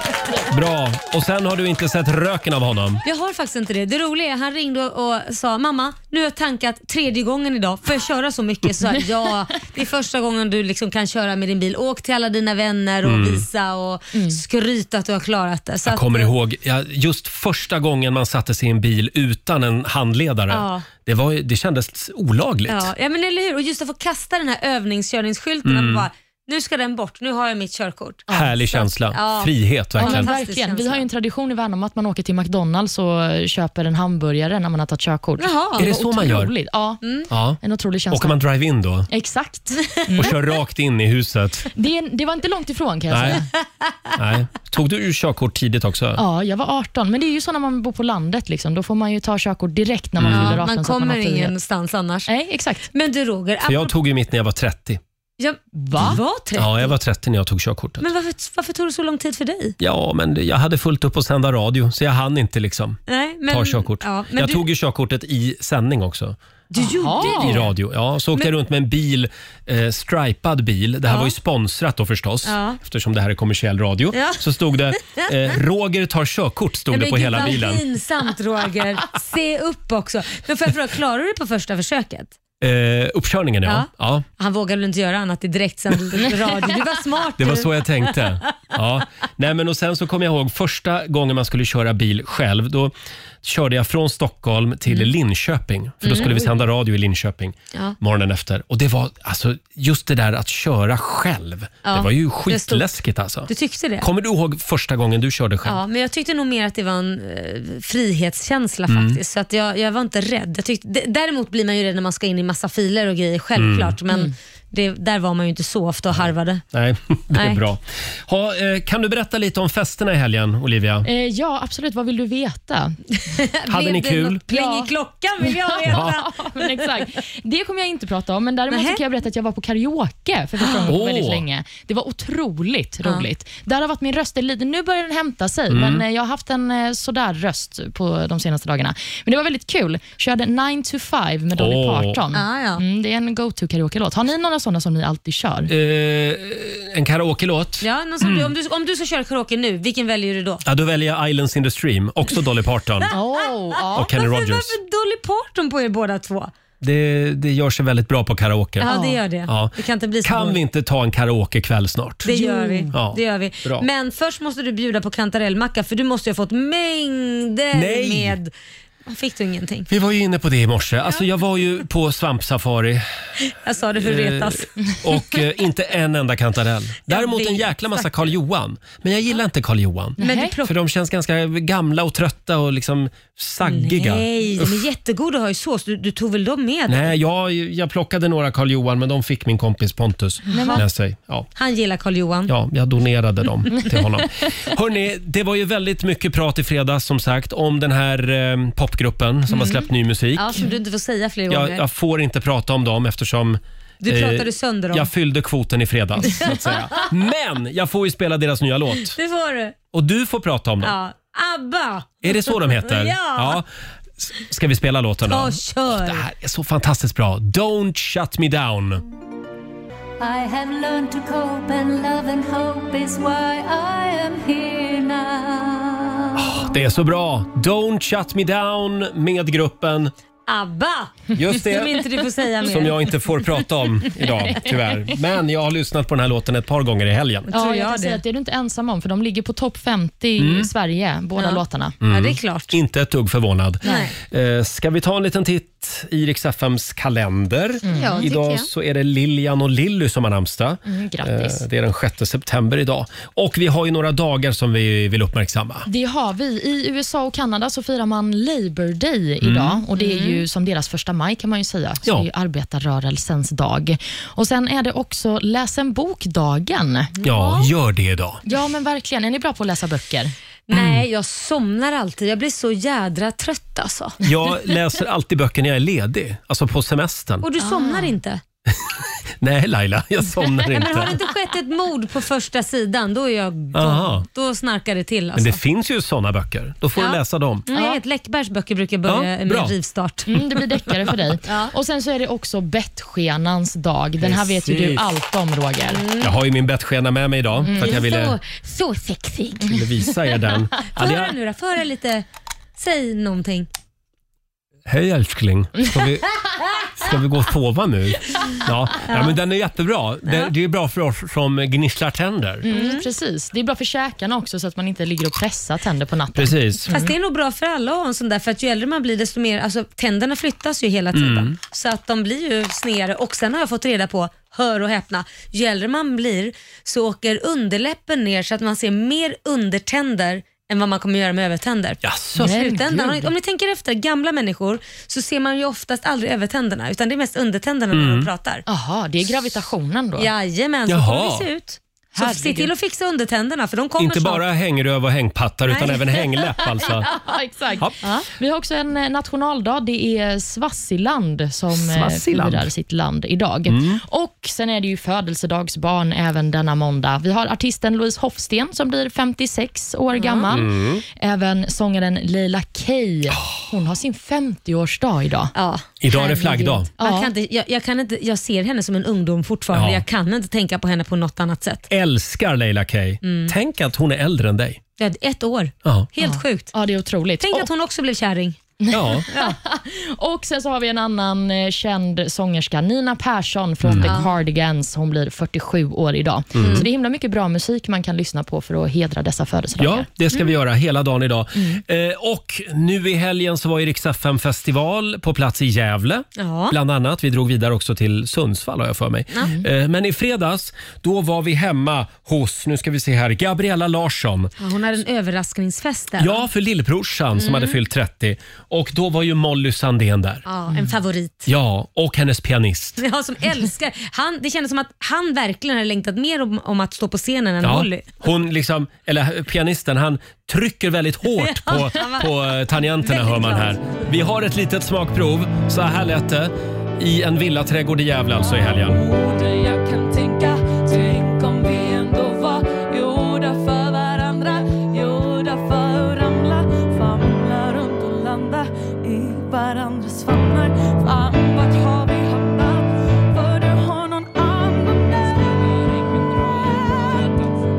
Speaker 1: Bra. Och sen har du inte sett röken av honom.
Speaker 2: Jag har faktiskt inte det. Det roliga är han ringde och och sa mamma, nu har jag tankat tredje gången idag. Får jag köra så mycket? Så jag,
Speaker 1: (laughs)
Speaker 2: ja, det är första gången du liksom kan köra med din bil. Åk till alla dina vänner och visa och skryta att du har klarat det. Så
Speaker 1: Mm. Jag kommer
Speaker 2: att,
Speaker 1: ihåg ja, just första gången man satte sig i en bil utan en handledare.
Speaker 2: Ja.
Speaker 1: Det, var, ju- det kändes olagligt.
Speaker 2: Ja, ja men eller hur. Och just att få kasta den här övningskörningsskylten. Och bara, nu ska den bort, nu har jag mitt körkort.
Speaker 1: Mm. Härlig
Speaker 2: Så att-
Speaker 1: känsla.
Speaker 2: ja.
Speaker 1: Frihet
Speaker 4: Ja, men
Speaker 1: verkligen.
Speaker 2: Fantastisk
Speaker 4: verkligen. Vi
Speaker 2: känsla.
Speaker 4: har ju en tradition i Värnamo att man åker till McDonalds och eh, köper en hamburgare när man har tagit körkort.
Speaker 2: Jaha. Mm.
Speaker 1: Är det så man gör?
Speaker 4: Otroligt. Ja,
Speaker 1: Ja.
Speaker 4: en otrolig
Speaker 1: Åker
Speaker 4: känsla.
Speaker 1: man drive-in då
Speaker 4: Exakt.
Speaker 1: och kör rakt in i huset?
Speaker 4: Det, det var inte långt ifrån kan Mm. jag
Speaker 1: Nej.
Speaker 4: säga.
Speaker 1: Nej. Tog du ur körkort tidigt också?
Speaker 4: Ja, jag var 18, men det är ju så när man bor på landet. Liksom. Då får man ju ta körkort direkt när man
Speaker 1: Mm.
Speaker 4: fyller 18.
Speaker 2: Ja, man
Speaker 4: så att man
Speaker 2: kommer
Speaker 4: har frihet.
Speaker 2: ingenstans annars.
Speaker 4: Nej, exakt.
Speaker 2: Men du Roger,
Speaker 1: För jag tog ju mitt när jag var 30.
Speaker 2: jag,
Speaker 4: Va?
Speaker 2: var 30.
Speaker 1: Ja, jag var 30 när jag tog körkortet.
Speaker 2: Men varför, varför tog det så lång tid för dig?
Speaker 1: Ja, men det- jag hade fullt upp att sända radio så jag hann inte liksom
Speaker 2: Nej, men,
Speaker 1: ta körkort.
Speaker 2: Ja, men
Speaker 1: jag
Speaker 2: du,
Speaker 1: tog ju körkortet i sändning också.
Speaker 2: du gjorde
Speaker 4: Jaha.
Speaker 1: i
Speaker 2: det?
Speaker 1: radio. Ja, så åkte
Speaker 2: Ah. Men-
Speaker 1: jag runt med en bil, eh, stripad bil. Det här
Speaker 2: Ja.
Speaker 1: var ju sponsrat då förstås,
Speaker 2: Ja.
Speaker 1: eftersom det här är kommersiell radio.
Speaker 2: Ja.
Speaker 1: Så stod
Speaker 2: (laughs)
Speaker 1: det eh, “Roger tar körkort” stod det på hela bilen.
Speaker 2: Vad pinsamt Roger. Se upp också. Men får jag fråga, klarar du det på första försöket?
Speaker 1: Eh, uppkörningen ja.
Speaker 2: Ja.
Speaker 1: ja.
Speaker 2: Han vågade väl inte göra annat
Speaker 1: (laughs)
Speaker 2: i direktsänd radio. Du var smart
Speaker 1: Det var
Speaker 2: du.
Speaker 1: så jag
Speaker 2: (laughs)
Speaker 1: tänkte. Ja. Nej, men och sen så kommer jag ihåg första gången man skulle köra bil själv. Då körde jag från Stockholm till Linköping. För då skulle vi sända radio i Linköping
Speaker 2: Mm. Ja.
Speaker 1: morgonen efter. Och det var alltså just det där att köra själv.
Speaker 2: Ja,
Speaker 1: Det var ju
Speaker 2: det stod-
Speaker 1: skitläskigt alltså.
Speaker 2: Du tyckte det?
Speaker 1: Kommer du ihåg första gången du körde själv?
Speaker 2: Ja, men jag tyckte nog mer att det var en eh, frihetskänsla
Speaker 1: Mm.
Speaker 2: faktiskt. Så att jag, jag var inte rädd. Jag tyckte, d- däremot blir man ju rädd när man ska in i massa filer och grejer, självklart.
Speaker 1: Mm.
Speaker 2: Men det, där var man ju inte så ofta och harvade.
Speaker 1: Nej, (laughs) det är
Speaker 2: Nej.
Speaker 1: bra. Ha, eh, kan du berätta lite om festerna i helgen, Olivia?
Speaker 4: Eh, ja, absolut. Vad vill du veta?
Speaker 1: Hade
Speaker 2: Blev
Speaker 1: ni
Speaker 2: det
Speaker 1: kul?
Speaker 2: något Pling
Speaker 4: Ja.
Speaker 2: i klockan
Speaker 1: (laughs)
Speaker 2: vill jag veta.
Speaker 4: Ja, men exakt. Det kommer jag inte prata om, men däremot så
Speaker 2: Nähä.
Speaker 4: kan jag berätta att jag var på karaoke för första gången på
Speaker 1: Åh.
Speaker 4: väldigt länge. Det var otroligt roligt. Där har varit min röst är lite, nu börjar den hämta sig,
Speaker 1: Mm.
Speaker 4: men eh, jag har haft en eh, sådär röst på de senaste dagarna. Men det var väldigt kul. Körde 9 to 5 med Dolly
Speaker 1: Åh.
Speaker 4: Parton.
Speaker 2: Ah, ja.
Speaker 4: Mm, det är en go-to karaoke-låt. Har ni några sådana som ni alltid kör?
Speaker 1: Eh, en karaoke-låt? Ja.
Speaker 2: Ja, någon som
Speaker 1: Mm.
Speaker 2: du, om, du, om du ska köra karaoke nu, vilken väljer du då?
Speaker 1: då väljer jag Islands in the Stream, också Dolly
Speaker 2: (laughs)
Speaker 1: Parton.
Speaker 4: Oh, ja.
Speaker 1: Och Kenny
Speaker 2: varför,
Speaker 1: Rogers.
Speaker 2: varför Dolly Parton på er båda två?
Speaker 1: Det, det gör sig väldigt bra på karaoke.
Speaker 2: Ja, det gör det.
Speaker 1: Ja.
Speaker 2: Det kan inte bli så
Speaker 1: Kan
Speaker 2: dåligt.
Speaker 1: vi inte ta en karaokekväll snart?
Speaker 2: Det gör vi.
Speaker 1: Ja,
Speaker 2: det gör vi.
Speaker 1: bra.
Speaker 2: Men först måste du bjuda på kantarellmacka för du måste ju ha fått mängder
Speaker 1: Nej.
Speaker 2: med... Fick du ingenting?
Speaker 1: Vi var ju inne på det i morse. Alltså, jag var ju på svampsafari
Speaker 2: Jag sa det för att
Speaker 1: eh,
Speaker 2: retas.
Speaker 1: och eh, inte en enda kantarell. Däremot en
Speaker 2: vet, Mm.
Speaker 1: jäkla massa Karl-Johan. Men jag gillar inte Karl-Johan.
Speaker 2: Men du
Speaker 4: Nej.
Speaker 1: För
Speaker 2: plockar...
Speaker 1: de känns ganska gamla och trötta och liksom saggiga.
Speaker 2: Nej, de är jättegoda och har ju sås. Du, du tog väl dem med?
Speaker 1: Nej, jag, jag plockade några Karl Johan men de fick min kompis Pontus med sig. Ja.
Speaker 2: Han gillar Karl-Johan.
Speaker 1: Ja, jag donerade dem till honom. Hörrni, det var ju väldigt mycket prat i fredags som sagt om den här eh,
Speaker 2: Mm.
Speaker 1: popgruppen som har släppt ny musik.
Speaker 2: Ja, som du inte får säga fler
Speaker 1: Jag,
Speaker 2: gånger.
Speaker 1: jag får inte prata om dem eftersom
Speaker 2: Du pratade sönder dem.
Speaker 1: Jag fyllde kvoten i fredags. Så att
Speaker 2: (laughs)
Speaker 1: säga. Men jag får ju spela deras nya låt.
Speaker 2: Det får du.
Speaker 1: Och du får prata om dem.
Speaker 2: Ja. ABBA!
Speaker 1: Är det så de heter?
Speaker 2: (laughs) Ja.
Speaker 1: S- Ska vi spela låten då?
Speaker 2: Ta och kör.
Speaker 1: Det här är så fantastiskt bra. Don't shut me down.
Speaker 6: I have learned to cope and love and hope is why I am here now.
Speaker 1: Det är så bra. Don't shut me down med gruppen.
Speaker 2: ABBA!
Speaker 1: Just
Speaker 2: Som
Speaker 1: det.
Speaker 2: inte du får säga mer.
Speaker 1: Som jag inte får prata
Speaker 2: (laughs)
Speaker 1: om idag, tyvärr. Men jag har lyssnat på den här låten ett par gånger i helgen.
Speaker 4: Ja,
Speaker 2: Tror
Speaker 4: jag,
Speaker 2: jag
Speaker 4: kan
Speaker 2: det.
Speaker 4: säga att det är du inte ensam om, för de ligger på topp 50
Speaker 1: Mm.
Speaker 4: i Sverige, båda låtarna.
Speaker 2: Ja, det är klart.
Speaker 1: Inte ett dugg förvånad.
Speaker 2: Nej.
Speaker 1: Eh, Ska vi ta en liten titt i Rix FMs kalender?
Speaker 2: Mm. Ja, tycker
Speaker 1: idag
Speaker 2: jag.
Speaker 1: så är det Lilian och Lilly som har namnsdag.
Speaker 4: Mm, grattis.
Speaker 1: Eh, Det är den 6 september idag. Och vi har ju några dagar som vi vill uppmärksamma.
Speaker 4: Det har vi. I USA och Kanada så firar man Labour Day idag och det är ju som deras första maj kan man ju säga. Så
Speaker 1: Mm. Ja.
Speaker 4: Det är ju arbetarrörelsens dag. Och Sen är det också läs en bok-dagen.
Speaker 1: Ja, gör det idag.
Speaker 4: Ja, men verkligen. Är ni bra på att läsa böcker?
Speaker 2: Nej, jag somnar alltid. Jag blir så jädra trött alltså.
Speaker 1: Jag läser alltid böcker när jag är ledig, alltså på semestern.
Speaker 2: Och du somnar inte?
Speaker 1: Nej Laila, jag
Speaker 2: (laughs)
Speaker 1: somnar
Speaker 2: Men har det
Speaker 1: inte.
Speaker 2: inte skett ett mord på första sidan, då är jag
Speaker 1: Aha.
Speaker 2: då, då snarkar det till
Speaker 1: Men
Speaker 2: alltså.
Speaker 1: det finns ju såna böcker. Då får du
Speaker 2: Ja.
Speaker 1: läsa dem.
Speaker 2: Mm, Jag vet, Läckbergs böcker brukar
Speaker 1: Ja,
Speaker 2: börja
Speaker 1: bra.
Speaker 2: med rivstart.
Speaker 4: Mm, det blir deckare
Speaker 1: (laughs)
Speaker 4: för dig. Och Sen så är det också bettskenans dag. Den här vet ju du
Speaker 1: Precis. Mm.
Speaker 4: allt om, Roger.
Speaker 1: Jag har ju min bettskena med mig idag för
Speaker 2: Mm.
Speaker 1: att jag ville,
Speaker 2: Så, så sexig.
Speaker 1: ville visa er
Speaker 2: (laughs)
Speaker 1: den.
Speaker 2: Få
Speaker 1: Hade jag,
Speaker 2: höra nu då, få höra lite. Säg någonting.
Speaker 1: Hej älskling, ska vi, ska vi gå och sova nu? Ja, ja men den är jättebra. Det, det är bra för oss som gnisslar tänder.
Speaker 4: Mm, Precis. Det är bra för käkarna också, så att man inte ligger och pressar tänder på natten.
Speaker 1: Precis.
Speaker 2: Fast det är nog bra för alla att ha en sån där, för att ju äldre man blir desto mer, alltså tänderna flyttas ju hela tiden.
Speaker 1: Mm.
Speaker 2: Så att de blir ju snedare och sen har jag fått reda på, hör och häpna, ju äldre man blir så åker underläppen ner så att man ser mer undertänder än vad man kommer göra med övertänder.
Speaker 1: Jaså?
Speaker 2: I
Speaker 4: Men
Speaker 2: slutändan, om
Speaker 4: gud.
Speaker 2: ni- om ni tänker efter, gamla människor så ser man ju oftast aldrig övertänderna utan det är mest undertänderna när
Speaker 1: Mm.
Speaker 2: de pratar.
Speaker 4: Jaha, det är gravitationen då?
Speaker 2: Jajamän, så
Speaker 1: Jaha.
Speaker 2: kommer det se ut. Så
Speaker 4: Herregud.
Speaker 2: se till att fixa undertänderna för de kommer
Speaker 1: Inte
Speaker 2: snart.
Speaker 1: bara hängröv och hängpattar utan
Speaker 2: Nej.
Speaker 1: även hängläpp
Speaker 2: (laughs)
Speaker 1: alltså.
Speaker 4: (laughs) Ja, exakt.
Speaker 1: Ja.
Speaker 4: Vi har också en eh, nationaldag. Det är Swaziland som eh,
Speaker 1: Swaziland.
Speaker 4: firar sitt land idag.
Speaker 2: Mm.
Speaker 4: Och Sen är det ju födelsedagsbarn även denna måndag. Vi har artisten Louise Hofsten som blir 56 år
Speaker 2: Mm.
Speaker 4: gammal. Även sångaren Leila Kay. Hon har sin 50-årsdag idag.
Speaker 2: Ja.
Speaker 1: Idag är det flaggdag.
Speaker 2: Jag,
Speaker 4: Ja.
Speaker 2: kan inte, jag, jag, kan inte, jag ser henne som en ungdom fortfarande.
Speaker 1: Ja.
Speaker 2: Jag kan inte tänka på henne på något annat sätt.
Speaker 1: Älskar Leila Kay.
Speaker 2: Mm.
Speaker 1: Tänk att hon är äldre än dig.
Speaker 2: Jag hade Ett år. (laughs)
Speaker 1: Ja.
Speaker 2: Helt sjukt.
Speaker 4: Ja, det är otroligt.
Speaker 2: Tänk
Speaker 4: Och-
Speaker 2: att hon också blev kärring.
Speaker 1: ja.
Speaker 4: Och sen så har vi en annan eh, känd sångerska, Nina Persson från
Speaker 2: Mm.
Speaker 4: The Cardigans. Hon blir 47 år idag. Så det är himla mycket bra musik man kan lyssna på för att hedra dessa födelsedagar.
Speaker 1: Ja, det ska
Speaker 2: Mm.
Speaker 1: vi göra hela dagen idag. Eh, och nu i helgen så var ju Rix FM festival på plats i Gävle.
Speaker 2: Ja. Mm.
Speaker 1: Bland annat. Vi drog vidare också till Sundsvall har jag för mig. Eh, men i fredags, då var vi hemma hos, nu ska vi se här, Gabriella Larsson.
Speaker 2: Ja, hon hade en överraskningsfest där.
Speaker 1: Ja, för lillbrorsan som hade fyllt 30. Och då var ju Molly Sandén där.
Speaker 2: Mm. Ja, en favorit. (laughs)
Speaker 1: Ja, och hennes pianist.
Speaker 2: Ja, som älskar. Han, det kändes som att han verkligen hade längtat mer om, om att stå på scenen än
Speaker 1: Ja,
Speaker 2: Molly.
Speaker 1: hon liksom, eller pianisten, han trycker väldigt hårt på, på eh, tangenterna
Speaker 2: Väldigt
Speaker 1: hör man här. Vi har ett litet smakprov. Så här lät det i en villaträdgård i Gävle alltså i helgen.
Speaker 6: Orden jag kan tänka, tänk om vi ändå var gjorda för varandra, gjorda för att ramla, famla runt och landa i varandras famnar. Fan, vart har vi hamnat? För du har någon annan där.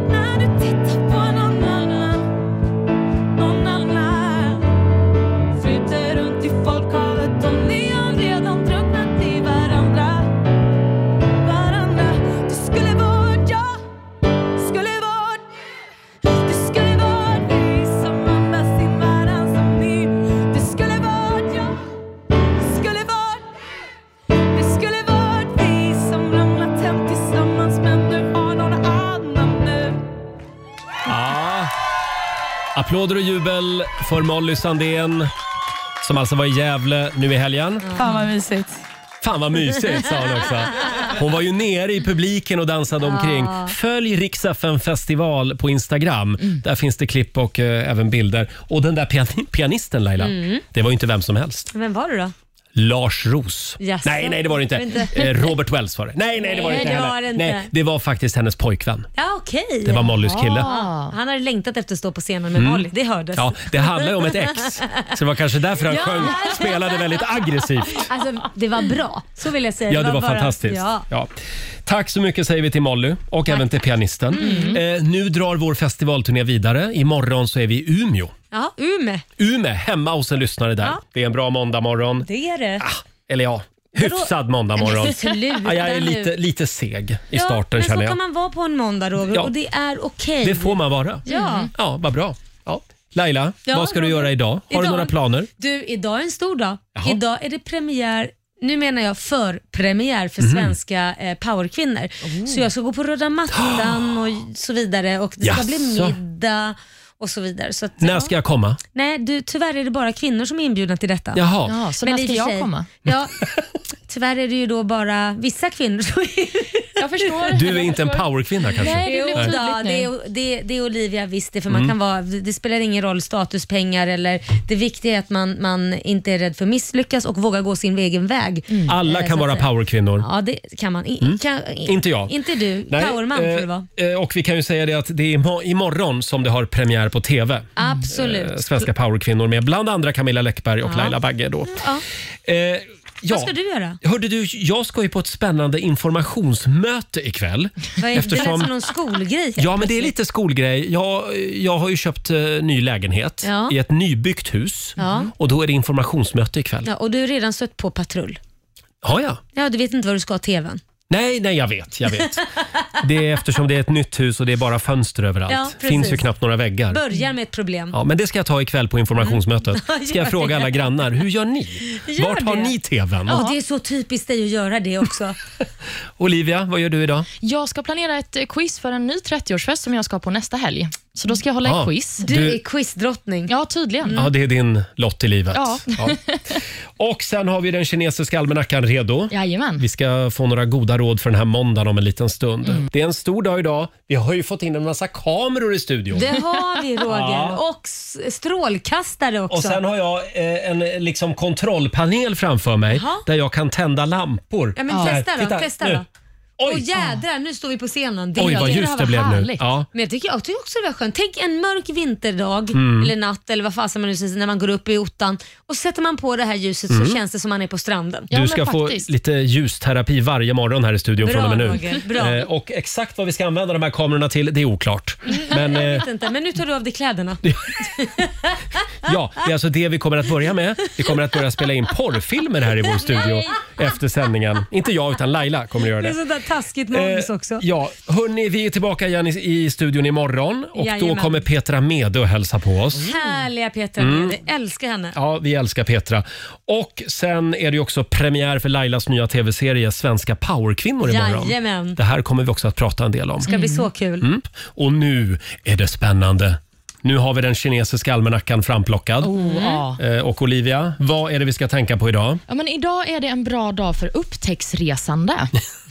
Speaker 6: När du tittar på någon annan, någon annan flyter runt i folkhavet och ni har redan drunknat i varandra varandra. Det skulle vara jag, skulle vara Det skulle vara vi som andas in varandra som ni. Det skulle vara jag, det skulle vara Det skulle vara vi som ramlat hem tillsammans men du har någon annan nu.
Speaker 1: Ja. Applåder och jubel för Molly Sandén som alltså var i Gävle nu i helgen.
Speaker 6: Fan vad mysigt.
Speaker 1: Fan vad mysigt sa hon också. Hon var ju nere i publiken och dansade omkring.
Speaker 2: Ah.
Speaker 1: Följ Rix FM festival på Instagram.
Speaker 2: Mm.
Speaker 1: Där finns det klipp och
Speaker 2: Mm.
Speaker 1: eh, även bilder. Och den där pian- pianisten Laila, det var ju inte vem som helst.
Speaker 2: Vem var det då?
Speaker 1: Lars Roos.
Speaker 2: Jaså?
Speaker 1: Nej, nej det var det inte.
Speaker 2: Var det inte?
Speaker 1: Eh, Robert Wells var det. Nej, nej det var det
Speaker 2: Nej,
Speaker 1: inte
Speaker 2: det
Speaker 1: heller.
Speaker 2: var det inte.
Speaker 1: Nej, det var faktiskt hennes pojkvän.
Speaker 2: Ja, okej.
Speaker 1: Det var Mollys kille.
Speaker 4: Ah.
Speaker 2: Ja, Han hade längtat efter att stå på scenen med Molly, det hördes.
Speaker 1: Ja, det handlar ju om ett
Speaker 2: (laughs)
Speaker 1: ex. Så det var kanske därför han
Speaker 2: Ja.
Speaker 1: sjöng, spelade väldigt aggressivt.
Speaker 2: Alltså, det var bra, så vill jag säga.
Speaker 1: Ja, det var
Speaker 2: bara-
Speaker 1: fantastiskt.
Speaker 2: Ja.
Speaker 1: Ja. Tack så mycket säger vi till Molly och även till pianisten.
Speaker 2: Mm.
Speaker 1: Eh, nu drar vår festivalturné vidare. Imorgon så är vi i Umeå.
Speaker 2: ja, Ume,
Speaker 1: Umeå, hemma hos en lyssnare där.
Speaker 2: Ja.
Speaker 1: Det är en bra måndagmorgon.
Speaker 2: det är det.
Speaker 1: Eller ja, hyfsad
Speaker 2: (laughs)
Speaker 1: måndagmorgon.
Speaker 2: Men sluta
Speaker 1: Ja, Ah, jag är
Speaker 2: nu.
Speaker 1: lite, lite seg i starten
Speaker 2: men så
Speaker 1: känner jag.
Speaker 2: kan man vara på en måndag Roger
Speaker 1: Ja.
Speaker 2: och det är okej.
Speaker 1: Det får man vara.
Speaker 2: Ja.
Speaker 4: Mhm.
Speaker 1: Ja, vad bra. Ja. Laila,
Speaker 2: Ja,
Speaker 1: vad ska du
Speaker 2: Roger.
Speaker 1: göra idag? Har du
Speaker 2: Idag-
Speaker 1: några planer?
Speaker 2: Du, idag är en stor dag.
Speaker 1: Jaha.
Speaker 2: Idag är det premiär nu menar jag förpremiär
Speaker 1: Mhm.
Speaker 2: för svenska eh, powerkvinnor.
Speaker 1: Oh.
Speaker 2: Så jag ska gå på röda mattan och så vidare och det ska bli
Speaker 1: Jaså.
Speaker 2: middag och så vidare. Så att,
Speaker 1: När ska jag komma?
Speaker 2: Nej, du, tyvärr är det bara kvinnor som är inbjudna till detta.
Speaker 1: Jaha.
Speaker 4: Ja, så
Speaker 2: Men
Speaker 4: när
Speaker 2: i och
Speaker 4: ska
Speaker 2: för
Speaker 4: jag
Speaker 2: sig-
Speaker 4: komma?
Speaker 1: (laughs)
Speaker 2: Ja, tyvärr är det ju då bara vissa kvinnor som är
Speaker 4: (laughs) Jag förstår.
Speaker 1: Du är inte en powerkvinna kanske?
Speaker 4: Nej, det blir
Speaker 2: Jo,
Speaker 4: tydligt
Speaker 2: då,
Speaker 4: nu.
Speaker 2: det, är, Mm. det, det är Olivia visst det, för man kan vara, det spelar ingen roll statuspengar eller det viktiga är att man, man inte är rädd för att misslyckas och vågar gå sin egen väg.
Speaker 1: Alla
Speaker 2: Eh,
Speaker 1: kan
Speaker 2: så
Speaker 1: vara
Speaker 2: att säga.
Speaker 1: powerkvinnor.
Speaker 2: Ja, det kan man. I, kan, i,
Speaker 1: Inte jag.
Speaker 2: Inte du.
Speaker 1: Nej,
Speaker 2: Powerman får du
Speaker 1: eh,
Speaker 2: vara.
Speaker 1: eh, Och vi kan ju säga det att det är imo- imorgon som det har premiär på TV.
Speaker 2: Absolut.
Speaker 1: Eh, Svenska powerkvinnor med bland andra Camilla Läckberg och Laila Bagge. Då.
Speaker 2: Mm, Ja.
Speaker 1: Eh, ja.
Speaker 2: Vad ska du göra?
Speaker 1: Hörde du, jag ska ju på ett spännande informationsmöte
Speaker 2: (laughs)
Speaker 1: ikväll.
Speaker 2: Vad är, Det lät som någon skolgrej.
Speaker 1: Ja, men det är lite skolgrej. Jag, jag har ju köpt eh, ny lägenhet
Speaker 2: Ja.
Speaker 1: i ett nybyggt hus
Speaker 2: Ja.
Speaker 1: och då är det informationsmöte ikväll.
Speaker 2: Ja, och du är redan sött på patrull.
Speaker 1: Har jag?
Speaker 2: Ja, du vet inte vad du ska ha TVn.
Speaker 1: Nej, nej, jag vet. Jag
Speaker 2: (laughs)
Speaker 1: vet. det är eftersom det är ett nytt hus och det är bara fönster överallt.
Speaker 2: Ja,
Speaker 1: det
Speaker 2: precis.
Speaker 1: finns ju knappt några väggar.
Speaker 2: Börjar med ett problem.
Speaker 1: Ja, men det ska jag ta ikväll på
Speaker 2: (laughs)
Speaker 1: informationsmötet. Ska jag
Speaker 2: Mm. Gör
Speaker 1: fråga
Speaker 2: det.
Speaker 1: alla grannar, hur gör ni?
Speaker 2: Gör
Speaker 1: Vart har
Speaker 2: det.
Speaker 1: ni TVn?
Speaker 2: Ja, det är så typiskt dig att göra det också.
Speaker 1: Olivia, vad gör du idag?
Speaker 2: Mm.
Speaker 4: Jag ska planera ett eh, quiz för en ny 30-årsfest som jag ska ha på nästa helg. Så då ska jag hålla
Speaker 1: Ah. Mm.
Speaker 4: ett quiz.
Speaker 2: Du,
Speaker 1: Du-
Speaker 2: är quizdrottning.
Speaker 4: Ja, tydligen.
Speaker 1: Ja, det är din lott i livet.
Speaker 4: Ja.
Speaker 1: Och sen har vi den kinesiska almanackan redo.
Speaker 4: Jajamän.
Speaker 1: Vi ska få några goda råd för den här måndagen om en liten stund.
Speaker 2: Mm.
Speaker 1: Det är en stor dag idag. Vi har ju fått in en massa kameror i studion.
Speaker 2: Det har vi Roger. Och s- strålkastare också.
Speaker 1: Och sen har jag eh, en eh, liksom kontrollpanel framför mig
Speaker 2: Jaha.
Speaker 1: där jag kan tända lampor.
Speaker 2: Ja, men
Speaker 1: Så här,
Speaker 2: testa då,
Speaker 1: titta,
Speaker 2: testa
Speaker 1: nu.
Speaker 2: då.
Speaker 1: Oj,
Speaker 2: Åh jädrar, nu står vi på scenen. Det
Speaker 1: Oj vad
Speaker 4: tycker det
Speaker 1: ljust
Speaker 4: här
Speaker 1: det
Speaker 4: var
Speaker 1: blev nu.
Speaker 4: härligt.
Speaker 1: Ja.
Speaker 2: Men jag tycker, jag tycker också det var skönt. Tänk en mörk vinterdag
Speaker 1: Mm.
Speaker 2: eller natt eller vad fasen man nu säger när man går upp i ottan och sätter man på det här ljuset
Speaker 1: Mm.
Speaker 2: så känns det som man är på stranden.
Speaker 4: Ja,
Speaker 1: Du
Speaker 4: men
Speaker 1: ska få
Speaker 4: faktiskt.
Speaker 1: lite ljusterapi varje morgon här i studion
Speaker 2: Bra,
Speaker 1: från och med nu.
Speaker 2: Roger, bra.
Speaker 1: Eh, och exakt vad vi ska använda de här kamerorna till, det är oklart. Men
Speaker 2: Jag
Speaker 1: eh,
Speaker 2: vet inte, men nu tar du av dig kläderna.
Speaker 1: ja, det är alltså det vi kommer att börja med. Vi kommer att börja spela in porrfilmer här i vår studio efter sändningen. Inte jag, utan Laila kommer att göra
Speaker 2: Det är
Speaker 1: det.
Speaker 2: sånt där taskigt manus
Speaker 1: Eh,
Speaker 2: också.
Speaker 1: Ja, hörni, vi är tillbaka igen i, i studion imorgon och då
Speaker 2: Jajamän.
Speaker 1: kommer Petra Mede och hälsa på oss.
Speaker 2: Härliga Petra, jag älskar henne.
Speaker 1: Mm. Ja, vi älskar Petra. Och sen är det ju också premiär för Lailas nya tv-serie Svenska powerkvinnor imorgon.
Speaker 2: Jajamän.
Speaker 1: Det här kommer vi också att prata en del om.
Speaker 2: Det ska bli så kul.
Speaker 1: Mm. Och nu är det spännande. Nu har vi den kinesiska almanackan framplockad.
Speaker 4: Oh, ja.
Speaker 1: Eh, Och Olivia, vad är det vi ska tänka på idag?
Speaker 4: Ja, men idag är det en bra dag
Speaker 1: (laughs)
Speaker 4: för upptäcktsresande.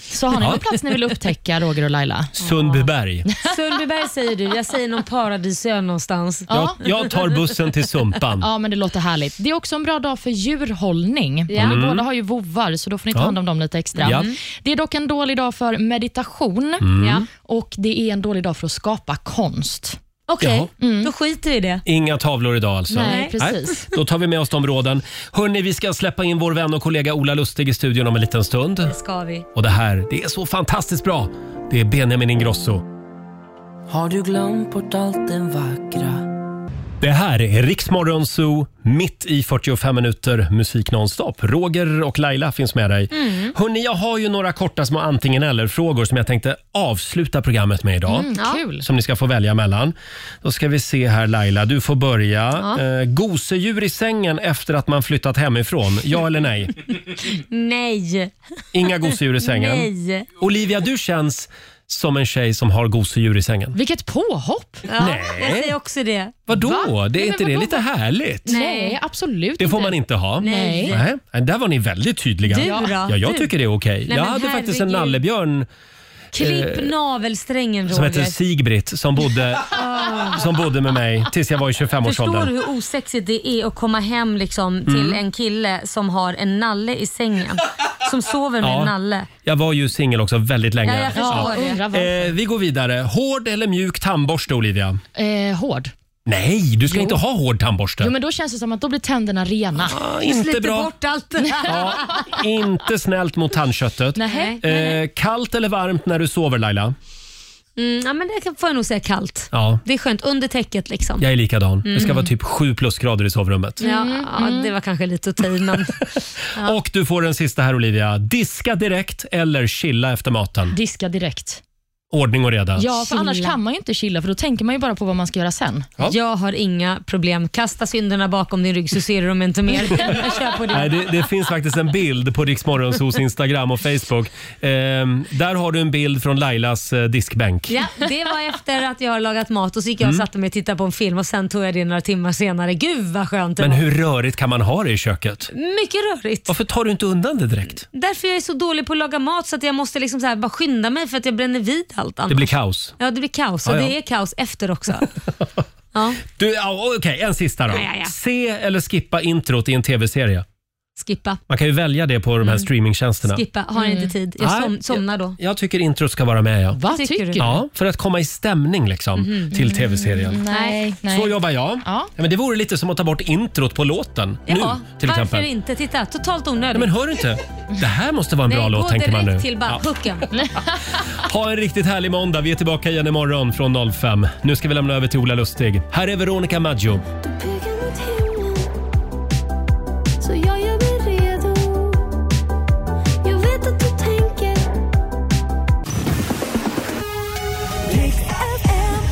Speaker 4: Så har ni någon plats ni vill upptäcka, Roger och Laila?
Speaker 1: Sundbyberg.
Speaker 2: Sundbyberg säger du, jag säger någon paradisö någonstans.
Speaker 4: Ja.
Speaker 1: Jag, jag tar bussen till Sumpan.
Speaker 4: (laughs) Ja, men det låter härligt. Det är också en bra dag för djurhållning.
Speaker 2: Ja.
Speaker 4: Vi båda har ju vovvar, så då får ni ta
Speaker 1: Mm. Ja.
Speaker 4: hand om dem lite extra.
Speaker 1: Ja.
Speaker 4: Det är dock en dålig dag för meditation
Speaker 1: Mm.
Speaker 2: Ja.
Speaker 4: och det är en dålig dag för att skapa konst.
Speaker 2: Okej,
Speaker 1: Jaha.
Speaker 2: då skiter vi i det.
Speaker 1: Inga tavlor idag alltså.
Speaker 4: Nej, precis.
Speaker 1: Då tar vi med oss de råden. Hörni, vi ska släppa in vår vän och kollega Ola Lustig i studion om en liten stund.
Speaker 2: Det ska vi.
Speaker 1: Och det här, det är så fantastiskt bra. Det är Benjamin Ingrosso.
Speaker 6: Har du glömt bort allt den vackra?
Speaker 1: Det här är Riksmorgon Zoo, mitt i 45 minuter musik nonstop. Roger och Laila finns med dig.
Speaker 4: Mm.
Speaker 1: Hörni, jag har ju några korta små antingen eller-frågor som jag tänkte avsluta programmet med idag.
Speaker 4: Kul.
Speaker 1: Som ni ska få välja mellan. Då ska vi se här Laila, du får börja. Eh, gosedjur i sängen efter att man flyttat hemifrån. Ja eller nej?
Speaker 2: Nej,
Speaker 1: Inga gosedjur i sängen.
Speaker 2: nej.
Speaker 1: Olivia, du känns som en tjej som har gosedjur i sängen.
Speaker 4: Vilket påhopp!
Speaker 2: Ja,
Speaker 1: Nej.
Speaker 2: Jag säger också det.
Speaker 1: Vadå?
Speaker 4: Va?
Speaker 1: Det är
Speaker 4: Nej,
Speaker 1: inte
Speaker 4: men
Speaker 1: det
Speaker 4: vadå?
Speaker 1: lite härligt?
Speaker 4: Nej, absolut
Speaker 1: Det får
Speaker 4: inte.
Speaker 1: man inte ha.
Speaker 4: Nej.
Speaker 1: Nej, där var ni väldigt tydliga.
Speaker 2: Du då?
Speaker 1: Ja, jag
Speaker 2: Du?
Speaker 1: tycker det är okej.
Speaker 2: Nej,
Speaker 1: jag
Speaker 2: men
Speaker 1: hade faktiskt en
Speaker 2: herregud.
Speaker 1: nallebjörn
Speaker 2: Klipp
Speaker 1: eh,
Speaker 2: navelsträngen Roger. Ah.
Speaker 1: som hette Sigbritt som
Speaker 2: (laughs)
Speaker 1: bodde, som bodde med mig tills jag var i
Speaker 2: Förstår
Speaker 1: 25-årsåldern.
Speaker 2: du hur osexigt det är att komma hem liksom
Speaker 1: Mm.
Speaker 2: till en kille som har en nalle i sängen? Som sover med
Speaker 1: Ja.
Speaker 2: en nalle.
Speaker 1: Jag var ju singel också väldigt länge.
Speaker 2: Ja, jag förstår
Speaker 4: Ja,
Speaker 2: det.
Speaker 4: undrar vad.
Speaker 1: Eh, vi går vidare. Hård eller mjuk tandborste, Olivia?
Speaker 4: Eh, hård.
Speaker 1: Nej, du ska inte ha hård tandborste.
Speaker 4: Jo, men då känns det som att då blir tänderna rena.
Speaker 1: Ah, inte
Speaker 2: Sliter
Speaker 1: bra.
Speaker 2: bort allt det här.
Speaker 1: Ja, inte snällt mot tandköttet.
Speaker 4: Nej.
Speaker 1: Eh, kallt eller varmt när du sover, Laila?
Speaker 2: Mm, ja, men det kan- får jag nog säga kallt.
Speaker 1: Ja,
Speaker 2: Det är skönt, under täcket liksom.
Speaker 1: jag är likadan. Det ska vara typ 7 plusgrader i sovrummet.
Speaker 2: Ja, ja, det var kanske lite att ta i, men
Speaker 1: Och du får den sista här, Olivia. Diska direkt eller chilla efter maten.
Speaker 4: Diska direkt.
Speaker 1: Ordning och reda.
Speaker 4: Ja, för
Speaker 2: Chilla.
Speaker 4: annars kan man ju inte chilla, för då tänker man ju bara på vad man ska göra sen.
Speaker 1: Ja.
Speaker 2: jag har inga problem. Kasta synderna bakom din rygg så ser du dem inte (laughs) mer. Jag kör på det.
Speaker 1: Nej, det, det finns faktiskt en bild på
Speaker 2: (laughs)
Speaker 1: Riksmorgonsos Instagram och Facebook. Ehm, där har du en bild från Lailas eh, diskbänk.
Speaker 2: (laughs) Ja, det var efter att jag har lagat mat och så gick jag och
Speaker 1: Mm.
Speaker 2: satte mig och tittade på en film och sen tog jag det några timmar senare. Gud vad skönt det
Speaker 1: Men
Speaker 2: var.
Speaker 1: hur rörigt kan man ha det i köket?
Speaker 2: Mycket rörigt.
Speaker 1: Varför tar du inte undan det direkt?
Speaker 2: Därför jag är så dålig på att laga mat så att jag måste liksom så här bara skynda mig för att jag bränner vid allt annat.
Speaker 1: Det blir kaos.
Speaker 2: Ja, det blir kaos och
Speaker 1: Ja, ja.
Speaker 2: det är kaos
Speaker 1: (laughs)
Speaker 2: efter också. Ja,
Speaker 1: Du, ja, Okej, en sista då.
Speaker 2: Ja, ja, ja.
Speaker 1: Se eller skippa introt i en tv-serie.
Speaker 2: skippa.
Speaker 1: Man kan ju välja det på de
Speaker 2: Mm.
Speaker 1: här streamingtjänsterna.
Speaker 2: Skippa, har inte tid. Jag
Speaker 1: Nej,
Speaker 2: som, somnar då.
Speaker 1: Jag tycker introt ska vara med, ja.
Speaker 4: Vad
Speaker 2: Tycker
Speaker 4: tycker,
Speaker 2: du?
Speaker 4: du?
Speaker 1: ja för att komma i stämning liksom,
Speaker 2: Mm-hmm.
Speaker 1: till tv-serien.
Speaker 4: Nej, nej.
Speaker 1: Så jobbar jag.
Speaker 4: Ja.
Speaker 1: men det vore lite som att ta bort introt på låten
Speaker 2: Ja,
Speaker 1: nu till
Speaker 2: varför
Speaker 1: exempel.
Speaker 2: inte? Titta, totalt
Speaker 1: Nej,
Speaker 2: onödigt.
Speaker 1: men hör du inte? Det här måste vara en bra
Speaker 2: Nej,
Speaker 1: låt
Speaker 2: gå
Speaker 1: tänker man nu.
Speaker 2: direkt till bara
Speaker 1: Ja.
Speaker 2: hooken.
Speaker 1: Ha en riktigt härlig måndag. Vi är tillbaka igen imorgon från 05. Nu ska vi lämna över till Ola Lustig. Här är Veronica Maggio.
Speaker 6: Så jag gör mig redo Jag vet att du tänker